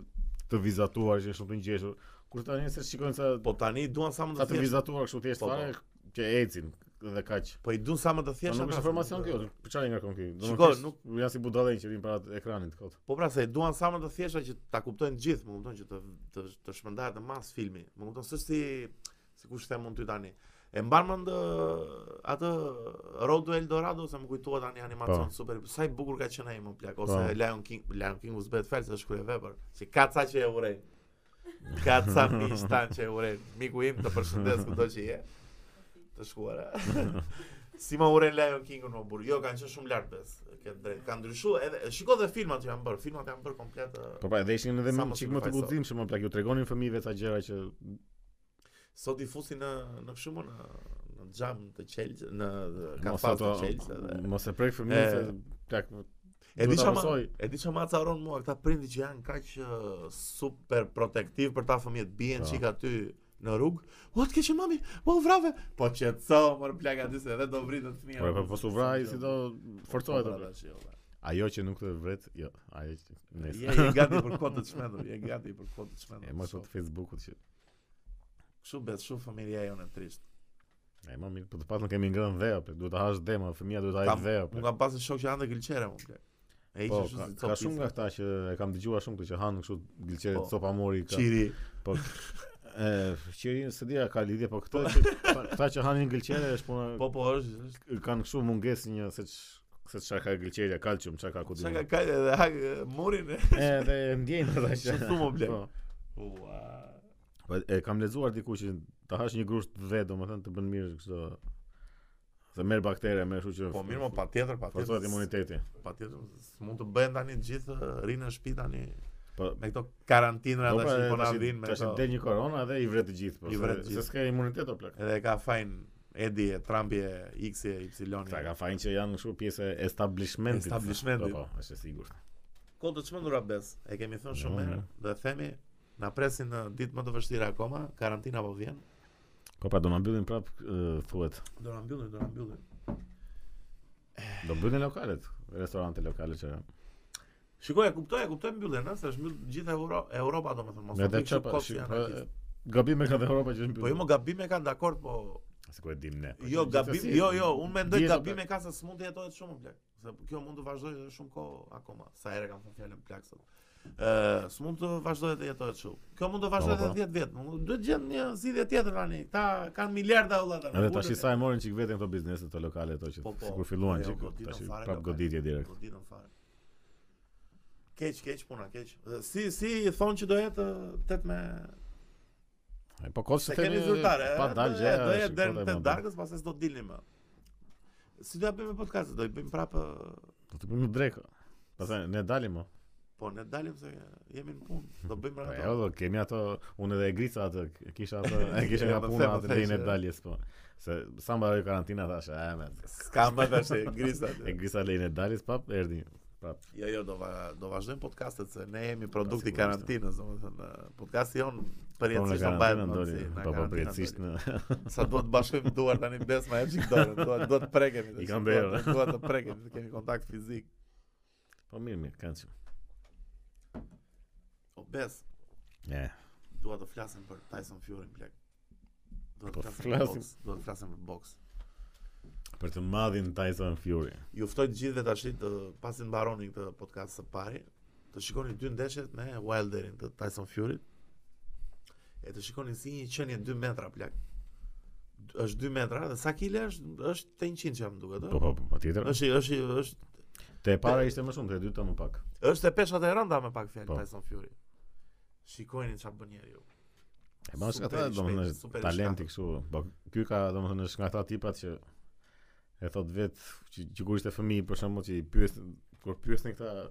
[SPEAKER 2] të vizatuar, ishin shumë të ngjeshur. Kur tani se shikojnë sa
[SPEAKER 1] Po tani duan sa më
[SPEAKER 2] sa
[SPEAKER 1] të
[SPEAKER 2] të
[SPEAKER 1] thjeshtë.
[SPEAKER 2] vizatuar kështu thjesht
[SPEAKER 1] Po, po.
[SPEAKER 2] fare që ecin. dhe kaq.
[SPEAKER 1] Po i dun sa më të
[SPEAKER 2] Po
[SPEAKER 1] thjeshta.
[SPEAKER 2] nuk është
[SPEAKER 1] pra,
[SPEAKER 2] informacion kjo, për çfarë ngarkon këtu?
[SPEAKER 1] Shiko,
[SPEAKER 2] Domethënë nuk
[SPEAKER 1] nuk-
[SPEAKER 2] janë si budallë që vinë para ekranit kot.
[SPEAKER 1] Po pra se e duan sa më të thjeshta që ta kuptojnë gjithë, më kupton që të të, të shpërndahet në mas filmi. Më kupton s'është si sikur them unë ty tani. E mban mend ë, atë Road to El Dorado se më kujtohet tani animacion
[SPEAKER 2] Po.
[SPEAKER 1] super. Sa i bukur ka qenë ai më plak ose
[SPEAKER 2] Po.
[SPEAKER 1] Lion King, Lion King u zbet fjalë se është kryevepër. Si ka ca që e urej. Ka ca miq tan që e urej. Miku im të përshëndes kudo që je. Të shkuara. Si më uren Lion King-un më burr. Jo, kanë qenë shumë lart bes. Ke drejt. Kanë ndryshuar edhe shiko dhe filmat që janë bërë. Filmat janë bërë komplet. ë,
[SPEAKER 2] Po pra, edhe ishin edhe
[SPEAKER 1] Sa
[SPEAKER 2] më
[SPEAKER 1] mos
[SPEAKER 2] çik
[SPEAKER 1] më
[SPEAKER 2] më të
[SPEAKER 1] fajso.
[SPEAKER 2] guximshëm, më plak ju tregonin fëmijëve ca gjëra që
[SPEAKER 1] Sot i fusin në në kështu më në në xham të Chelsea, në
[SPEAKER 2] mos
[SPEAKER 1] kafaz të
[SPEAKER 2] ato
[SPEAKER 1] Chelsea dhe.
[SPEAKER 2] mos e prek fëmijët
[SPEAKER 1] E,
[SPEAKER 2] se plak.
[SPEAKER 1] E
[SPEAKER 2] duhet
[SPEAKER 1] di
[SPEAKER 2] ta
[SPEAKER 1] çama,
[SPEAKER 2] mësoj.
[SPEAKER 1] e di çama acaron mua këta prindi që janë kaq ë, super protektiv për ta fëmijët bien
[SPEAKER 2] Po.
[SPEAKER 1] çik aty në rrugë. O të keqë mami, po u vrave. Po qetso, mor plak aty se edhe do vritet fëmia.
[SPEAKER 2] Po po po su vraj si do forcohet
[SPEAKER 1] Po,
[SPEAKER 2] apo.
[SPEAKER 1] tash, jo, valla.
[SPEAKER 2] Ajo që nuk të vret, jo, ajo që
[SPEAKER 1] Je
[SPEAKER 2] nesër.
[SPEAKER 1] je gati për kod të çmendur, je gati për kod të çmendur.
[SPEAKER 2] E mos të Facebookut që.
[SPEAKER 1] Kështu bet shumë familja jonë e trisht.
[SPEAKER 2] E më mirë, po të paktën kemi ngrënë dheu, plak. Duhet ta hash dhe, ma fëmia duhet ta hajë
[SPEAKER 1] Kam-
[SPEAKER 2] dheu.
[SPEAKER 1] Unë kam pasur shok që ande gëlqere unë. plak. E
[SPEAKER 2] Po,
[SPEAKER 1] ishte
[SPEAKER 2] ka,
[SPEAKER 1] kështu si
[SPEAKER 2] ka
[SPEAKER 1] copë
[SPEAKER 2] shumë nga këta që e kam dëgjuar shumë këtë që hanë kështu gëlqere
[SPEAKER 1] Po.
[SPEAKER 2] copa mori ka.
[SPEAKER 1] Qiri.
[SPEAKER 2] Po e qiri se dia ka lidhje, po këtë që këta që hanin gëlqere është puna
[SPEAKER 1] Po po është, është.
[SPEAKER 2] kanë kështu mungesë një se ç- se çka ka gëlqeria, kalcium, çka ka
[SPEAKER 1] Sa ka
[SPEAKER 2] kudim.
[SPEAKER 1] kajtë edhe hak e, murin e.
[SPEAKER 2] E dhe e ndjejnë ata që.
[SPEAKER 1] Shqetsu mu, blek.
[SPEAKER 2] Po.
[SPEAKER 1] Ua.
[SPEAKER 2] Po e kam lexuar diku që ta hash një grusht dhe domethënë të bën mirë kështu. Se merr baktere, merr kështu që.
[SPEAKER 1] Po mirë më pa tjetër, pa
[SPEAKER 2] forcohet
[SPEAKER 1] tjetër.
[SPEAKER 2] imuniteti.
[SPEAKER 1] Pa tjetër, mund të bëhen tani të gjithë e, rinë në shtëpi tani.
[SPEAKER 2] Po
[SPEAKER 1] Me këto karantinra
[SPEAKER 2] po,
[SPEAKER 1] tash që
[SPEAKER 2] e,
[SPEAKER 1] po na
[SPEAKER 2] tash-
[SPEAKER 1] vin me
[SPEAKER 2] tash
[SPEAKER 1] këto.
[SPEAKER 2] del një korona dhe i vret të gjithë, po.
[SPEAKER 1] I vret
[SPEAKER 2] se-
[SPEAKER 1] të
[SPEAKER 2] Se
[SPEAKER 1] gjithë.
[SPEAKER 2] s'ka imunitet o plak.
[SPEAKER 1] Edhe ka fajn Edi e Trumpi e X e Y.
[SPEAKER 2] Këta ka fajn që janë kështu pjesë e establishmentit.
[SPEAKER 1] Establishmentit.
[SPEAKER 2] Po, po, është e sigurt.
[SPEAKER 1] Kohë të çmendura bes, e kemi thënë
[SPEAKER 2] Mhm.
[SPEAKER 1] shumë herë dhe themi na presin në ditë më të vështira akoma, karantina po vjen.
[SPEAKER 2] Po pra do na mbyllin prap ë, thuhet.
[SPEAKER 1] Do na mbyllin, do na mbyllin.
[SPEAKER 2] Do mbyllin lokalet, restorante lokale që janë.
[SPEAKER 1] Shikoj, e kuptoj, e kuptoj mbylljen, ëh, se është mbyll gjithë Euro, Europa domethënë, mos
[SPEAKER 2] Me
[SPEAKER 1] u
[SPEAKER 2] atë
[SPEAKER 1] kështu
[SPEAKER 2] çapa,
[SPEAKER 1] kot
[SPEAKER 2] shi-
[SPEAKER 1] janë
[SPEAKER 2] po,
[SPEAKER 1] anarkist.
[SPEAKER 2] e, gabime ka dhe Europa që është
[SPEAKER 1] Po jo,
[SPEAKER 2] mbyllur.
[SPEAKER 1] mo gabime kanë dakord, po
[SPEAKER 2] Sikur e dim ne. po
[SPEAKER 1] jo
[SPEAKER 2] që-
[SPEAKER 1] gabim,
[SPEAKER 2] gjithsesi,
[SPEAKER 1] jo jo, unë mendoj
[SPEAKER 2] dihet o
[SPEAKER 1] gabime ka se s'mund të jetohet shumë plak. Se kjo mund të vazhdojë edhe shumë kohë akoma. Sa herë kam thënë fjalën plak sot. Ë, s'mund të vazhdojë të jetohet shumë. Kjo mund të vazhdojë
[SPEAKER 2] Po,
[SPEAKER 1] edhe 10 vjet. mund- Duhet gjend një zgjidhje tjetër tani. Këta kanë miliarda olla tani.
[SPEAKER 2] pra. Edhe tash
[SPEAKER 1] ulën
[SPEAKER 2] i
[SPEAKER 1] e-
[SPEAKER 2] sa e morën çik veten këto biznese këto lokale ato që
[SPEAKER 1] Po, po.
[SPEAKER 2] sikur filluan
[SPEAKER 1] Jo,
[SPEAKER 2] çik
[SPEAKER 1] goditën
[SPEAKER 2] tash
[SPEAKER 1] fare
[SPEAKER 2] prap
[SPEAKER 1] lokale.
[SPEAKER 2] goditje direkt.
[SPEAKER 1] Goditën fare. Keq, keq puna, keq. Ë, Si si thonë që do jetë ë, 8 me
[SPEAKER 2] E, Po kot se
[SPEAKER 1] Se keni zyrtare,
[SPEAKER 2] pa
[SPEAKER 1] e,
[SPEAKER 2] dal
[SPEAKER 1] do-
[SPEAKER 2] gjë.
[SPEAKER 1] e, Do
[SPEAKER 2] është,
[SPEAKER 1] jetë deri
[SPEAKER 2] kota
[SPEAKER 1] në
[SPEAKER 2] e
[SPEAKER 1] të
[SPEAKER 2] madhe.
[SPEAKER 1] darkës, pastaj s'do dilni më. Si do ja bëjmë podcast, do i bëjmë prapë
[SPEAKER 2] Do Po të bëjmë drekë. Pastaj ne dalim më.
[SPEAKER 1] Po, ne dalim se jemi në punë, do bëjmë
[SPEAKER 2] Po
[SPEAKER 1] rahat.
[SPEAKER 2] jo, do kemi ato unë edhe e grica atë, e kisha atë, e kisha nga
[SPEAKER 1] Ja, po,
[SPEAKER 2] puna
[SPEAKER 1] the, po,
[SPEAKER 2] atë
[SPEAKER 1] the
[SPEAKER 2] lejnë e
[SPEAKER 1] që-
[SPEAKER 2] daljes po. Se sa mbaroi karantina thash, e me.
[SPEAKER 1] S'ka më tash e, grisa.
[SPEAKER 2] E grica lejnë e daljes pap erdhi. Prap.
[SPEAKER 1] Jo, jo, do va, do vazhdojmë podcastet se ne jemi produkt i
[SPEAKER 2] sigurisht.
[SPEAKER 1] karantinës, domethënë podcasti jon
[SPEAKER 2] Po në
[SPEAKER 1] përjetësisht do mbahet
[SPEAKER 2] karantinë
[SPEAKER 1] në
[SPEAKER 2] ndoli.
[SPEAKER 1] si,
[SPEAKER 2] Po
[SPEAKER 1] na
[SPEAKER 2] po
[SPEAKER 1] karantina
[SPEAKER 2] përjetësisht
[SPEAKER 1] ndoli.
[SPEAKER 2] në
[SPEAKER 1] sa duhet të bashkojmë duar tani bes ma jep çik dorën, duhet duhet të prekemi.
[SPEAKER 2] I
[SPEAKER 1] tash,
[SPEAKER 2] kam
[SPEAKER 1] duhet-
[SPEAKER 2] bërë.
[SPEAKER 1] Duhet të prekemi, të kemi kontakt fizik.
[SPEAKER 2] Po mirë, mirë, kanë çu.
[SPEAKER 1] O bes,
[SPEAKER 2] E.
[SPEAKER 1] dua të flasim për Tyson Fury plak. Dua
[SPEAKER 2] Po,
[SPEAKER 1] të flasim për
[SPEAKER 2] flasim.
[SPEAKER 1] boks, dua të flasim për boks.
[SPEAKER 2] Për të madhin Tyson Fury.
[SPEAKER 1] Ju ftoj të gjithëve tash të pasi të mbaroni këtë podcast së pari, të shikoni dy ndeshjet me Wilderin të Tyson Fury. E të shikoni si një qenie 2 metra plak. D- Është 2 metra dhe sa kile është? Është 800 që më duket.
[SPEAKER 2] Po
[SPEAKER 1] ë?
[SPEAKER 2] po, po, patjetër.
[SPEAKER 1] Është është është
[SPEAKER 2] Te e para ishte më shumë, te e dyta më pak.
[SPEAKER 1] është e peshat e rënda me pak fjalë
[SPEAKER 2] Po.
[SPEAKER 1] Tyson Fury. Shikojeni çfarë bën njeriu.
[SPEAKER 2] E ma është nga
[SPEAKER 1] Super
[SPEAKER 2] ta,
[SPEAKER 1] i
[SPEAKER 2] domethënë,
[SPEAKER 1] shpejt,
[SPEAKER 2] është
[SPEAKER 1] super i
[SPEAKER 2] talenti kështu. Po ky ka, domethënë, është nga ta tipat që e thot vet që, që kur ishte fëmijë për shembull që i pyes kur pyesnin këta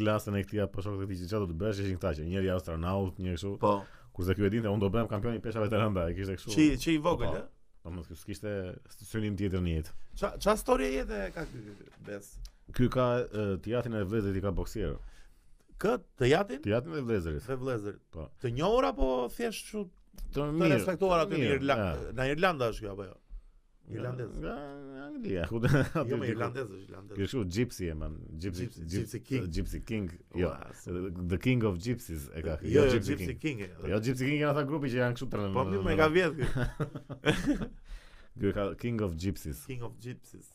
[SPEAKER 2] klasën e këtij apo shokët e tij që çfarë do të bësh, ishin këta që njëri astronaut, njëri kështu.
[SPEAKER 1] Po,
[SPEAKER 2] Kurse ky e dinte, unë do bëhem kampion i peshave të rënda, e kishte
[SPEAKER 1] çi
[SPEAKER 2] kështu.
[SPEAKER 1] çi i vogël,
[SPEAKER 2] Po.
[SPEAKER 1] ë?
[SPEAKER 2] Domethënë, ky s'kishte synim tjetër në jetë.
[SPEAKER 1] Ça ça historie jetë ka ky bes.
[SPEAKER 2] Ky ka e, tjatin e vëllezërit i ka boksier.
[SPEAKER 1] Kë të jatin
[SPEAKER 2] Tjatin e vëllezërit.
[SPEAKER 1] dhe vëllezërit.
[SPEAKER 2] Po.
[SPEAKER 1] Të njohur apo thjesht kështu
[SPEAKER 2] Të
[SPEAKER 1] të respektuar aty në
[SPEAKER 2] mirë,
[SPEAKER 1] Irlandë.
[SPEAKER 2] e.
[SPEAKER 1] Në Irlandë është kjo apo jo? Irlandez.
[SPEAKER 2] Nga nga Anglia. ku- aty
[SPEAKER 1] Jo, me
[SPEAKER 2] diku.
[SPEAKER 1] irlandez është irlandez.
[SPEAKER 2] Ky është kështu Gypsy e man, Gypsy
[SPEAKER 1] Gypsy- Gypsy King.
[SPEAKER 2] Gypsy King, jo.
[SPEAKER 1] Ua, s-
[SPEAKER 2] The King of Gypsies e ka.
[SPEAKER 1] Jo, jo, Gypsy King. Po, e.
[SPEAKER 2] Jo Gypsy King janë ata grupi që janë kështu tërë.
[SPEAKER 1] Po më më ka vjet. ky.
[SPEAKER 2] Ky e ka King of Gypsies.
[SPEAKER 1] King of Gypsies.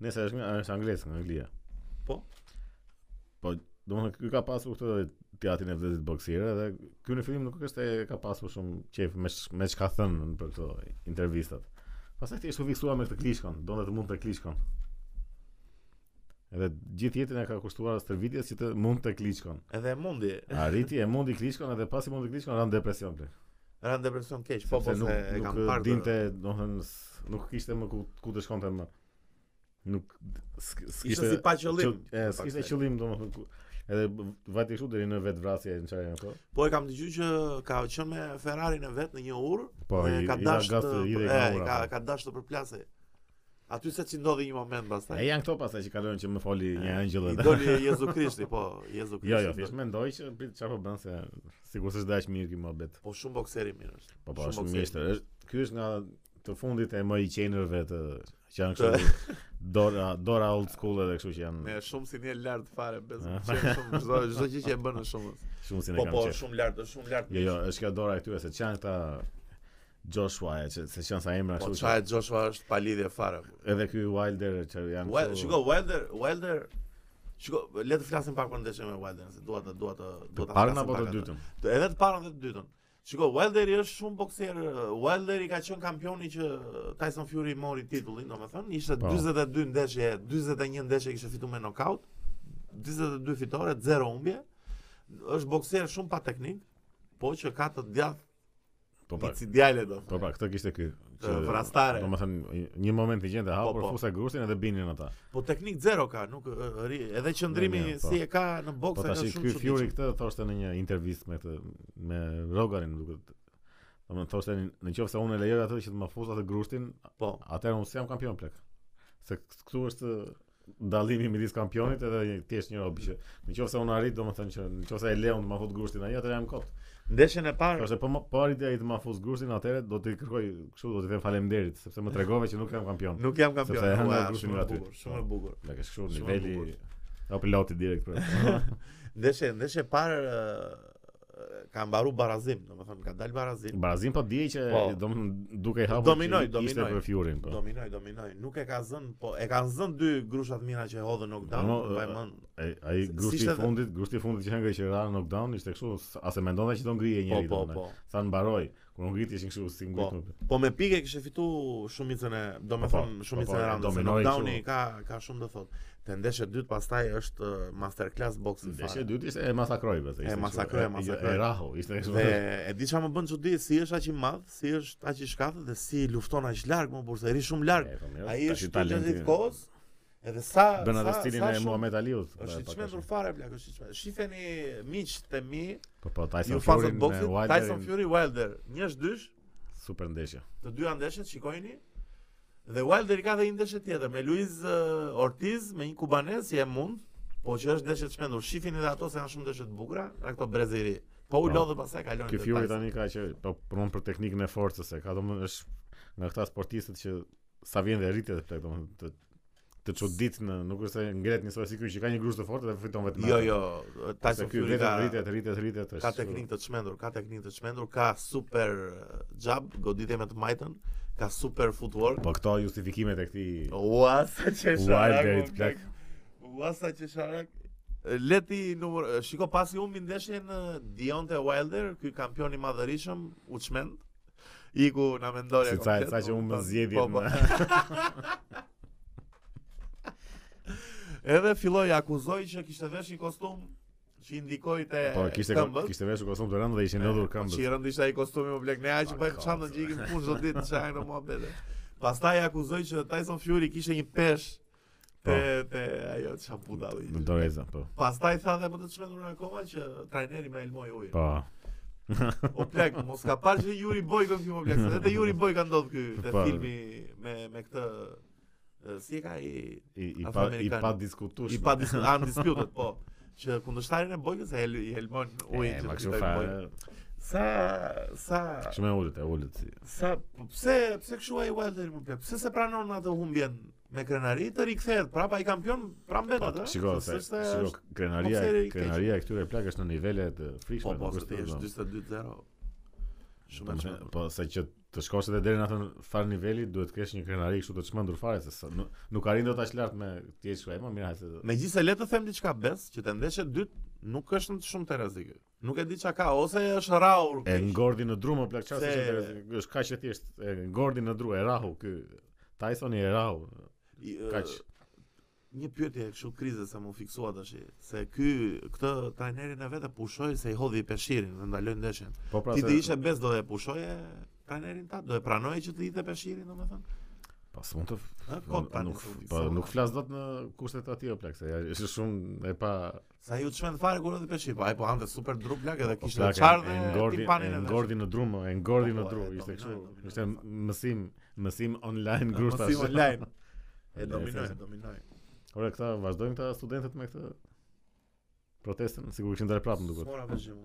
[SPEAKER 2] Nëse është nga është anglisë nga Anglia.
[SPEAKER 1] Po.
[SPEAKER 2] Po, domethënë ky ka pasur këtë teatrin e vdezit boksire dhe ky në fillim nuk është e ka pasur shumë qejf me sh- me çka thënë për këto intervistat. Pastaj thjesht u fiksuar me këtë klishkon, donte të mund të klishkon. Edhe gjithë jetën e ka kushtuar stërvitjes që të mund të klishkon.
[SPEAKER 1] Edhe e mundi,
[SPEAKER 2] Arriti e mundi klishkon edhe pasi mundi klishkon ran depresion plek.
[SPEAKER 1] ran depresion keq, po po
[SPEAKER 2] Sepse
[SPEAKER 1] se e kam parë. të-
[SPEAKER 2] dinte, domethënë s- nuk kishte më ku ku të shkonte më. Nuk s- s'kishte
[SPEAKER 1] Ishte si pa qëllim.
[SPEAKER 2] qëll- E, s'kishte
[SPEAKER 1] Pak se.
[SPEAKER 2] qëllim domethënë ku edhe b- vajti kështu deri në vetvrasje në çfarë ato.
[SPEAKER 1] Po e kam dëgjuar që ka qenë me Ferrarin e vet në një urë
[SPEAKER 2] Po,
[SPEAKER 1] dhe
[SPEAKER 2] i-
[SPEAKER 1] ka
[SPEAKER 2] i dha
[SPEAKER 1] dashur
[SPEAKER 2] gas
[SPEAKER 1] të
[SPEAKER 2] të i dhe i
[SPEAKER 1] e,
[SPEAKER 2] ka ura,
[SPEAKER 1] ka
[SPEAKER 2] po.
[SPEAKER 1] ka dashur të përplasej. Aty se që ndodhi një moment
[SPEAKER 2] po.
[SPEAKER 1] pastaj.
[SPEAKER 2] E janë këto pastaj që kalojnë që më foli një angjëll.
[SPEAKER 1] I
[SPEAKER 2] edhe.
[SPEAKER 1] doli Jezu Krishti, po, Jezu Krishti.
[SPEAKER 2] Jo, jo, thjesht
[SPEAKER 1] doli.
[SPEAKER 2] mendoj që prit çfarë po bën se sigurisht është dash mirë ky mohabet.
[SPEAKER 1] Po shumë bokseri mirë është.
[SPEAKER 2] Po po,
[SPEAKER 1] Shumë
[SPEAKER 2] shumë
[SPEAKER 1] bokseri.
[SPEAKER 2] mjeshtër. Është- Ky është nga të fundit e më i qenërve të që janë kështu Dora Dora old school edhe kështu që
[SPEAKER 1] Ne
[SPEAKER 2] janë
[SPEAKER 1] shumë si një lart fare, besoj.
[SPEAKER 2] Ah.
[SPEAKER 1] Qenë shumë çdo çdo gjë që e bën është shumë.
[SPEAKER 2] shumë si ne
[SPEAKER 1] Po
[SPEAKER 2] kanë
[SPEAKER 1] po,
[SPEAKER 2] qenë.
[SPEAKER 1] shumë lart, është shumë lart.
[SPEAKER 2] Jo, jo, është kjo dora e këtyre se çan këta Joshua e që se çan sa emra
[SPEAKER 1] Po
[SPEAKER 2] kështu.
[SPEAKER 1] çaja
[SPEAKER 2] që-
[SPEAKER 1] e Joshua është pa lidhje fare.
[SPEAKER 2] Edhe ky Wilder që janë.
[SPEAKER 1] Wilder,
[SPEAKER 2] kështu-
[SPEAKER 1] shiko Wilder, Wilder Shiko, le të flasim pak për ndeshjen me Wilder, se dua të dua të
[SPEAKER 2] Të
[SPEAKER 1] dua ta
[SPEAKER 2] parën
[SPEAKER 1] flasim
[SPEAKER 2] apo
[SPEAKER 1] pak
[SPEAKER 2] të
[SPEAKER 1] atë.
[SPEAKER 2] dytën?
[SPEAKER 1] Të- Edhe të parën dhe të dytën. Shiko, Wilder i është shumë bokser. Wilder i ka qenë kampioni që Tyson Fury mori titullin, domethënë, ishte
[SPEAKER 2] Po.
[SPEAKER 1] 42 ndeshje, 41 ndeshje kishte fituar me nokaut, 42 fitore, 0 humbje. Është bokser shumë pa teknik, po që ka të djathtë
[SPEAKER 2] Po
[SPEAKER 1] një
[SPEAKER 2] pak.
[SPEAKER 1] cidiale do.
[SPEAKER 2] Po pra, këtë kishte ky. që-
[SPEAKER 1] Vrastare.
[SPEAKER 2] Domethënë një moment i gjente hapur
[SPEAKER 1] po.
[SPEAKER 2] fusa grushtin edhe binin ata.
[SPEAKER 1] Po teknik zero ka, nuk ë, ri- edhe qëndrimi
[SPEAKER 2] mirë, po.
[SPEAKER 1] si e ka në
[SPEAKER 2] Po
[SPEAKER 1] boks e ka
[SPEAKER 2] tash
[SPEAKER 1] shumë
[SPEAKER 2] ky
[SPEAKER 1] çuditshëm.
[SPEAKER 2] Fury këtë thoshte në një intervistë me këtë me Roganin, më duket. Domethënë thoshte në qoftë se unë e lejoj atë që të më fusë atë grushtin,
[SPEAKER 1] Po.
[SPEAKER 2] atëherë unë s'jam kampion plek. Se këtu është dallimi midis kampionit edhe thjesht një rob që në qoftë se unë arrit domethënë që në qoftë se e lejon të ma fut grushtin ai atëherë jam kot.
[SPEAKER 1] Ndeshjen e parë,
[SPEAKER 2] Qoftë po më- po arrit ai të ma fus grushtin atëherë do t'i kërkoj kështu do t'i them faleminderit sepse më tregove që nuk jam kampion.
[SPEAKER 1] nuk jam kampion.
[SPEAKER 2] Sepse e hënë
[SPEAKER 1] Ua,
[SPEAKER 2] grupin
[SPEAKER 1] shumë e
[SPEAKER 2] nga aty.
[SPEAKER 1] bukur, shumë e bukur.
[SPEAKER 2] Plek është kështu
[SPEAKER 1] Shumë e
[SPEAKER 2] niveli
[SPEAKER 1] bukur.
[SPEAKER 2] apo piloti direkt për.
[SPEAKER 1] Ndeshje, ndeshje e parë ë, ka mbaru barazim, domethënë ka dal barazim.
[SPEAKER 2] Barazim po dije që
[SPEAKER 1] Po.
[SPEAKER 2] domethënë duke i hapur
[SPEAKER 1] Dominoj,
[SPEAKER 2] që ishte
[SPEAKER 1] dominoj.
[SPEAKER 2] për Furin po.
[SPEAKER 1] Dominoj, dominoj. Nuk e ka zënë, po e kanë zënë dy grushat mira që e hodhën
[SPEAKER 2] Po,
[SPEAKER 1] knockdown,
[SPEAKER 2] No, ë,
[SPEAKER 1] no, vajmën.
[SPEAKER 2] Ai- Ai
[SPEAKER 1] Si-
[SPEAKER 2] grushti
[SPEAKER 1] s'ishte
[SPEAKER 2] i
[SPEAKER 1] dhe-
[SPEAKER 2] fundit, grushti i fundit që hëngri që ra në knockdown ishte kështu, s- a se mendonte që do ngrihej
[SPEAKER 1] Po,
[SPEAKER 2] njëri.
[SPEAKER 1] po,
[SPEAKER 2] domethënë.
[SPEAKER 1] po.
[SPEAKER 2] Sa në mbaroi, kur u ngrit ishin kështu si ngrit.
[SPEAKER 1] Po.
[SPEAKER 2] nuk-
[SPEAKER 1] Po me pike kishte fitu shumicën e,
[SPEAKER 2] Po,
[SPEAKER 1] domethënë
[SPEAKER 2] po,
[SPEAKER 1] shumicën
[SPEAKER 2] po,
[SPEAKER 1] e randës. se
[SPEAKER 2] dominoi
[SPEAKER 1] Knockdowni
[SPEAKER 2] kështu.
[SPEAKER 1] ka ka shumë të thotë. Te ndeshja e dytë pastaj është ë, masterclass boksi
[SPEAKER 2] Ndeshja e
[SPEAKER 1] fare.
[SPEAKER 2] dytë ishte e masakroi vetë. ishte kështu,
[SPEAKER 1] masakroi, e
[SPEAKER 2] i-
[SPEAKER 1] masakroi.
[SPEAKER 2] E rahu, ishte kështu.
[SPEAKER 1] Dhe e di çfarë më bën çudi, si është aq i madh, si është aq i shkathët dhe si lufton aq larg, më bursa, ri shumë larg.
[SPEAKER 2] E, po, mirë,
[SPEAKER 1] Ai
[SPEAKER 2] tash i
[SPEAKER 1] është
[SPEAKER 2] talenti-
[SPEAKER 1] talentit kohës. Edhe sa
[SPEAKER 2] Bën atë
[SPEAKER 1] sa-
[SPEAKER 2] stilin
[SPEAKER 1] sa
[SPEAKER 2] e po,
[SPEAKER 1] shumë-
[SPEAKER 2] Muhamet Aliut.
[SPEAKER 1] Është i
[SPEAKER 2] pak a
[SPEAKER 1] çmendur
[SPEAKER 2] shumë.
[SPEAKER 1] fare plak, është i çmendur. Shifeni miq të mi,
[SPEAKER 2] Po po, Tyson
[SPEAKER 1] ju
[SPEAKER 2] Fury
[SPEAKER 1] fasat
[SPEAKER 2] me
[SPEAKER 1] boksit,
[SPEAKER 2] Wilder,
[SPEAKER 1] Tyson Fury Wilder, njësh dysh,
[SPEAKER 2] super ndeshje.
[SPEAKER 1] të dy ndeshjet shikojini. Dhe Wilder i ka dhe një ndeshje tjetër me Luis eh, Ortiz, me një kubanez që e mund, po që është ndeshje të çmendur. Shifini edhe ato se janë shumë ndeshje të bukura, nga këto brezeri. Po u
[SPEAKER 2] Po.
[SPEAKER 1] lodhë pastaj kalon.
[SPEAKER 2] Ky Fury tani ka që po punon për teknikën e forcës, e ka domethënë është nga këta sportistët që sa vjen dhe rritet plak domethënë të të çudit në nuk është se ngret njësoj si ky që ka një grusht të fortë dhe fiton vetëm.
[SPEAKER 1] Jo, jo,
[SPEAKER 2] Se
[SPEAKER 1] Tyson
[SPEAKER 2] ky
[SPEAKER 1] Fury
[SPEAKER 2] vetëm
[SPEAKER 1] ka
[SPEAKER 2] rritet, rritet, rritet.
[SPEAKER 1] ka
[SPEAKER 2] është-
[SPEAKER 1] teknikë të çmendur, ka teknikë të çmendur, ka super eh, jab, goditje me të majtën, ka super footwork.
[SPEAKER 2] Po këto justifikimet e këtij
[SPEAKER 1] Ua sa që
[SPEAKER 2] Wilderit,
[SPEAKER 1] sharak. o,
[SPEAKER 2] plak.
[SPEAKER 1] Ua sa që sharak. Leti numër shiko pasi humbi ndeshjen eh, Deontay Wilder, ky kampion i madhërisëm, u çmend. Iku na mendore
[SPEAKER 2] Si ca- ca që humbi zgjedhjet,
[SPEAKER 1] po, Edhe filloi akuzoi që kishte vesh një kostum që i ndikoi te
[SPEAKER 2] po kishte
[SPEAKER 1] këmbët.
[SPEAKER 2] kishte veshur kostum të rëndë dhe ishin lodhur
[SPEAKER 1] Që Po i
[SPEAKER 2] këmbët.
[SPEAKER 1] rëndë ishte ai kostumi më blek ne aq
[SPEAKER 2] Pa
[SPEAKER 1] bëjmë
[SPEAKER 2] kallë,
[SPEAKER 1] çantën që ikim punë çdo ditë çaj në muhabete. Pastaj akuzoi që Tyson Fury kishte një pesh
[SPEAKER 2] Po.
[SPEAKER 1] te te ajo çaputa.
[SPEAKER 2] Në doreza, po.
[SPEAKER 1] Pastaj tha dhe më të çmendur akoma që trajneri më elmoi ujin.
[SPEAKER 2] Po.
[SPEAKER 1] O plak, mos ka parë që Yuri Boyko këtu më plak, se edhe Yuri Boyka ndodh ky te
[SPEAKER 2] Po.
[SPEAKER 1] filmi me me këtë e, si e ka i
[SPEAKER 2] I, i pa i
[SPEAKER 1] Afroamerikan.
[SPEAKER 2] pa diskutuar.
[SPEAKER 1] i pa disku- undisputed, po që kundërshtarin e Boykës e hel- i helmon ujin. që
[SPEAKER 2] Ma
[SPEAKER 1] të
[SPEAKER 2] kështu
[SPEAKER 1] fitoj
[SPEAKER 2] fa.
[SPEAKER 1] Boyko. Sa sa
[SPEAKER 2] Shumë e ulët, e ulët si.
[SPEAKER 1] Sa, po pse, pse kështu ai Wilder më plak? Pse se pranon atë humbjen me krenari të rikthehet, prapa i kampion, prapë mbet
[SPEAKER 2] Po,
[SPEAKER 1] atë.
[SPEAKER 2] shiko,
[SPEAKER 1] se
[SPEAKER 2] se
[SPEAKER 1] s'është-
[SPEAKER 2] shiko
[SPEAKER 1] është-
[SPEAKER 2] krenaria,
[SPEAKER 1] bokseri i keq.
[SPEAKER 2] krenaria e këtyre plak është në nivele të
[SPEAKER 1] Po
[SPEAKER 2] frikshme.
[SPEAKER 1] po,
[SPEAKER 2] nuk
[SPEAKER 1] se
[SPEAKER 2] është
[SPEAKER 1] ti
[SPEAKER 2] të
[SPEAKER 1] është
[SPEAKER 2] zëmë.
[SPEAKER 1] 42-0. Shumë e çmendur.
[SPEAKER 2] Po se që të shkosh edhe deri në atë far niveli duhet të kesh një krenari kështu të çmendur fare se sa, nuk, nuk arrin dot aq lart me ti e shkruaj më mirë hajse.
[SPEAKER 1] Megjithëse le të them diçka bes, që te ndeshja e dytë nuk është në shumë të rrezikë. Nuk e di çka ka ose është raur.
[SPEAKER 2] E ngordi në dru më plak çfarë
[SPEAKER 1] Se-
[SPEAKER 2] është interes- është kaq e thjesht e ngordi në dru e rahu ky Tysoni e rahu.
[SPEAKER 1] I-
[SPEAKER 2] Kaq.
[SPEAKER 1] Një pyetje kështu krize se mu fiksua tash, se ky këtë trajnerin e vet e pushoi se i hodhi peshirin dhe ndaloi ndeshjen.
[SPEAKER 2] Po pra
[SPEAKER 1] Ti
[SPEAKER 2] se
[SPEAKER 1] të ishe bes do e pushoje trajnerin ta, do e pranoje që të ditë peshirin, domethënë.
[SPEAKER 2] Po s'mund të
[SPEAKER 1] Ë, kot tani.
[SPEAKER 2] nuk
[SPEAKER 1] se u
[SPEAKER 2] po
[SPEAKER 1] fiksua.
[SPEAKER 2] nuk flas dot në kushtet aty o plak se ja, është shumë e pa
[SPEAKER 1] Sa ju çmend fare kur edhe peshir, po ai po hante super drup lak edhe
[SPEAKER 2] po
[SPEAKER 1] kishte
[SPEAKER 2] plak, e-
[SPEAKER 1] çfarë
[SPEAKER 2] e
[SPEAKER 1] dhe
[SPEAKER 2] ngordi
[SPEAKER 1] timpanin
[SPEAKER 2] e
[SPEAKER 1] edhe.
[SPEAKER 2] ngordi në dru më, e ngordi
[SPEAKER 1] Po,
[SPEAKER 2] në
[SPEAKER 1] po,
[SPEAKER 2] dru
[SPEAKER 1] e
[SPEAKER 2] ishte
[SPEAKER 1] dominoi,
[SPEAKER 2] kështu
[SPEAKER 1] dominoi,
[SPEAKER 2] ishte
[SPEAKER 1] fakt.
[SPEAKER 2] mësim mësim online grup
[SPEAKER 1] mësim online. E dominoi, e
[SPEAKER 2] Ore,
[SPEAKER 1] dominoi.
[SPEAKER 2] Ora këta vazhdojnë këta studentët me këtë protestën, sigurisht që ndar prapë më duket.
[SPEAKER 1] Mora vëzhim.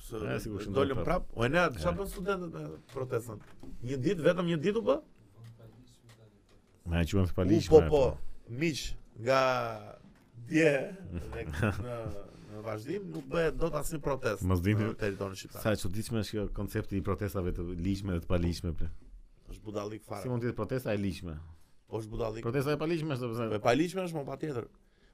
[SPEAKER 1] Se
[SPEAKER 2] E, sigurisht që
[SPEAKER 1] dolëm
[SPEAKER 2] ndodh
[SPEAKER 1] prap. O ne çfarë
[SPEAKER 2] E.
[SPEAKER 1] bën studentët me protestën? Një ditë vetëm një ditë u bë?
[SPEAKER 2] Me e quhen të
[SPEAKER 1] U
[SPEAKER 2] palish.
[SPEAKER 1] po po. Miq nga dje dhe në në vazhdim nuk bëhet dot asnjë protestë
[SPEAKER 2] Mos dini-
[SPEAKER 1] në territorin shqiptar.
[SPEAKER 2] Sa e çuditshme është kjo koncepti i protestave të ligjshme dhe të paligjshme. ple.
[SPEAKER 1] Është budallik
[SPEAKER 2] Si
[SPEAKER 1] fare.
[SPEAKER 2] mund të jetë protesta e ligjshme?
[SPEAKER 1] Po është budallik.
[SPEAKER 2] Protesta e paligjshme është
[SPEAKER 1] Po e
[SPEAKER 2] sepse
[SPEAKER 1] paligjshme është më patjetër.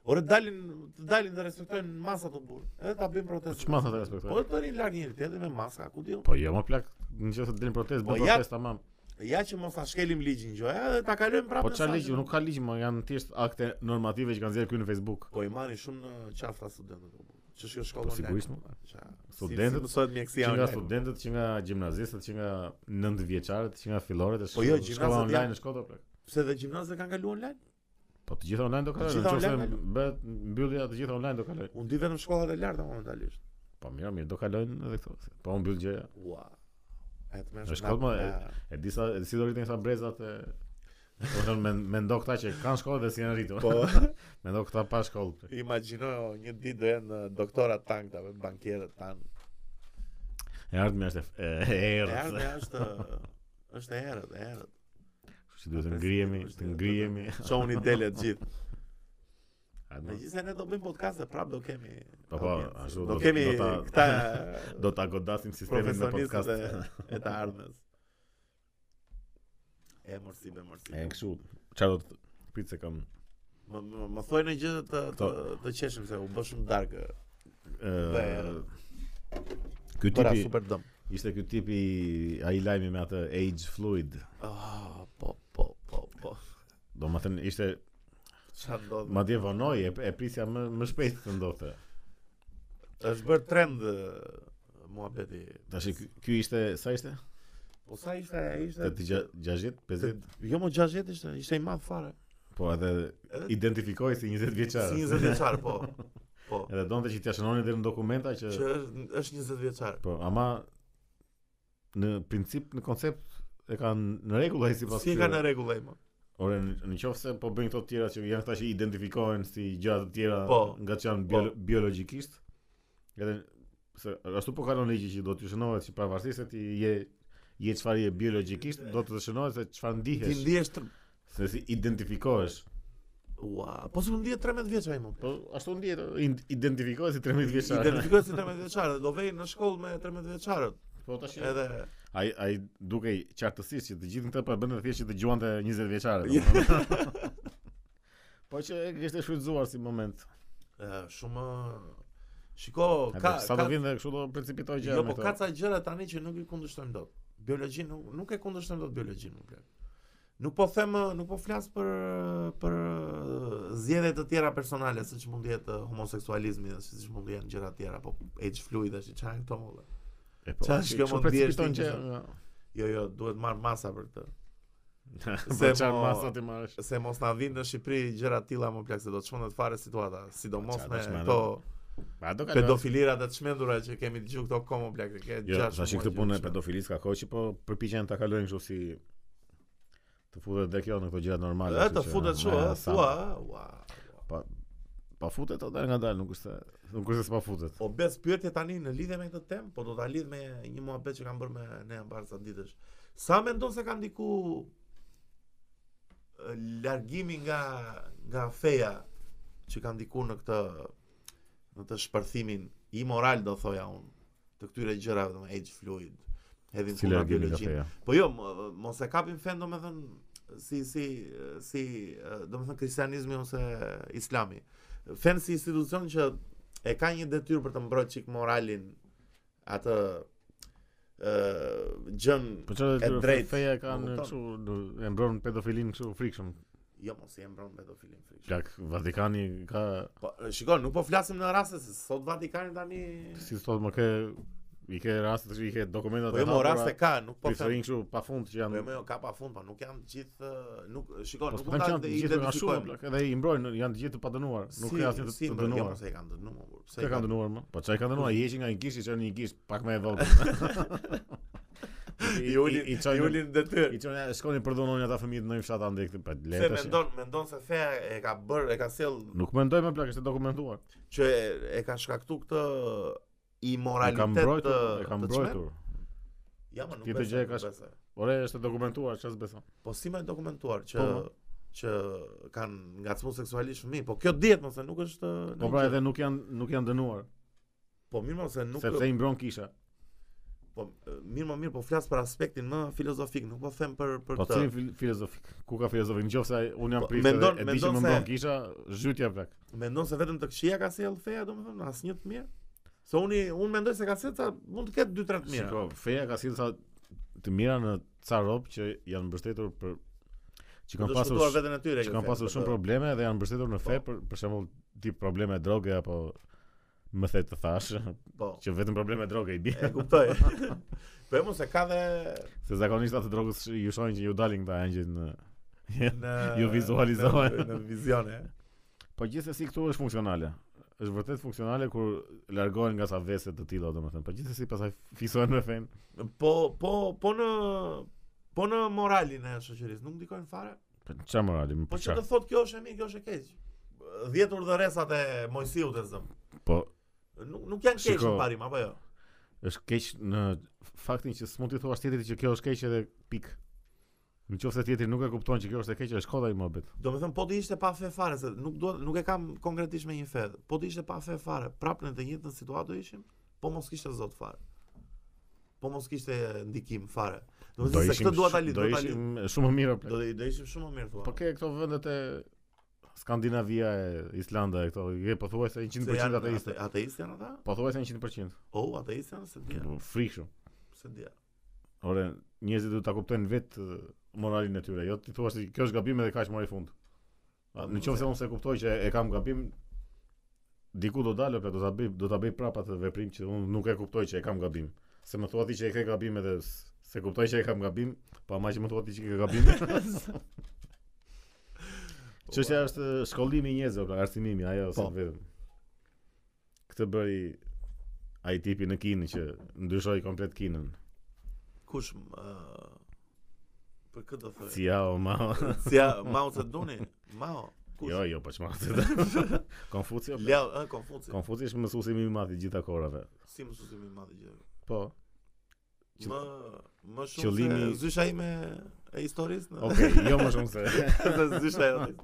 [SPEAKER 1] Ore dalin, të dalin dhe respektojnë masat të burë. Edhe ta bëjnë protestë.
[SPEAKER 2] ç'ma thotë respektoj.
[SPEAKER 1] Po e të rinë lartë njëri tjetër me maska, ku diu.
[SPEAKER 2] Po jo, më plak, nëse të dilin protestë,
[SPEAKER 1] Po
[SPEAKER 2] bën
[SPEAKER 1] ja-
[SPEAKER 2] protestë tamam.
[SPEAKER 1] Ja që mos ta shkelim ligjin gjoja, edhe ta kalojmë prapë.
[SPEAKER 2] Po
[SPEAKER 1] në
[SPEAKER 2] çfarë
[SPEAKER 1] sajtë.
[SPEAKER 2] ligj, nuk ka ligj, më janë thjesht akte normative që kanë zgjerë këtu në Facebook.
[SPEAKER 1] Po i marrin shumë në qafra studentët. apo. Që shkjo shkollë
[SPEAKER 2] Po sigurisht. mo.
[SPEAKER 1] Studentët
[SPEAKER 2] Studentët-
[SPEAKER 1] mësohet
[SPEAKER 2] Që
[SPEAKER 1] mjekësia
[SPEAKER 2] nga
[SPEAKER 1] online.
[SPEAKER 2] studentët, që nga gjimnazistët, që nga nëntë vjeçarët, që nga filloret, e
[SPEAKER 1] Po
[SPEAKER 2] shkolla-
[SPEAKER 1] jo,
[SPEAKER 2] shkolla
[SPEAKER 1] gjimnazët
[SPEAKER 2] online
[SPEAKER 1] janë-
[SPEAKER 2] në Shkodër. plak.
[SPEAKER 1] Pse dhe gjimnazët kanë kaluar online?
[SPEAKER 2] Po të gjitha online do
[SPEAKER 1] Po, të
[SPEAKER 2] kalojnë.
[SPEAKER 1] gjitha
[SPEAKER 2] Nëse
[SPEAKER 1] online
[SPEAKER 2] bëhet mbyllja, të gjitha online do kalojnë.
[SPEAKER 1] Unë di vetëm shkollat e larta momentalisht.
[SPEAKER 2] Po mirë, mirë, do kalojnë edhe këto. se- Po u mbyll gjëja.
[SPEAKER 1] Ua. E të mërshë.
[SPEAKER 2] Në shkollë, mo, E di sa e di si do rritin këta brezat e Po thon me mendo këta që kanë shkollë dhe si janë rritur.
[SPEAKER 1] Po,
[SPEAKER 2] mendo këta pa shkollë. ple.
[SPEAKER 1] imagjinoj o, një ditë do jenë doktorat tanë këta, bankierët tanë.
[SPEAKER 2] E ardhmja është e- e e
[SPEAKER 1] E
[SPEAKER 2] errët.
[SPEAKER 1] ardhmja është është e erët, e erët.
[SPEAKER 2] Kështu që duhet të ngrihemi, të ngrihemi.
[SPEAKER 1] Shohuni dele të gjithë.
[SPEAKER 2] Hajde, mo.
[SPEAKER 1] Megjithëse ne do bëjmë podcaste, prap do kemi.
[SPEAKER 2] Po, po,
[SPEAKER 1] audiencë.
[SPEAKER 2] ashtu
[SPEAKER 1] do
[SPEAKER 2] do- do
[SPEAKER 1] kemi
[SPEAKER 2] ta-
[SPEAKER 1] këta
[SPEAKER 2] Do ta godasim sistemin me podcast.
[SPEAKER 1] profesionistët e, e të ardhmes. E mërsi, be mërsi.
[SPEAKER 2] E kështu. Çfarë do të prit se kam
[SPEAKER 1] Më, më, më thuaj në gjë të, të,
[SPEAKER 2] Kto-
[SPEAKER 1] të qeshim se u bë shumë dark.
[SPEAKER 2] ë
[SPEAKER 1] Dhe-
[SPEAKER 2] Ky
[SPEAKER 1] Bëra
[SPEAKER 2] tipi
[SPEAKER 1] super dëm.
[SPEAKER 2] ishte ky tipi ai lajmi me atë age fluid.
[SPEAKER 1] Ah, po, po, po, po.
[SPEAKER 2] Do më thënë ishte
[SPEAKER 1] Çfarë ndodh?
[SPEAKER 2] Madje vonoj e, e prisja më, më shpejt të ndodhte.
[SPEAKER 1] Është bërë trend ë, muhabeti.
[SPEAKER 2] Tash ky- ky ishte sa ishte?
[SPEAKER 1] po sa ishte, ishte
[SPEAKER 2] Te 60, 50.
[SPEAKER 1] Jo më 60 ishte, ishte i madh fare.
[SPEAKER 2] Po edhe
[SPEAKER 1] Edhe-
[SPEAKER 2] identifikoi si 20 vjeçar.
[SPEAKER 1] Si 20 vjeçar, po. Po.
[SPEAKER 2] Edhe donte që t'ia shënonin deri në dokumenta që
[SPEAKER 1] Që është- është 20 vjeçar.
[SPEAKER 2] po ama në princip në koncept e kanë në rregull ai sipas
[SPEAKER 1] Si e ka në rregull ai më?
[SPEAKER 2] Ore në në qoftë se po bëjnë këto të tjera që janë këta që identifikohen si gjëra të tjera
[SPEAKER 1] Po.
[SPEAKER 2] nga që janë biolo- biologjikisht. Edhe se ashtu po kalon ligji që do të shënohet që pavarësisht se ti je je çfarë je biologjikisht, do të të shënohet se çfarë
[SPEAKER 1] Ti
[SPEAKER 2] ndihesh,
[SPEAKER 1] ndihesh tr-
[SPEAKER 2] se si identifikohesh.
[SPEAKER 1] Ua, po s'u ndihet 13 vjeç ai më.
[SPEAKER 2] Po ashtu ndihet, in- identifikohet si 13 vjeçar.
[SPEAKER 1] Identifikohet si 13 vjeçar dhe do vej në shkollë me 13 vjeçarët.
[SPEAKER 2] Po tash edhe
[SPEAKER 1] Edhe
[SPEAKER 2] ai ai dukej qartësisht që të gjithë këta po e bënë thjesht që dëgjuante 20 vjeçare.
[SPEAKER 1] Ja.
[SPEAKER 2] domethënë. Po që e kishte shfrytzuar si moment.
[SPEAKER 1] e, shumë Shiko,
[SPEAKER 2] Edhe
[SPEAKER 1] Po ka
[SPEAKER 2] sa do
[SPEAKER 1] ka
[SPEAKER 2] vinë dhe kështu do precipitoj gjëra.
[SPEAKER 1] jo,
[SPEAKER 2] me
[SPEAKER 1] po
[SPEAKER 2] këto.
[SPEAKER 1] ka ca gjëra tani që nuk i kundërshtojmë dot. Biologjinë nuk, nuk e kundërshtojmë dot biologjinë, nuk plak. Nuk po them, nuk po flas për për zgjedhje të tjera personale, siç mund të jetë homoseksualizmi, dhe siç mund të jenë gjëra të tjera, po age fluid është çka janë këto molla.
[SPEAKER 2] E po,
[SPEAKER 1] Qa është kjo mund bjerë
[SPEAKER 2] precipiton
[SPEAKER 1] ti që
[SPEAKER 2] që
[SPEAKER 1] Jo, jo, duhet marr masa për këtë.
[SPEAKER 2] se
[SPEAKER 1] Se
[SPEAKER 2] Po, çfarë
[SPEAKER 1] mo-
[SPEAKER 2] masa ti marrësh?
[SPEAKER 1] se mos na vinë në Shqipëri gjëra të tilla më plak se do të çmendet fare situata, sidomos
[SPEAKER 2] Qa,
[SPEAKER 1] me
[SPEAKER 2] do çmendet?
[SPEAKER 1] këto
[SPEAKER 2] Pa do kalon.
[SPEAKER 1] pedofilirat e të çmendura që kemi dëgjuar këto komo plak të ketë
[SPEAKER 2] Jo,
[SPEAKER 1] gjashtë.
[SPEAKER 2] tash
[SPEAKER 1] muaj
[SPEAKER 2] këtë
[SPEAKER 1] që
[SPEAKER 2] punë e
[SPEAKER 1] çmendet.
[SPEAKER 2] pedofilis ka kohë që po përpiqen ta kalojnë kështu si të futet dhe kjo në këto gjëra normale.
[SPEAKER 1] E
[SPEAKER 2] kështu
[SPEAKER 1] të
[SPEAKER 2] që,
[SPEAKER 1] futet çu,
[SPEAKER 2] me
[SPEAKER 1] ë,
[SPEAKER 2] sa-
[SPEAKER 1] thua, ë, ua.
[SPEAKER 2] Pa futet atë nga dalë, nuk është se- nuk është se s'pa futet.
[SPEAKER 1] O bes Po, pyetje tani në lidhje me këtë temë, po do ta lidh me një muhabet që kam bërë me ne mbar sa ditësh. Sa mendon se ka ndiku ë, largimi nga nga feja që ka ndiku në këtë në të shpërthimin imoral do thoja unë të këtyre gjërave do age fluid hedhin
[SPEAKER 2] Si
[SPEAKER 1] punë
[SPEAKER 2] largimi nga
[SPEAKER 1] biologjin.
[SPEAKER 2] feja.
[SPEAKER 1] Po jo, mo- mos e kapin fen domethën si si si domethën kristianizmi ose islami. Fen si institucion që e ka një detyrë për të mbrojtë çik moralin atë ë gjën
[SPEAKER 2] Po çfarë
[SPEAKER 1] E
[SPEAKER 2] detyrë fe-
[SPEAKER 1] drejtë,
[SPEAKER 2] feja e
[SPEAKER 1] e
[SPEAKER 2] kanë
[SPEAKER 1] kupton.
[SPEAKER 2] kështu do- e mbron pedofilin kështu frikshëm.
[SPEAKER 1] jo mos i mbron pedofilin frikshëm.
[SPEAKER 2] Plak Vatikani ka
[SPEAKER 1] Po shikoj, nuk po flasim në raste se sot Vatikani tani
[SPEAKER 2] si thotë më ke i ke raste i ke dokumentat
[SPEAKER 1] po jo mo raste ka, nuk po
[SPEAKER 2] po
[SPEAKER 1] them.
[SPEAKER 2] fshirin kështu pafund që
[SPEAKER 1] Po
[SPEAKER 2] janë
[SPEAKER 1] jo, jo, ka pafund, po nuk janë të gjithë ë, nuk shikoj,
[SPEAKER 2] Po
[SPEAKER 1] nuk
[SPEAKER 2] s'po them
[SPEAKER 1] mund
[SPEAKER 2] që
[SPEAKER 1] ta
[SPEAKER 2] janë të gjithë nga shumë
[SPEAKER 1] identifikojmë.
[SPEAKER 2] plak, edhe i mbrojnë, janë të gjithë të padënuar, nuk ka asnjë të-
[SPEAKER 1] si,
[SPEAKER 2] të
[SPEAKER 1] mbra- Jo,
[SPEAKER 2] dënuar.
[SPEAKER 1] mos e kanë dënuar. burr, Pse
[SPEAKER 2] Çka
[SPEAKER 1] e
[SPEAKER 2] kanë dënuar më? Po çka i kanë dënuar? I heqin nga një gisht, i çon në një gisht pak më e vogël. I-
[SPEAKER 1] I ulin,
[SPEAKER 2] i
[SPEAKER 1] i
[SPEAKER 2] çojnë-
[SPEAKER 1] ulin detyr.
[SPEAKER 2] I çon shkonin për dhunonin ata fëmijët në një fshat ande këtë pa
[SPEAKER 1] Se
[SPEAKER 2] lehtë. tash.
[SPEAKER 1] mendon, mendon se feja e ka bër, e ka sjell
[SPEAKER 2] Nuk mendoj më plak, është e dokumentuar.
[SPEAKER 1] që e- e ka shkaktu këtë
[SPEAKER 2] E
[SPEAKER 1] imoralitet
[SPEAKER 2] ka mbrojtur,
[SPEAKER 1] të-
[SPEAKER 2] e ka
[SPEAKER 1] të çmendur?
[SPEAKER 2] mbrojtur.
[SPEAKER 1] Ja, më nuk
[SPEAKER 2] Tjetër
[SPEAKER 1] besoj,
[SPEAKER 2] gjë e
[SPEAKER 1] nuk
[SPEAKER 2] ka sh-
[SPEAKER 1] besoj.
[SPEAKER 2] Ore, është e dokumentuar, çfarë s'beson?
[SPEAKER 1] Po si më e dokumentuar që
[SPEAKER 2] Po, po.
[SPEAKER 1] që kanë ngacmuar seksualisht fëmijë, po kjo dihet mos e nuk është
[SPEAKER 2] Po
[SPEAKER 1] nuk
[SPEAKER 2] pra
[SPEAKER 1] gjë.
[SPEAKER 2] edhe nuk janë nuk janë dënuar,
[SPEAKER 1] po mirë mos e nuk
[SPEAKER 2] sepse i mbron kisha.
[SPEAKER 1] po mirë më mirë po flas për aspektin më filozofik, nuk po them për për
[SPEAKER 2] Po cilin fil- filozofik? Ku ka filozofik? Nëse ai un jam
[SPEAKER 1] Po,
[SPEAKER 2] pritë,
[SPEAKER 1] mendon-
[SPEAKER 2] e di që
[SPEAKER 1] mendon
[SPEAKER 2] më
[SPEAKER 1] se-
[SPEAKER 2] mbron kisha, zhytja plak.
[SPEAKER 1] Mendon se vetëm të këqija ka sjell feja, domethënë asnjë të mirë? Se unë unë mendoj se ka sjell ca mund të ketë 2-3 të mira.
[SPEAKER 2] Shiko, feja ka sjellë sa të mira në ca rob që janë mbështetur për që
[SPEAKER 1] Kanë
[SPEAKER 2] kanë
[SPEAKER 1] pasur
[SPEAKER 2] pasur
[SPEAKER 1] veten e tyre.
[SPEAKER 2] që kanë pasur shumë probleme dhe janë mbështetur në fe
[SPEAKER 1] Po.
[SPEAKER 2] për për shembull tip probleme droge apo më the të thash
[SPEAKER 1] Po.
[SPEAKER 2] që vetëm probleme droge i bie.
[SPEAKER 1] E kuptoj. po e mos e ka dhe
[SPEAKER 2] Se zakonisht atë drogës ju shohin që ju dalin këta angjëj në
[SPEAKER 1] në
[SPEAKER 2] Ju Jo, vizualizohen.
[SPEAKER 1] në, në vizione.
[SPEAKER 2] Po gjithsesi këtu është funksionale. Është vërtet funksionale kur largohen nga sa vese të tilla, domethënë. Po gjithsesi pastaj fisohen me fen.
[SPEAKER 1] Po po po në po në moralin e shoqërisë nuk ndikojnë fare.
[SPEAKER 2] Po çfarë morali? më
[SPEAKER 1] Po
[SPEAKER 2] për
[SPEAKER 1] që
[SPEAKER 2] çfarë?
[SPEAKER 1] të thotë kjo është e mirë, kjo është e keq. 10 urdhëresat e Mojsiut e zëm.
[SPEAKER 2] Po
[SPEAKER 1] Nuk nuk janë keq
[SPEAKER 2] Shiko.
[SPEAKER 1] në parim apo jo.
[SPEAKER 2] është keq në faktin që s'mund t'i thuash tjetrit që kjo është keq edhe pik. Në qoftë se tjetri nuk e kupton që kjo është e keq, është kota i mohabet.
[SPEAKER 1] Do me thënë, po të ishte pa fe fare, se nuk, duhet, nuk e kam konkretisht me një fe, po të ishte pa fe fare, prap në të njëjtën situatë do ishim, po mos kishte zot fare. Po mos kishte ndikim fare. Do me thënë, se këtë duhet ta lidh,
[SPEAKER 2] do
[SPEAKER 1] duhet ta lidh.
[SPEAKER 2] ishim shumë më mirë o plak.
[SPEAKER 1] Do, do ishim shumë më mirë thua.
[SPEAKER 2] Po ke këto vendet e Skandinavia e Islanda e këto, je pothuajse
[SPEAKER 1] Se
[SPEAKER 2] 100% ateiste. Po
[SPEAKER 1] ate- Ateistë janë ata?
[SPEAKER 2] Pothuajse 100%.
[SPEAKER 1] O, ateistë janë, se dia,
[SPEAKER 2] Frikshëm.
[SPEAKER 1] se dia.
[SPEAKER 2] Ore, njerëzit duhet ta kuptojnë vetë ë, moralin e tyre, jo ti thua se kjo është gabim edhe kaq mori fund. A, Në qoftë se unë se kuptoj që e kam gabim, diku do dalë, pra do ta bëj, do ta bëj prapa atë veprim që unë nuk e kuptoj që e kam gabim. Se më thua ti që e ke gabim edhe s- se kuptoj që e kam gabim, pa më që më thua ti që ke gabim. Çështja është ë, shkollimi i njerëzve, pra arsimimi, ajo
[SPEAKER 1] Po.
[SPEAKER 2] është vetëm. Këtë bëri ai tipi në Kinë që ndryshoi komplet Kinën.
[SPEAKER 1] Kush, uh, për këtë do thëj?
[SPEAKER 2] Ciao, mao.
[SPEAKER 1] Si ja, Mao Zeduni, Mao, kush?
[SPEAKER 2] Jo, jo, po çma. Konfucio.
[SPEAKER 1] Leo, ë, Konfuci,
[SPEAKER 2] Konfuci është mësuesi më i madh i gjitha kohërave.
[SPEAKER 1] si mësusimi i madh i gjithë.
[SPEAKER 2] Po. Që-
[SPEAKER 1] Më më shumë
[SPEAKER 2] qëllimi-
[SPEAKER 1] se zysha ime e historisë. në-
[SPEAKER 2] Okej, jo më shumë se.
[SPEAKER 1] se zysha e jote.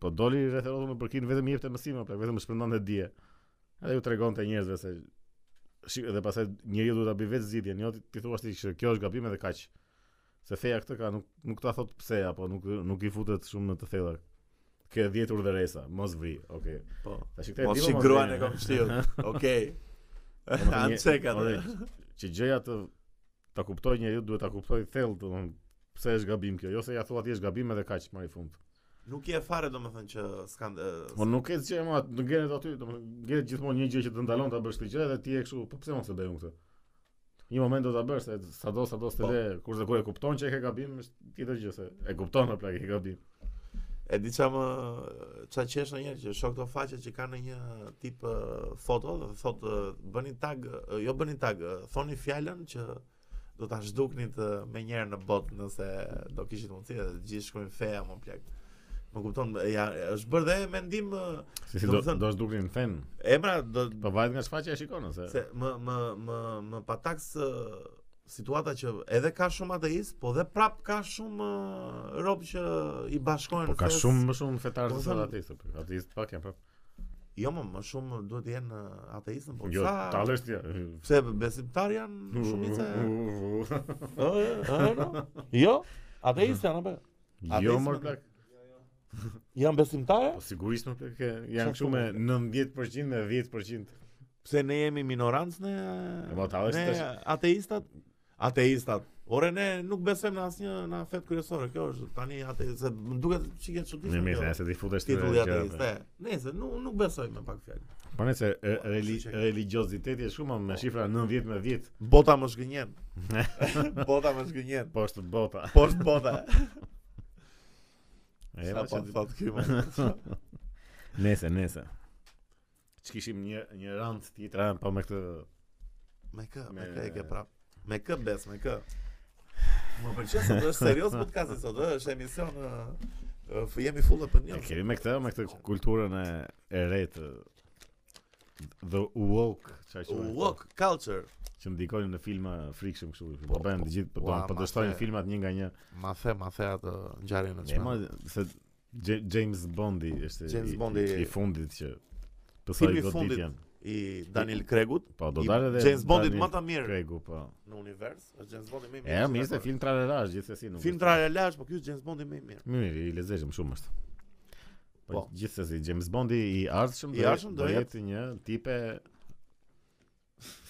[SPEAKER 2] Po doli rreth rrotën me përkin vetëm i jepte mësime, plak, vetëm shpërndante dije. Edhe ju tregonte njerëzve se Shik, edhe pastaj njeriu duhet ta bëj vetë zgjidhjen, jo ti- ti thua se kjo është gabim edhe kaq. Se feja këtë ka nuk nuk ta thot pse apo nuk nuk i futet shumë në të thella. Ke 10 urdhëresa, mos vri. Okej.
[SPEAKER 1] Po.
[SPEAKER 2] Tash këtë e
[SPEAKER 1] Mos
[SPEAKER 2] di,
[SPEAKER 1] shi
[SPEAKER 2] mos
[SPEAKER 1] gruan
[SPEAKER 2] vri.
[SPEAKER 1] e kam shtio. Okej.
[SPEAKER 2] Domethënë,
[SPEAKER 1] An
[SPEAKER 2] një-
[SPEAKER 1] check atë.
[SPEAKER 2] ore, Që gjëja të ta kuptoj njeriu duhet ta kuptoj thellë, domthon pse është gabim kjo, jo se ja thua ti është gabim edhe kaq më i fund.
[SPEAKER 1] Nuk je fare domethënë që s'kan e,
[SPEAKER 2] Po nuk e gjë më, nuk gjenet aty, domthon gjenet gjithmonë një gjë që të ndalon ta bësh këtë gjë dhe ti je kështu, po pse mos e bëj unë këtë? Një moment do ta bësh se sado sado s'te
[SPEAKER 1] Po.
[SPEAKER 2] le, kurse kur e kupton që e ke gabim, është tjetër gjë se e kupton apo plak e ke gabim.
[SPEAKER 1] e di ça më ça qesh ndonjëherë që shoh këto faqe që kanë një tip e, foto dhe thotë e, bëni tag, e, jo bëni tag, e, thoni fjalën që do ta zhduknit e, me njëherë në botë nëse do kishit mundësi dhe të gjithë shkruajnë feja më plak. Më kupton, e, ja, është bërë dhe mendim e,
[SPEAKER 2] Si si do
[SPEAKER 1] Domethënë-
[SPEAKER 2] do zhduknin fen.
[SPEAKER 1] emra do
[SPEAKER 2] Po vajt nga shfaqja e shikon ose.
[SPEAKER 1] Se më më më më pataks ë, situata që edhe ka shumë ateist, po dhe prap ka shumë ë, rob që i bashkohen
[SPEAKER 2] Po ka
[SPEAKER 1] fes.
[SPEAKER 2] shumë më shumë fetarë
[SPEAKER 1] Po,
[SPEAKER 2] se
[SPEAKER 1] thënë-
[SPEAKER 2] ateistë, ateistë pak janë prap.
[SPEAKER 1] Jo, më, më shumë duhet të jenë uh, ateistën, po
[SPEAKER 2] Jo,
[SPEAKER 1] sa-
[SPEAKER 2] tallesh ti.
[SPEAKER 1] Pse besimtar janë shumica?
[SPEAKER 2] Jo,
[SPEAKER 1] Ë, ë, no. Jo, ateist janë apo? Ateist
[SPEAKER 2] Jo, më
[SPEAKER 1] me-
[SPEAKER 2] plak.
[SPEAKER 1] Janë besimtarë?
[SPEAKER 2] Po sigurisht më plak. e- Janë
[SPEAKER 1] Çfarë
[SPEAKER 2] kështu me
[SPEAKER 1] thua?
[SPEAKER 2] 90% me 10%.
[SPEAKER 1] Pse ne jemi minorancë ne?
[SPEAKER 2] E, mo, ta është
[SPEAKER 1] ne
[SPEAKER 2] tash-
[SPEAKER 1] ateistat? Ateistat. Ore ne nuk besojmë në asnjë në fet kryesore. Kjo është tani ateistë, më duket çike
[SPEAKER 2] Në
[SPEAKER 1] çuditshme.
[SPEAKER 2] mirë,
[SPEAKER 1] kjo.
[SPEAKER 2] nëse ti futesh ti.
[SPEAKER 1] titulli ateist. e. Nëse nuk nuk besojmë me pak fjalë.
[SPEAKER 2] Po nëse e, reli-
[SPEAKER 1] Po,
[SPEAKER 2] religioziteti është shumë me shifra 90 me 10.
[SPEAKER 1] Bota më zgënjen. bota më zgënjen.
[SPEAKER 2] Po është bota.
[SPEAKER 1] Po është bota.
[SPEAKER 2] E,
[SPEAKER 1] Sa
[SPEAKER 2] ma
[SPEAKER 1] po
[SPEAKER 2] që-
[SPEAKER 1] thot ky më.
[SPEAKER 2] Nese, nese. Ç'kishim një një rand tjetër a, po me këtë
[SPEAKER 1] Me kë, me
[SPEAKER 2] Me-
[SPEAKER 1] kë e ke prap. Me kë bes, me kë. Më pëlqen sot është serioz podcasti sot, ë, është emision ë, ë, f- jemi full për
[SPEAKER 2] e
[SPEAKER 1] një.
[SPEAKER 2] kemi me këtë me këtë kulturën e e re të the woke, çfarë quhet?
[SPEAKER 1] Walk culture.
[SPEAKER 2] që ndikojnë në filma frikshëm kështu, po
[SPEAKER 1] Po,
[SPEAKER 2] bën
[SPEAKER 1] po,
[SPEAKER 2] të gjithë po
[SPEAKER 1] po,
[SPEAKER 2] bën, po
[SPEAKER 1] ama
[SPEAKER 2] dështojnë
[SPEAKER 1] se-
[SPEAKER 2] filmat një nga një.
[SPEAKER 1] Ma the, ma the atë ngjarjen e
[SPEAKER 2] E ma
[SPEAKER 1] çmendur.
[SPEAKER 2] se J- James Bondi është
[SPEAKER 1] James
[SPEAKER 2] i-
[SPEAKER 1] Bondi-
[SPEAKER 2] i, i fundit që pësoj
[SPEAKER 1] Filmi i
[SPEAKER 2] godit
[SPEAKER 1] fundit
[SPEAKER 2] janë.
[SPEAKER 1] i Daniel Craigut,
[SPEAKER 2] Po do
[SPEAKER 1] i
[SPEAKER 2] dalë edhe
[SPEAKER 1] James Bondit
[SPEAKER 2] Daniel
[SPEAKER 1] më ta mirë
[SPEAKER 2] Craigu po.
[SPEAKER 1] në univers, është James Bondi më i
[SPEAKER 2] E
[SPEAKER 1] mirë.
[SPEAKER 2] më ishte film tralerash gjithsesi nuk.
[SPEAKER 1] Film
[SPEAKER 2] është-
[SPEAKER 1] tralalash, po ky është James Bondi më i mirë.
[SPEAKER 2] Mirë, i lezeshëm shumë është. Po,
[SPEAKER 1] Po.
[SPEAKER 2] gjithsesi James Bondi i ardhshëm
[SPEAKER 1] I ardhshëm do jetë-
[SPEAKER 2] një tipe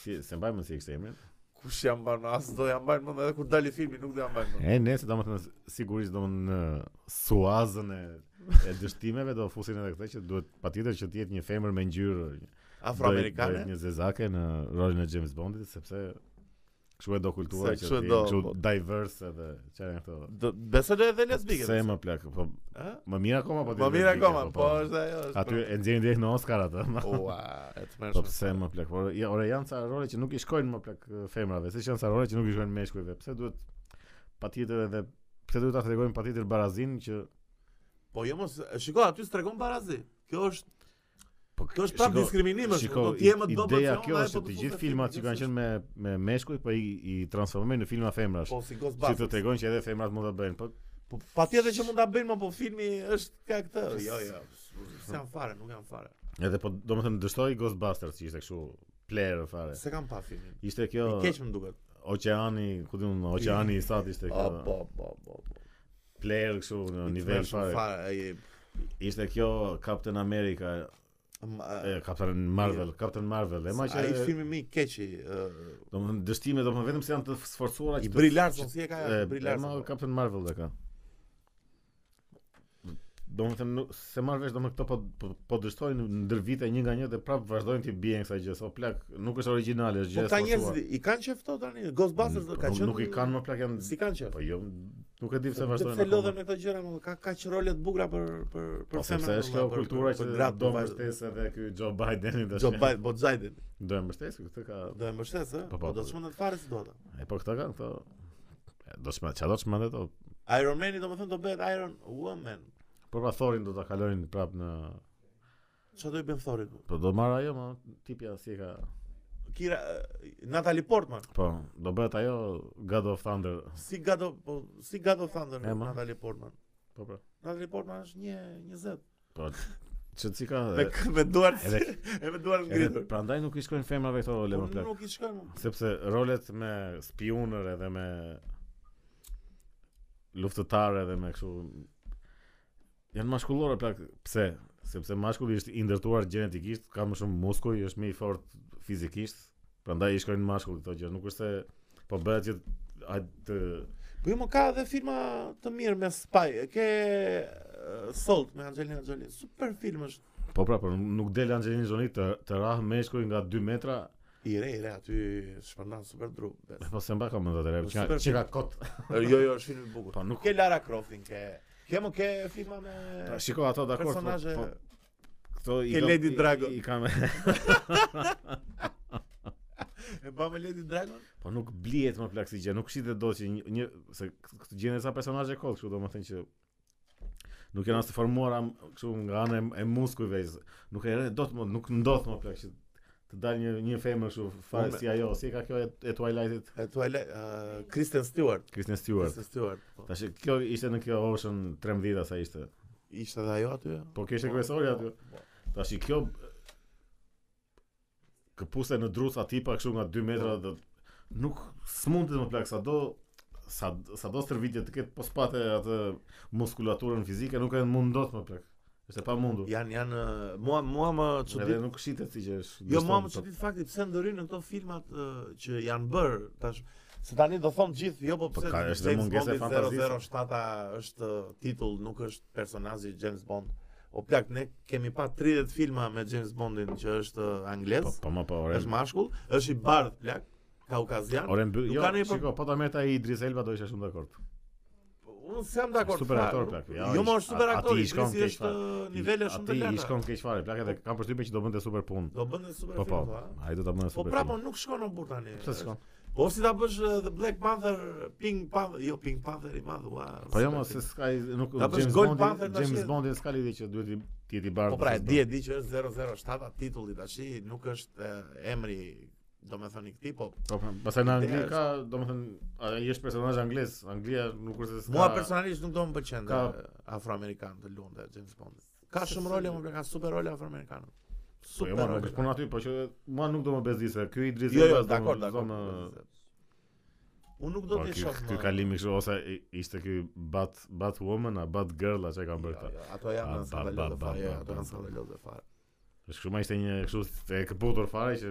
[SPEAKER 2] si se mbajmë si ekse emrin.
[SPEAKER 1] Kush jam mban, as do jam mban mend edhe kur dali filmi, nuk do jam mban mend.
[SPEAKER 2] E nëse domethënë sigurisht domethënë në suazën e, e dështimeve do fusin edhe këtë që duhet patjetër që të jetë një femër me ngjyrë do jetë
[SPEAKER 1] Afroamerikane.
[SPEAKER 2] një zezake në rolin e James Bondit sepse kështu e do kultura
[SPEAKER 1] Se
[SPEAKER 2] që
[SPEAKER 1] kështu e
[SPEAKER 2] të
[SPEAKER 1] do,
[SPEAKER 2] jetë kështu
[SPEAKER 1] po.
[SPEAKER 2] diverse edhe çfarë janë këto.
[SPEAKER 1] Do besoj edhe lesbike.
[SPEAKER 2] Se më plak, po
[SPEAKER 1] Ë?
[SPEAKER 2] më mirë akoma po ti
[SPEAKER 1] Po mirë
[SPEAKER 2] lesbike,
[SPEAKER 1] akoma, po është ajo. është
[SPEAKER 2] Aty e nxjerrin direkt në Oscar atë. ma.
[SPEAKER 1] Ua, e të mërshme.
[SPEAKER 2] Po pse më plak? Por ja, ore janë ca role që nuk i shkojnë më plak eh, femrave, siç janë ca role që nuk i shkojnë meshkujve. Pse duhet patjetër edhe pse duhet ta tregojmë patjetër barazin që
[SPEAKER 1] Po jo mos, shiko aty s'tregon barazi. Kjo është
[SPEAKER 2] po
[SPEAKER 1] kjo është prap diskriminim është.
[SPEAKER 2] Shiko,
[SPEAKER 1] Do të
[SPEAKER 2] i-
[SPEAKER 1] je më dobët
[SPEAKER 2] ideja
[SPEAKER 1] se
[SPEAKER 2] kjo
[SPEAKER 1] ona, e
[SPEAKER 2] është
[SPEAKER 1] po
[SPEAKER 2] të
[SPEAKER 1] të
[SPEAKER 2] gjithë
[SPEAKER 1] futet
[SPEAKER 2] filmat
[SPEAKER 1] filmi,
[SPEAKER 2] që kanë qenë me me meshkuj po i, i transformojnë në filma femrash.
[SPEAKER 1] po si gos
[SPEAKER 2] Si të
[SPEAKER 1] bas.
[SPEAKER 2] tregojnë që edhe femrat mund ta bëjnë. Po
[SPEAKER 1] Po patjetër që mund ta bëjnë, mo, po filmi është ka këtë. Jo, jo. S'jam fare, nuk jam fare.
[SPEAKER 2] edhe po domethënë dështoi Ghostbusters që ishte kështu player fare.
[SPEAKER 1] Se kam pa filmin.
[SPEAKER 2] Ishte
[SPEAKER 1] I
[SPEAKER 2] kjo
[SPEAKER 1] keq më duket.
[SPEAKER 2] oqeani, ku diun, oqeani i sat ishte
[SPEAKER 1] Po,
[SPEAKER 2] kjo
[SPEAKER 1] po, po, po. po.
[SPEAKER 2] player kështu në
[SPEAKER 1] I
[SPEAKER 2] nivel
[SPEAKER 1] tmerrshëm
[SPEAKER 2] fare.
[SPEAKER 1] ai-
[SPEAKER 2] Ishte kjo Captain America,
[SPEAKER 1] ma-
[SPEAKER 2] e, Captain Marvel, Captain Marvel. E ma që
[SPEAKER 1] Ai është filmi më i keq i. ë,
[SPEAKER 2] domethënë dështimet domethënë vetëm se janë të sforcuara
[SPEAKER 1] I
[SPEAKER 2] që të-
[SPEAKER 1] Brie Larson si e ka
[SPEAKER 2] e,
[SPEAKER 1] Brie
[SPEAKER 2] e, ma
[SPEAKER 1] Larson. Po,
[SPEAKER 2] Captain Marvel dhe ka. Domethënë nuk- se marr vesh domethënë këto po po, po dështojnë ndër vite një nga një dhe prapë vazhdojnë të bien kësaj gjë. So plak, nuk është origjinale, është gjë
[SPEAKER 1] Po
[SPEAKER 2] e
[SPEAKER 1] këta njerëz
[SPEAKER 2] sforcuar.
[SPEAKER 1] i kanë qef to tani. Ghostbusters do ka
[SPEAKER 2] Nuk-
[SPEAKER 1] qenë.
[SPEAKER 2] Nuk i kanë më plak janë
[SPEAKER 1] Si kanë qef?
[SPEAKER 2] Po jo, nuk e di pse
[SPEAKER 1] Po,
[SPEAKER 2] vazhdojnë.
[SPEAKER 1] Pse
[SPEAKER 2] akoma.
[SPEAKER 1] lodhen me këto gjëra më ka kaq role të bukura për për për
[SPEAKER 2] Po sepse është kjo
[SPEAKER 1] valla, për-
[SPEAKER 2] kultura
[SPEAKER 1] për-
[SPEAKER 2] që
[SPEAKER 1] për gratë,
[SPEAKER 2] do
[SPEAKER 1] për vajzë.
[SPEAKER 2] mbështesë edhe ky Joe Bideni tash.
[SPEAKER 1] Do bëj po Xhajdin.
[SPEAKER 2] Do e mbështesë këtë ka
[SPEAKER 1] Do e mbështes, ë?
[SPEAKER 2] Po, po,
[SPEAKER 1] Po do
[SPEAKER 2] po.
[SPEAKER 1] të të fare si do ata.
[SPEAKER 2] E po këta kanë këto E, Do shme, qa do shme dhe to
[SPEAKER 1] Iron Man do të thonë do bëhet Iron Woman.
[SPEAKER 2] Po pra Thorin do ta kalojnë prap në
[SPEAKER 1] Çfarë do i bën Thorit? mu?
[SPEAKER 2] Po do marrë ajo ma Tipja si e ka
[SPEAKER 1] Kira eh, Natalie Portman.
[SPEAKER 2] Po do bëhet ajo God of Thunder
[SPEAKER 1] Si gado po si gado Thunder
[SPEAKER 2] E, ma.
[SPEAKER 1] Natalie Portman.
[SPEAKER 2] Po pra
[SPEAKER 1] Natalie Portman është një 20.
[SPEAKER 2] Po Që si ka
[SPEAKER 1] Me
[SPEAKER 2] e-
[SPEAKER 1] kë- me duart
[SPEAKER 2] edhe
[SPEAKER 1] e me duart
[SPEAKER 2] Edhe
[SPEAKER 1] ngritur.
[SPEAKER 2] prandaj nuk i shkojnë femrave këto role
[SPEAKER 1] Po,
[SPEAKER 2] më plak
[SPEAKER 1] Nuk i shkon. mu.
[SPEAKER 2] Sepse rolet me spionër edhe me luftëtare edhe me kështu janë maskullore plak pse? Sepse mashkulli është i ndërtuar gjenetikisht, ka më shumë muskuj, është më i fortë fizikisht, prandaj i shkojnë mashkullit këto gjë. Nuk është se po bëhet që ai të
[SPEAKER 1] Po jo, më ka edhe filma të mirë me spy. E Ke eh, Salt me Angelina Jolie. Super film është.
[SPEAKER 2] po pra, por nuk del Angelina Jolie të të rah meshkuj nga 2 metra,
[SPEAKER 1] I re, i re, aty shpërndan super dru. bes.
[SPEAKER 2] po se mba ka më të rrë, që
[SPEAKER 1] Super
[SPEAKER 2] që ka kot.
[SPEAKER 1] jo, jo, është film i bukur.
[SPEAKER 2] Po nuk
[SPEAKER 1] Ke Lara Croftin, ke ke më ke filma me
[SPEAKER 2] pra, shiko ato dakor, po,
[SPEAKER 1] personazhe.
[SPEAKER 2] po këto i
[SPEAKER 1] Ke
[SPEAKER 2] kam-
[SPEAKER 1] Lady
[SPEAKER 2] i-
[SPEAKER 1] Drago.
[SPEAKER 2] i kam
[SPEAKER 1] E ba me Lady Dragon?
[SPEAKER 2] Po nuk blihet më plak si gjë, nuk shitet dot që një, një se këtë gjendë sa personazhe kollë, kështu domethënë që nuk janë as të formuara m- kështu nga ana e- e muskujve, s- nuk e re dot më nuk ndodh më plak që të dalë një një femër kështu fare
[SPEAKER 1] Unë-
[SPEAKER 2] si ajo, si e ka kjo e, e Twilightit,
[SPEAKER 1] E Twilight, uh, Kristen Stewart.
[SPEAKER 2] Kristen Stewart.
[SPEAKER 1] Kristen Stewart. Po.
[SPEAKER 2] Tash kjo ishte në kjo Ocean 13 sa ishte.
[SPEAKER 1] Ishte dhe ajo aty?
[SPEAKER 2] Po kjo ishte kryesorja aty.
[SPEAKER 1] Po.
[SPEAKER 2] Tash kjo këpuse në druca tipa kështu nga 2 metra dhe nuk s'mund të më plak sado sa sado stërvitje të ketë pospate atë muskulaturën fizike nuk e mundot më plak. Është e pamundur.
[SPEAKER 1] Janë janë mua mua më
[SPEAKER 2] Edhe
[SPEAKER 1] çudit.
[SPEAKER 2] nuk shitet si që është. po-
[SPEAKER 1] Jo mua
[SPEAKER 2] dështon
[SPEAKER 1] më
[SPEAKER 2] të-
[SPEAKER 1] çudit fakti pse ndërin në këto filmat ë, që janë bër tash se tani do thon gjithë jo po
[SPEAKER 2] Po
[SPEAKER 1] pse
[SPEAKER 2] ka, është dhe
[SPEAKER 1] James
[SPEAKER 2] mungesë e
[SPEAKER 1] Bondi
[SPEAKER 2] fantazisë.
[SPEAKER 1] 007 është titull, nuk është personazhi James Bond. O plak ne kemi pa 30 filma me James Bondin që është ë, anglez,
[SPEAKER 2] Po po më po ore.
[SPEAKER 1] është mashkull, është i bardh plak, kaukazian.
[SPEAKER 2] Ore mbyll.
[SPEAKER 1] Nuk
[SPEAKER 2] Jo,
[SPEAKER 1] ka ndonjë pro-
[SPEAKER 2] shiko, po ta merrta ai Idris Elba do isha shumë dakord.
[SPEAKER 1] Po, Unë s'jam dakord.
[SPEAKER 2] Super
[SPEAKER 1] fare,
[SPEAKER 2] aktor,
[SPEAKER 1] nuk-
[SPEAKER 2] plak, ja,
[SPEAKER 1] Jo, më
[SPEAKER 2] ish-
[SPEAKER 1] është super
[SPEAKER 2] a-
[SPEAKER 1] aktor,
[SPEAKER 2] ati i
[SPEAKER 1] i
[SPEAKER 2] shkon
[SPEAKER 1] Krisi
[SPEAKER 2] keq
[SPEAKER 1] është
[SPEAKER 2] fare.
[SPEAKER 1] Po, nivele shumë të
[SPEAKER 2] Ati i
[SPEAKER 1] larta.
[SPEAKER 2] shkon keq fare, plak edhe kam përshtypjen që do bënte super punë.
[SPEAKER 1] Do bënte super
[SPEAKER 2] Po po,
[SPEAKER 1] film, po.
[SPEAKER 2] ai do ta bënte
[SPEAKER 1] Po
[SPEAKER 2] super.
[SPEAKER 1] prapë
[SPEAKER 2] punë.
[SPEAKER 1] nuk shkon në burr tani.
[SPEAKER 2] Pse s'shkon?
[SPEAKER 1] Po si ta bësh uh, The Black Panther, Pink Panther, jo Pink Panther i madh, ua.
[SPEAKER 2] Po jo,
[SPEAKER 1] super
[SPEAKER 2] mo
[SPEAKER 1] film.
[SPEAKER 2] se s'ka i- nuk
[SPEAKER 1] Ta bësh
[SPEAKER 2] James
[SPEAKER 1] Gold
[SPEAKER 2] Bondi,
[SPEAKER 1] Panther tash
[SPEAKER 2] James
[SPEAKER 1] e-
[SPEAKER 2] Bondi s'ka lidhje që duhet i- ti jeti bardh.
[SPEAKER 1] Po pra, e
[SPEAKER 2] s'do.
[SPEAKER 1] di e di që është 007 titulli tash, nuk është e, emri, domethënë i këtij, po
[SPEAKER 2] Po pra, pastaj në Angli
[SPEAKER 1] Ideja
[SPEAKER 2] ka, domethënë, ai është personazh anglez. Anglia nuk është se s'ka.
[SPEAKER 1] mua personalisht nuk do më pëlqen
[SPEAKER 2] ka-
[SPEAKER 1] e, afroamerikan të lunte James Bond. Ka
[SPEAKER 2] Se-
[SPEAKER 1] shumë role, më ka super role afroamerikan.
[SPEAKER 2] Po jo,
[SPEAKER 1] Super
[SPEAKER 2] ma, nuk
[SPEAKER 1] role.
[SPEAKER 2] është puna aty, po që mua nuk do më bezdisë. Ky Idris
[SPEAKER 1] Jo, jo,
[SPEAKER 2] Elba s'do më-
[SPEAKER 1] dakor,
[SPEAKER 2] s'do
[SPEAKER 1] dakor.
[SPEAKER 2] më-
[SPEAKER 1] Unë nuk
[SPEAKER 2] Po
[SPEAKER 1] do të
[SPEAKER 2] ky
[SPEAKER 1] shoh.
[SPEAKER 2] ky
[SPEAKER 1] më-
[SPEAKER 2] kalimi kështu ose i- ishte ky bat bat woman, a bat girl, a çka kanë bërë
[SPEAKER 1] Jo,
[SPEAKER 2] këta.
[SPEAKER 1] jo, Ato janë
[SPEAKER 2] A,
[SPEAKER 1] në
[SPEAKER 2] ba, ba,
[SPEAKER 1] skandalë
[SPEAKER 2] ba,
[SPEAKER 1] fare,
[SPEAKER 2] ba,
[SPEAKER 1] ato
[SPEAKER 2] ba,
[SPEAKER 1] janë
[SPEAKER 2] ba.
[SPEAKER 1] skandalë fare.
[SPEAKER 2] Është kështu ma ishte një kështu e këputur fare që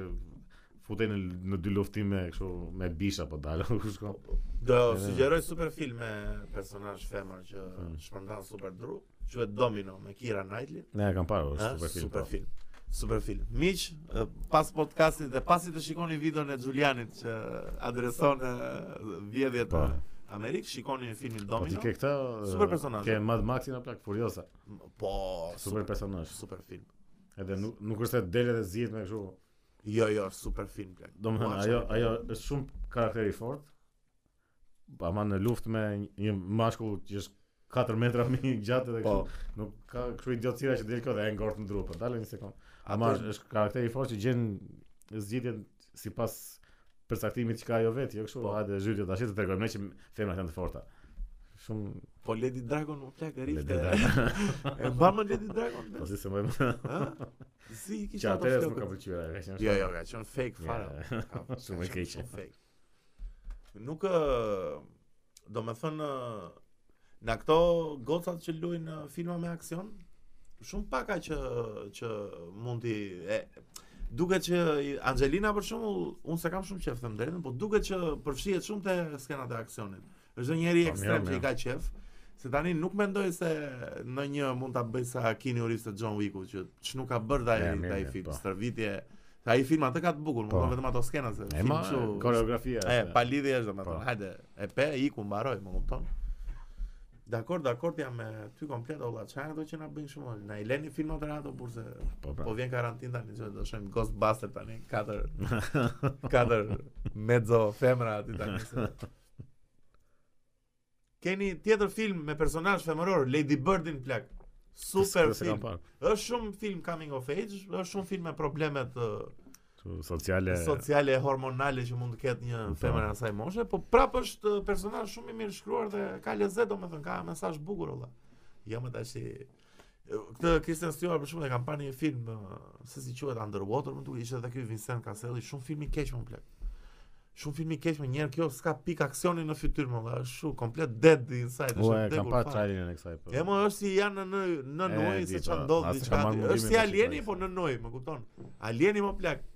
[SPEAKER 2] futej në në dy luftime kështu me bisha po dalë ku shkon.
[SPEAKER 1] Do sugjeroj super film me personazh femër që
[SPEAKER 2] Mm.
[SPEAKER 1] shpërndan super dru, quhet Domino me Kira Knightley.
[SPEAKER 2] Ne e kam parë,
[SPEAKER 1] Ë,
[SPEAKER 2] është super film.
[SPEAKER 1] Ah, Super
[SPEAKER 2] po.
[SPEAKER 1] film. Super film. Miq, ë, pas podcastit dhe pasi të shikoni videon e Xhulianit që adreson ë, vjedhjet
[SPEAKER 2] Po.
[SPEAKER 1] në Amerikë, shikoni filmin
[SPEAKER 2] Po ti
[SPEAKER 1] Domino.
[SPEAKER 2] ke këta
[SPEAKER 1] Super
[SPEAKER 2] e,
[SPEAKER 1] personazhe.
[SPEAKER 2] Ke Mad Maxin apo Plak Furiosa.
[SPEAKER 1] Po,
[SPEAKER 2] Super
[SPEAKER 1] super
[SPEAKER 2] personazh.
[SPEAKER 1] super film.
[SPEAKER 2] Edhe nuk nuk është se delet e zihet me kështu.
[SPEAKER 1] Jo, jo, super film plak.
[SPEAKER 2] Domethënë
[SPEAKER 1] Ua,
[SPEAKER 2] ajo
[SPEAKER 1] çfarë-
[SPEAKER 2] ajo është shumë karakter i fortë. Po ama në luftë me një- një mashkull që është 4 metra më i gjatë edhe
[SPEAKER 1] Po,
[SPEAKER 2] kështu. Nuk ka kështu idiotësira që del këtu dhe e ngort në drupa. Dalë një sekond. Ama
[SPEAKER 1] ama
[SPEAKER 2] është, është karakter i fortë që gjen zgjidhjen sipas përcaktimit që ka ajo vetë, jo kështu.
[SPEAKER 1] Po.
[SPEAKER 2] Hajde zhytje tash të tregojmë ne që femrat janë të forta. Shumë
[SPEAKER 1] po Lady Dragon u plak
[SPEAKER 2] le
[SPEAKER 1] e rifte.
[SPEAKER 2] të dalë.
[SPEAKER 1] E mban më Lady Dragon.
[SPEAKER 2] Po
[SPEAKER 1] plak?
[SPEAKER 2] si se më më.
[SPEAKER 1] Ë? Si i
[SPEAKER 2] Që
[SPEAKER 1] kisha ato
[SPEAKER 2] atëherë nuk
[SPEAKER 1] po flokët?
[SPEAKER 2] ka pëlqyer ajo, ka qenë.
[SPEAKER 1] Jo,
[SPEAKER 2] shumë-
[SPEAKER 1] jo, ka qenë fake
[SPEAKER 2] Ja,
[SPEAKER 1] fare.
[SPEAKER 2] ja.
[SPEAKER 1] Ka- ka
[SPEAKER 2] Shumë e
[SPEAKER 1] qenë
[SPEAKER 2] keqe.
[SPEAKER 1] shumë fake. Nuk ë do me thënë ë, në këto gocat që luajnë ë, filma me aksion, shumë paka që që mund t'i e, duket që i- Angelina për shembull, unë se kam shumë qef them drejtën, po duket që përfshihet shumë te skenat e aksionit. Është njëri
[SPEAKER 2] Po,
[SPEAKER 1] ekstrem
[SPEAKER 2] mirë,
[SPEAKER 1] që i
[SPEAKER 2] mirë.
[SPEAKER 1] ka qef. Se tani nuk mendoj se në një mund ta bëj sa Keanu Reeves të John Wicku që ç'nuk ka bërë dai
[SPEAKER 2] Ja, mirë,
[SPEAKER 1] dai
[SPEAKER 2] mirë,
[SPEAKER 1] film,
[SPEAKER 2] po.
[SPEAKER 1] stërvitje. Sa ai film atë ka të bukur, më
[SPEAKER 2] Po.
[SPEAKER 1] kupton vetëm ato skena se
[SPEAKER 2] E
[SPEAKER 1] jo, film
[SPEAKER 2] ma
[SPEAKER 1] kështu-
[SPEAKER 2] koreografia.
[SPEAKER 1] E
[SPEAKER 2] është.
[SPEAKER 1] pa lidhje është domethënë.
[SPEAKER 2] Po.
[SPEAKER 1] Hajde, e pe iku mbaroj, më kupton? Dakor, dakor, jam me ty komplet olla çfarë do që na bëjnë shumë. Na i lëni filmat rato kurse
[SPEAKER 2] Po pra.
[SPEAKER 1] po vjen karantinë tani që do shohim Ghostbuster tani, katër katër mezzo femra aty tani. se- Keni tjetër film me personazh femëror, Lady Birdin plak. Super
[SPEAKER 2] S'ka- s'e kam
[SPEAKER 1] film.
[SPEAKER 2] parë.
[SPEAKER 1] Është shumë film coming of age, është shumë film me probleme të
[SPEAKER 2] Kështu, Sociale.
[SPEAKER 1] Po, sociale hormonale që mund të ketë një
[SPEAKER 2] Po.
[SPEAKER 1] femër e asaj moshe, po prapë është uh, personazh shumë i mirë shkruar dhe ka lezet, domethënë ka mesazh bukur olla. Jo më tash i- këtë Kristen Stewart për shembull e kam parë në një film uh, se si quhet Underwater, më duket ishte edhe ky Vincent Cassel, shumë film i keq më plak. Shumë film i keq më njerë kjo s'ka pik aksioni në fytyrë më valla, është shumë komplet dead inside,
[SPEAKER 2] Ua, e
[SPEAKER 1] vdekur
[SPEAKER 2] kam parë
[SPEAKER 1] fare.
[SPEAKER 2] trailerin e kësaj. po.
[SPEAKER 1] E mo është si janë në në
[SPEAKER 2] E,
[SPEAKER 1] nuj
[SPEAKER 2] di,
[SPEAKER 1] se
[SPEAKER 2] po,
[SPEAKER 1] çfarë ndodh
[SPEAKER 2] as
[SPEAKER 1] diçka
[SPEAKER 2] s'ka marrë
[SPEAKER 1] aty.
[SPEAKER 2] mundimin
[SPEAKER 1] Është si
[SPEAKER 2] ta
[SPEAKER 1] alieni
[SPEAKER 2] shikoj.
[SPEAKER 1] po në nuj, më kupton? Alieni më plak.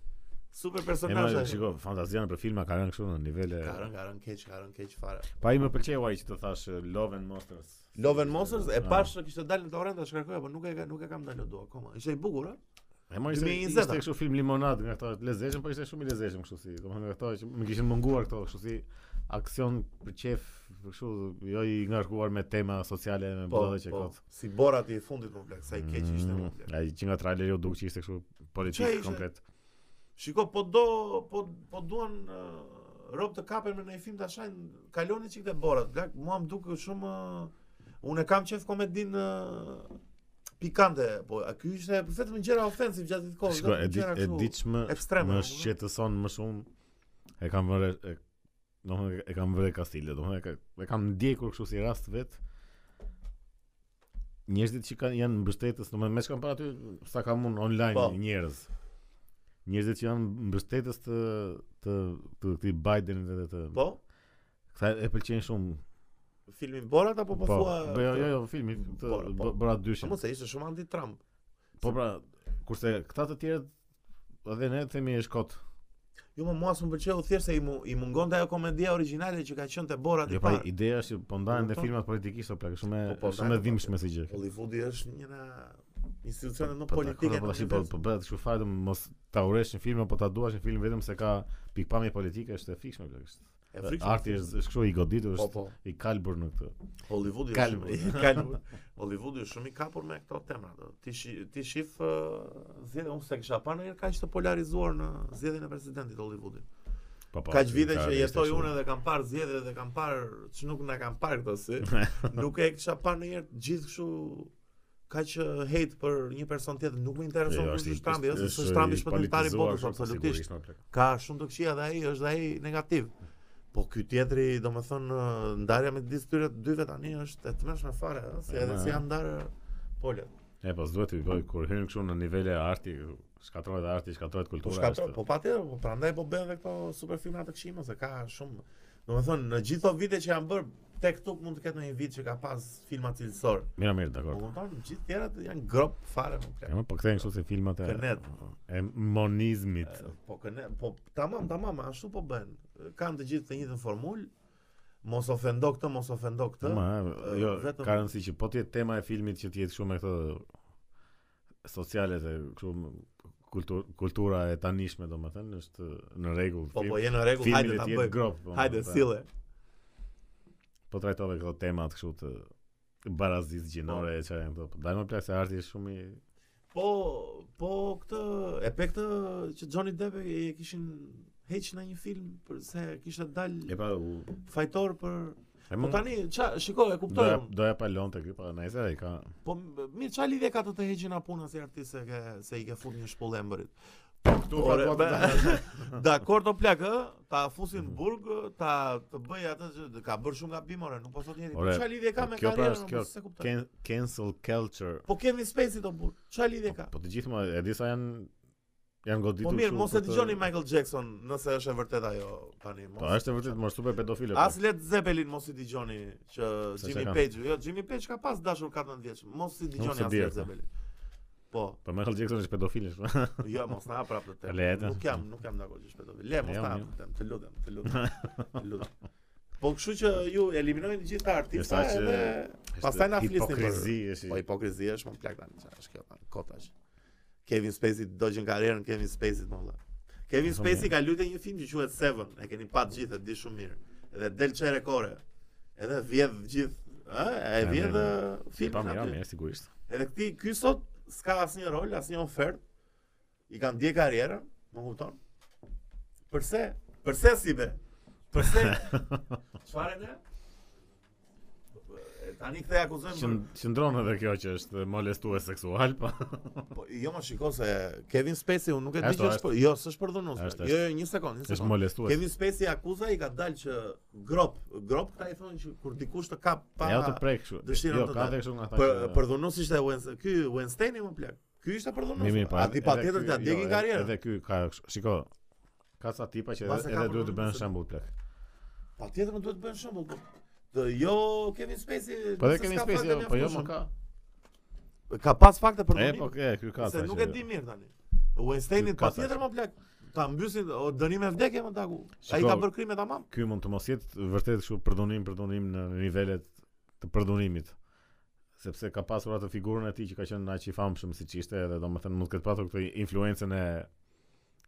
[SPEAKER 1] Super
[SPEAKER 2] E ma,
[SPEAKER 1] personazh. ai.
[SPEAKER 2] shiko, fantazia në për filma ka rënë kështu në nivele.
[SPEAKER 1] Ka rënë, ka rënë keq, ka rënë keq fare.
[SPEAKER 2] Pa i më pëlqeu ai që të thash eh, Love and Monsters.
[SPEAKER 1] Love and Monsters e
[SPEAKER 2] Ah.
[SPEAKER 1] pash kishte dalë në torrent tash kërkoja, po nuk e ka- nuk e kam dalë do akoma. Ishte i bukur, ë?
[SPEAKER 2] E më ishte
[SPEAKER 1] 2020
[SPEAKER 2] ishte kështu film limonad nga këto të lezetshëm, po ishte shumë i lezetshëm kështu si. Domethënë nga këto që më kishin munguar këto kështu si aksion për qef, për kështu jo i ngarkuar me tema sociale me
[SPEAKER 1] Po,
[SPEAKER 2] bolla që kot. Mm.
[SPEAKER 1] Si Borat i fundit më plak, sa i keq ishte më plak.
[SPEAKER 2] Ai që nga traileri u duk që ishte kështu
[SPEAKER 1] Që
[SPEAKER 2] politik
[SPEAKER 1] ishte?
[SPEAKER 2] komplet.
[SPEAKER 1] Shiko, po do po po duan uh, rob të kapen me në një film ta shajnë, kaloni çik te Borat, plak, mua më duk shumë uh, unë e kam qef komedin uh, pikante, po a ky ishte vetëm gjëra ofensiv gjatë gjithë kohës.
[SPEAKER 2] Shiko,
[SPEAKER 1] vetëm
[SPEAKER 2] e di
[SPEAKER 1] Po, gjëra
[SPEAKER 2] e
[SPEAKER 1] kështu.
[SPEAKER 2] diçmë
[SPEAKER 1] ekstreme,
[SPEAKER 2] më
[SPEAKER 1] domethënë.
[SPEAKER 2] shqetëson më shumë e kam vënë e- domethënë e kam vënë Kastile, domethënë e ka- e kam ndjekur kështu si rast vet. Njerëzit që kanë janë mbështetës, domethënë më shkon para aty sa kam unë online
[SPEAKER 1] Po.
[SPEAKER 2] njerëz. njerëzit që janë mbështetës të të të këtij Bidenit edhe të
[SPEAKER 1] Po,
[SPEAKER 2] këta e pëlqejnë shumë.
[SPEAKER 1] filmin Borat apo
[SPEAKER 2] po,
[SPEAKER 1] po thua?
[SPEAKER 2] po, jo, jo, jo, filmi të
[SPEAKER 1] Po, po.
[SPEAKER 2] bë- bëra
[SPEAKER 1] Po
[SPEAKER 2] dyshin.
[SPEAKER 1] mos e ishte shumë anti Trump.
[SPEAKER 2] Po pra, kurse këta të tjerët edhe ne themi e shkot.
[SPEAKER 1] Jo, më mua s'm pëlqeu thjesht se i, mu, i mungonte ajo komedia origjinale që ka qenë te Borat i
[SPEAKER 2] Jo, pa
[SPEAKER 1] parë.
[SPEAKER 2] ideja është që po ndahen dhe
[SPEAKER 1] Kupton?
[SPEAKER 2] filmat politikisht apo plak, shumë e-
[SPEAKER 1] Po, po,
[SPEAKER 2] shumë e
[SPEAKER 1] ndahen,
[SPEAKER 2] dhimbshme si gjë.
[SPEAKER 1] Hollywoodi është njëra institucione më
[SPEAKER 2] Po
[SPEAKER 1] politike.
[SPEAKER 2] politike po tash po po bëhet kështu fare do mos ta uresh një film apo ta duash një film vetëm se ka pikpamje politike është e fikshme plak. është. Arti është është kështu i goditur,
[SPEAKER 1] Po,
[SPEAKER 2] është
[SPEAKER 1] po.
[SPEAKER 2] i kalbur në këtë.
[SPEAKER 1] Hollywoodi
[SPEAKER 2] Kalm.
[SPEAKER 1] është shumë i kalm. Hollywoodi është shumë i kapur me këto tema. do. Ti shi- ti shif uh, zgjedhje unë se kisha parë ndonjëherë kaq të polarizuar në zgjedhjen e presidentit Hollywoodit.
[SPEAKER 2] Po po.
[SPEAKER 1] Kaq vite që
[SPEAKER 2] realisht
[SPEAKER 1] jetoj
[SPEAKER 2] është
[SPEAKER 1] unë dhe kam parë zgjedhje dhe kam parë që nuk na kanë parë këtë si. nuk e kisha parë ndonjëherë gjithë kështu kaq uh, hate për një person tjetër nuk më
[SPEAKER 2] shumë.
[SPEAKER 1] intereson
[SPEAKER 2] Jo,
[SPEAKER 1] kush
[SPEAKER 2] i-
[SPEAKER 1] është Trumpi, ose
[SPEAKER 2] është
[SPEAKER 1] s'është Trumpi
[SPEAKER 2] i
[SPEAKER 1] shpëtimtari i
[SPEAKER 2] politizuar
[SPEAKER 1] botës
[SPEAKER 2] shumë,
[SPEAKER 1] absolutisht.
[SPEAKER 2] sigurisht, më plak.
[SPEAKER 1] Ka shumë të këqija dhe ai është dhe ai negativ. Po ky tjetri, domethënë, ndarja me disë tyre të dyve tani është e tmeshme fare, ëh, se edhe
[SPEAKER 2] Ema,
[SPEAKER 1] si
[SPEAKER 2] e.
[SPEAKER 1] janë ndarë polet.
[SPEAKER 2] E po duhet të bëj kur hyn kështu në nivele arti, shkatrohet arti, shkatrohet kultura.
[SPEAKER 1] Po shkatror,
[SPEAKER 2] është-
[SPEAKER 1] po patjetër, po prandaj po bën edhe këto super filma të këqij, se ka shumë. Domethënë, në gjithë këto vite që janë bërë, tek tuk mund të ketë ndonjë vit që ka pas filma cilësor.
[SPEAKER 2] Mira, mirë,
[SPEAKER 1] Po
[SPEAKER 2] dakor.
[SPEAKER 1] kupton, gjithë tjerat janë grop fare më
[SPEAKER 2] E
[SPEAKER 1] plot.
[SPEAKER 2] më po kthehen kështu si filmat e
[SPEAKER 1] Kënet.
[SPEAKER 2] e monizmit.
[SPEAKER 1] Po këne, po tamam, tamam, ashtu po bën. Kanë të gjithë të njëjtën formulë. Mos ofendo këtë, mos ofendo këtë.
[SPEAKER 2] Ma,
[SPEAKER 1] e,
[SPEAKER 2] jo,
[SPEAKER 1] vetëm-
[SPEAKER 2] ka rëndësi që po të jetë tema e filmit që të jetë kështu me këto sociale dhe kështu kultur, kultura e tanishme domethënë është në rregull.
[SPEAKER 1] Po
[SPEAKER 2] film-
[SPEAKER 1] po, je në rregull,
[SPEAKER 2] filmi
[SPEAKER 1] hajde
[SPEAKER 2] le
[SPEAKER 1] ta
[SPEAKER 2] të jetë
[SPEAKER 1] bëj.
[SPEAKER 2] grop. po,
[SPEAKER 1] Hajde,
[SPEAKER 2] po,
[SPEAKER 1] sille.
[SPEAKER 2] Po trajtove këto temat kështu të barazis gjinore e çfarë janë këto. Po dajmë plak se arti është shumë i
[SPEAKER 1] Po, po këtë e pe këtë që Johnny Depp e e kishin heq në një film për se kishte
[SPEAKER 2] e
[SPEAKER 1] dal
[SPEAKER 2] pa Mm. u
[SPEAKER 1] fajtor për
[SPEAKER 2] e
[SPEAKER 1] Po
[SPEAKER 2] mund-
[SPEAKER 1] tani, qa, shiko, e kuptoj.
[SPEAKER 2] doja
[SPEAKER 1] unë.
[SPEAKER 2] doja palonte ky, po nëse ai ka
[SPEAKER 1] Po m- mirë, qa lidhje ka të të heqin a puna si artist se, ke, se i ke fut një shpullë embërit?
[SPEAKER 2] këtu ka
[SPEAKER 1] Ore,
[SPEAKER 2] duat
[SPEAKER 1] be-
[SPEAKER 2] të-
[SPEAKER 1] Dakor do plak, ë, ta fusin
[SPEAKER 2] Mhm.
[SPEAKER 1] në burg, ë, ta të bëj atë që ka bërë shumë gabim, ore, nuk po thot njeri.
[SPEAKER 2] Ore,
[SPEAKER 1] Qa lidhje ka me
[SPEAKER 2] kjo pra
[SPEAKER 1] karrierën,
[SPEAKER 2] është
[SPEAKER 1] unë
[SPEAKER 2] kjo
[SPEAKER 1] se kuptoj.
[SPEAKER 2] can- cancel culture.
[SPEAKER 1] Po Kevin Spacey do burg. Qa lidhje ka?
[SPEAKER 2] Po të gjithë më e disa janë janë goditur.
[SPEAKER 1] Po mirë,
[SPEAKER 2] kështu
[SPEAKER 1] mos e
[SPEAKER 2] për të-
[SPEAKER 1] dëgjoni Michael Jackson, nëse është e vërtet ajo tani. Mos.
[SPEAKER 2] Po është e vërtet më super pedofile. po.
[SPEAKER 1] As Led Zeppelin mos i dëgjoni që
[SPEAKER 2] Se
[SPEAKER 1] Jimmy
[SPEAKER 2] çka kanë?
[SPEAKER 1] Page, jo Jimmy Page ka pas dashur 14 vjeç. Mos i
[SPEAKER 2] se
[SPEAKER 1] dëgjoni as
[SPEAKER 2] bjerë,
[SPEAKER 1] Led
[SPEAKER 2] po.
[SPEAKER 1] Zeppelin. Po,
[SPEAKER 2] Po Michael Jackson është pedofil. është.
[SPEAKER 1] jo mos na hap prapë të
[SPEAKER 2] Le,
[SPEAKER 1] temë.
[SPEAKER 2] ete.
[SPEAKER 1] Nuk jam, nuk jam dakord që shpëtoj. Le mos
[SPEAKER 2] Jo,
[SPEAKER 1] na hap
[SPEAKER 2] jo.
[SPEAKER 1] të temë, të lutem, të lutem. Të lutem. Po kështu që ju eliminojnë të gjithë
[SPEAKER 2] Sa
[SPEAKER 1] artistët
[SPEAKER 2] që
[SPEAKER 1] edhe pastaj na flisni për
[SPEAKER 2] Hipokrizi është.
[SPEAKER 1] Po hipokrizia është më plak tani, çfarë është kjo tani? Kotash. Kevin Spacey dogjën karrierën Kevin Spacey më valla. Kevin
[SPEAKER 2] Po,
[SPEAKER 1] Spacey ka luajtur një film që quhet Seven, e keni pa të gjithë, e di shumë mirë. Edhe del çere kore. Edhe vjedh gjithë, ë, e
[SPEAKER 2] Ja,
[SPEAKER 1] vjedh
[SPEAKER 2] mirë,
[SPEAKER 1] ë,
[SPEAKER 2] Po
[SPEAKER 1] filmin
[SPEAKER 2] mirë,
[SPEAKER 1] aty.
[SPEAKER 2] mirë sigurisht.
[SPEAKER 1] Edhe këti, ky sot s'ka asnjë rol, asnjë ofertë. I kanë ndje karrierën, më kupton? Përse? Përse si be? Përse? Çfarë ne? E, Tani këtë e akuzojmë për-
[SPEAKER 2] Qën- Qëndron edhe kjo që është molestues seksual, po.
[SPEAKER 1] Po jo më shiko se Kevin Spacey unë nuk e di
[SPEAKER 2] Ashtu,
[SPEAKER 1] që është
[SPEAKER 2] ashtu.
[SPEAKER 1] për- jo s'është përdhunues.
[SPEAKER 2] Ashtu,
[SPEAKER 1] Jo jo një sekond, një
[SPEAKER 2] Është
[SPEAKER 1] sekond.
[SPEAKER 2] molestues.
[SPEAKER 1] Kevin Spacey akuza i ka dalë që grop, grop këta i thonë që kur dikush të kap pa
[SPEAKER 2] Ja u të prek kështu.
[SPEAKER 1] dëshirën
[SPEAKER 2] Jo,
[SPEAKER 1] të
[SPEAKER 2] ka
[SPEAKER 1] dalë.
[SPEAKER 2] edhe kështu nga ata.
[SPEAKER 1] për
[SPEAKER 2] që-
[SPEAKER 1] përdhunues ishte Wednesday, ky Wednesday më plak. Ky ishte përdhunues.
[SPEAKER 2] Mirë, mirë, po,
[SPEAKER 1] A ti
[SPEAKER 2] edhe
[SPEAKER 1] patjetër
[SPEAKER 2] ky-
[SPEAKER 1] t'ia
[SPEAKER 2] jo,
[SPEAKER 1] djegin
[SPEAKER 2] edhe-
[SPEAKER 1] karrierën.
[SPEAKER 2] Edhe ky ka kështu- shiko. Ka sa tipa që
[SPEAKER 1] Mase
[SPEAKER 2] edhe,
[SPEAKER 1] ka
[SPEAKER 2] edhe duhet të
[SPEAKER 1] problem
[SPEAKER 2] bëhen
[SPEAKER 1] se-
[SPEAKER 2] shembull plak.
[SPEAKER 1] Patjetër më duhet të bën shembull. po. Të jo Kevin Spacey.
[SPEAKER 2] Po dhe
[SPEAKER 1] se
[SPEAKER 2] kemi
[SPEAKER 1] s'ka
[SPEAKER 2] spesje,
[SPEAKER 1] fakte
[SPEAKER 2] po jo më
[SPEAKER 1] mjaftueshme.
[SPEAKER 2] ka.
[SPEAKER 1] Ka pas fakte për
[SPEAKER 2] E po e ky ka.
[SPEAKER 1] Se
[SPEAKER 2] tha
[SPEAKER 1] nuk
[SPEAKER 2] që-
[SPEAKER 1] e di mirë tani. Weinsteinit
[SPEAKER 2] Ky ka
[SPEAKER 1] patjetër më plak. Ta mbysin o dënime vdekje më taku. Ai
[SPEAKER 2] Shiko,
[SPEAKER 1] ka bërë krime tamam.
[SPEAKER 2] Ky mund të mos jetë vërtet kështu përdonim përdonim në nivelet të përdonimit sepse ka pasur atë figurën e tij që ka qenë aq i famshëm siç ishte edhe domethënë mund të ketë pasur këtë influencën e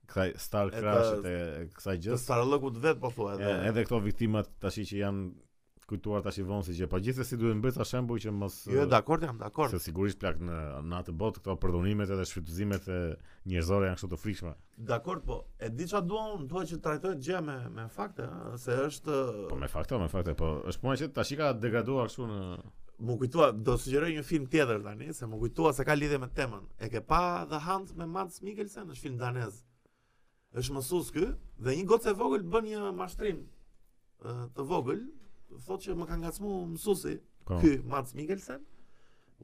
[SPEAKER 2] kësaj star
[SPEAKER 1] të-
[SPEAKER 2] crash e kësaj
[SPEAKER 1] Të
[SPEAKER 2] gjë.
[SPEAKER 1] sarëllëkut vet po thua
[SPEAKER 2] E,
[SPEAKER 1] edhe.
[SPEAKER 2] Edhe këto viktimat tash që janë kujtuar tash i vonë si gjë, po gjithsesi duhet mbërë ta shembuj që mos
[SPEAKER 1] Jo, dakord jam, dakord.
[SPEAKER 2] se sigurisht plak në në atë botë këto përdonimet edhe shfrytëzimet e njerëzore janë kështu të frikshme.
[SPEAKER 1] Dakord, po. E di çfarë dua unë, dua që trajtohet gjëja me me fakte, ëh, se është
[SPEAKER 2] Po me fakte, me fakte, po është puna që tash i ka degraduar kështu në
[SPEAKER 1] më kujtua, do sugjeroj një film tjetër tani, se më kujtua se ka lidhje me temën. E ke pa The Hunt me Mads Mikkelsen, është film danez. Është mësues ky dhe një gocë e vogël bën një mashtrim ëh, të vogël, thotë që më ka ngacmu mësuesi,
[SPEAKER 2] ko-
[SPEAKER 1] ky Mads Mikkelsen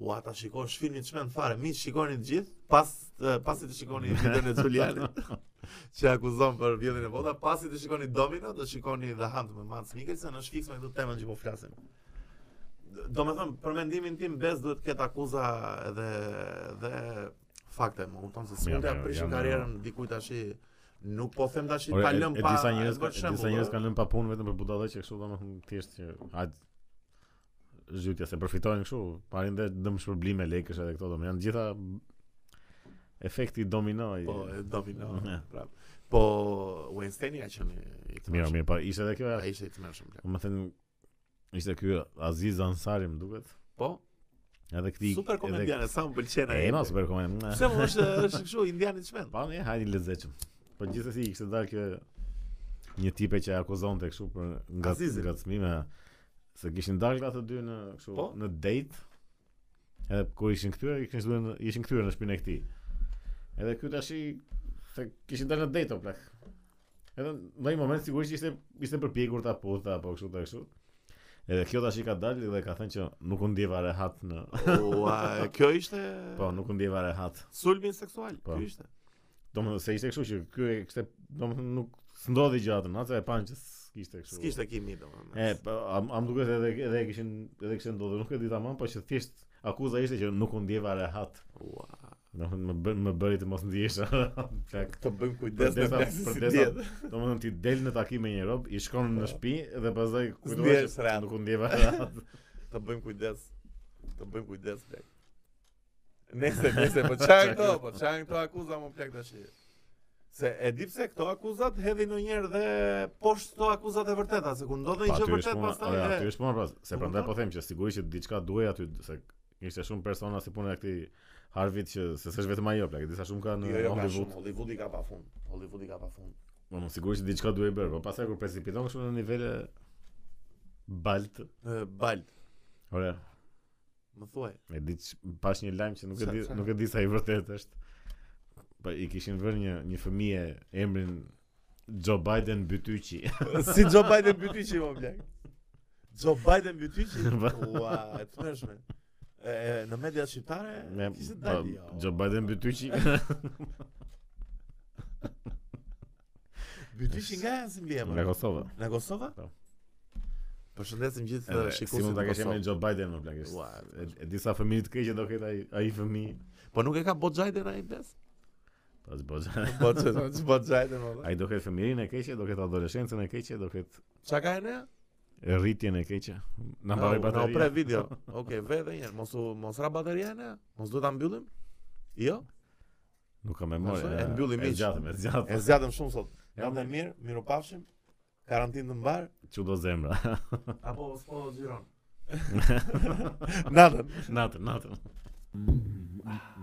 [SPEAKER 1] Ua, ta shikon filmin çmend fare. Mi shikoni të gjithë, pas eh, pasi të shikoni videon e Xulianit që akuzon për vjedhjen e vota, pasi të shikoni Domino, do shikoni The Hunt me Mads Mikkelsen, është fiks me këtë temën që po flasim. Do me thëmë, për mendimin tim, Bez duhet këtë akuza dhe, dhe fakte, më kupton se
[SPEAKER 2] Mirë,
[SPEAKER 1] s'mund të
[SPEAKER 2] mirë,
[SPEAKER 1] prishin
[SPEAKER 2] jam-
[SPEAKER 1] karrierën dikujt tash nuk po them tash
[SPEAKER 2] Ore,
[SPEAKER 1] ta
[SPEAKER 2] e-
[SPEAKER 1] lëm
[SPEAKER 2] e
[SPEAKER 1] pa. po.
[SPEAKER 2] disa njerëz
[SPEAKER 1] për
[SPEAKER 2] kanë
[SPEAKER 1] shembull,
[SPEAKER 2] disa njerëz
[SPEAKER 1] ë.
[SPEAKER 2] kanë lënë pa punë vetëm për budallë që kështu domethënë thjesht që hajt zhytja se përfitojnë kështu, parin dhe dëm shpërblime lekësh edhe këto domethënë janë gjitha efekti domino. i-
[SPEAKER 1] Po, e domino.
[SPEAKER 2] Mm, Ja.
[SPEAKER 1] prap. Po Weinstein ka qenë i të
[SPEAKER 2] Mirë,
[SPEAKER 1] mërshëm.
[SPEAKER 2] mirë, pa ishte edhe kjo.
[SPEAKER 1] Ai ishte i të mërshëm. plak.
[SPEAKER 2] Domethënë ishte ky Aziz Ansari më duket.
[SPEAKER 1] Po,
[SPEAKER 2] Edhe këti
[SPEAKER 1] super komedian, sa më pëlqen ai.
[SPEAKER 2] E ma super komedian.
[SPEAKER 1] Pse më është është kështu indian i çmend.
[SPEAKER 2] Pa ne hajni lezetshëm. Po gjithsesi i kishte dalë kjo një tipe që e akuzonte kështu për nga
[SPEAKER 1] Azizin.
[SPEAKER 2] ngacmime se kishin dalë këta të dy në kështu
[SPEAKER 1] Po?
[SPEAKER 2] në date. Edhe kur ishin kthyer, i kishin zënë ishin kthyer në shtëpinë e këtij. Edhe ky tash i se kishin dalë në date o plak. Edhe në një moment sigurisht ishte ishte përpjekur ta putha apo kështu ta kështu. Edhe kjo tash i ka dalë dhe ka thënë që nuk u ndjeva rehat në
[SPEAKER 1] Ua, kjo ishte
[SPEAKER 2] po nuk u ndjeva rehat
[SPEAKER 1] sulmin seksual.
[SPEAKER 2] Po.
[SPEAKER 1] Ky ishte.
[SPEAKER 2] Domethënë se ishte kështu që ky e kishte domethënë nuk s'ndodhi gjatën, atë e pan që s'kishte kështu.
[SPEAKER 1] S'kishte kimi domethënë.
[SPEAKER 2] E, po, am, am duket edhe edhe e kishin edhe kishte ndodhur, nuk e di tamam, po që thjesht akuza ishte që nuk u ndjeva rehat.
[SPEAKER 1] Ua.
[SPEAKER 2] Domethënë më bën më bëri të mos ndjesha. Plak.
[SPEAKER 1] Të bëjmë
[SPEAKER 2] Për
[SPEAKER 1] kujdes me
[SPEAKER 2] desa, për desa, domethënë ti del në takim me një rob, i shkon në shtëpi dhe pastaj kujtohesh
[SPEAKER 1] S'ndjesh
[SPEAKER 2] se
[SPEAKER 1] Po. rehat.
[SPEAKER 2] nuk u ndjeva rehat.
[SPEAKER 1] Të bëjmë kujdes. Të bëjmë kujdes plak. Nëse, nëse, po çan këto, po çan këto akuza më plak tash. Se e di pse këto akuzat hedhin ndonjëherë dhe poshtë këto akuzat e vërteta, se kur ndodhet
[SPEAKER 2] Pa,
[SPEAKER 1] një gjë
[SPEAKER 2] Po, aty është
[SPEAKER 1] vërtet
[SPEAKER 2] puna,
[SPEAKER 1] pastaj.
[SPEAKER 2] ore,
[SPEAKER 1] e-
[SPEAKER 2] aty është puna pra, se
[SPEAKER 1] Po,
[SPEAKER 2] prandaj
[SPEAKER 1] kupton?
[SPEAKER 2] po them që sigurisht që diçka duhej aty se ishte shumë persona si puna e këtij Harvit që se s'është vetëm ajo plak, e disa shumë ka në
[SPEAKER 1] Jo, jo, ka
[SPEAKER 2] Hollywood.
[SPEAKER 1] shumë, Hollywoodi ka pafund. Hollywoodi ka pafund.
[SPEAKER 2] Po më sigurisht që diçka duhej bërë, po pastaj kur precipiton kështu në nivele balt.
[SPEAKER 1] Ë, Balt,
[SPEAKER 2] Ore,
[SPEAKER 1] më thuaj.
[SPEAKER 2] e di që- pash një lajm që nuk e
[SPEAKER 1] Sa-
[SPEAKER 2] di
[SPEAKER 1] sa?
[SPEAKER 2] nuk e di sa i vërtet është. Po i kishin vënë një një fëmijë emrin Joe Biden Bytyqi.
[SPEAKER 1] si Joe Biden bytyçi më blek. Joe Biden bytyçi. Ua, e të mërshme. E, e, në media shqiptare,
[SPEAKER 2] Me
[SPEAKER 1] kishtë
[SPEAKER 2] po,
[SPEAKER 1] dali, jo.
[SPEAKER 2] Joe Biden Bytyqi.
[SPEAKER 1] Bytyçi nga janë si po. mbje,
[SPEAKER 2] Nga
[SPEAKER 1] më.
[SPEAKER 2] Kosova.
[SPEAKER 1] Në Kosova?
[SPEAKER 2] Po.
[SPEAKER 1] Përshëndesim gjithë
[SPEAKER 2] Edhe, Si
[SPEAKER 1] e,
[SPEAKER 2] mund
[SPEAKER 1] shikuesit
[SPEAKER 2] ta
[SPEAKER 1] në
[SPEAKER 2] kesh
[SPEAKER 1] Kosovë.
[SPEAKER 2] emrin Joe Biden më plagë.
[SPEAKER 1] po Ua,
[SPEAKER 2] E disa fëmijë të keqe do ketë ai ai fëmijë.
[SPEAKER 1] Po nuk e ka Boxhajden ai bes?
[SPEAKER 2] Pas boxha.
[SPEAKER 1] Boxhajden, Boxhajden më.
[SPEAKER 2] Po, Ai do ketë fëmijërin e keqe, do ketë adoleshencën e keqe, do ketë
[SPEAKER 1] Çka ka ne?
[SPEAKER 2] rritjen e keqe. Na
[SPEAKER 1] Na
[SPEAKER 2] mbaroi
[SPEAKER 1] na u pre
[SPEAKER 2] bateria.
[SPEAKER 1] video. Okej, ve edhe një herë, mos u mos ra bateria ne? Mos duhet ta mbyllim? Jo?
[SPEAKER 2] Nuk kam memorie.
[SPEAKER 1] Ashtu, e mbyllim
[SPEAKER 2] E
[SPEAKER 1] miq.
[SPEAKER 2] zgjatëm, e
[SPEAKER 1] E
[SPEAKER 2] zgjatëm.
[SPEAKER 1] zgjatëm shumë sot. Jam
[SPEAKER 2] Jam
[SPEAKER 1] dhe mirë, miru pafshim. Karantinë të mbar
[SPEAKER 2] Çudo zemra.
[SPEAKER 1] apo s'po xhiron. Natën.
[SPEAKER 2] natën, natën.
[SPEAKER 3] Mm, ah,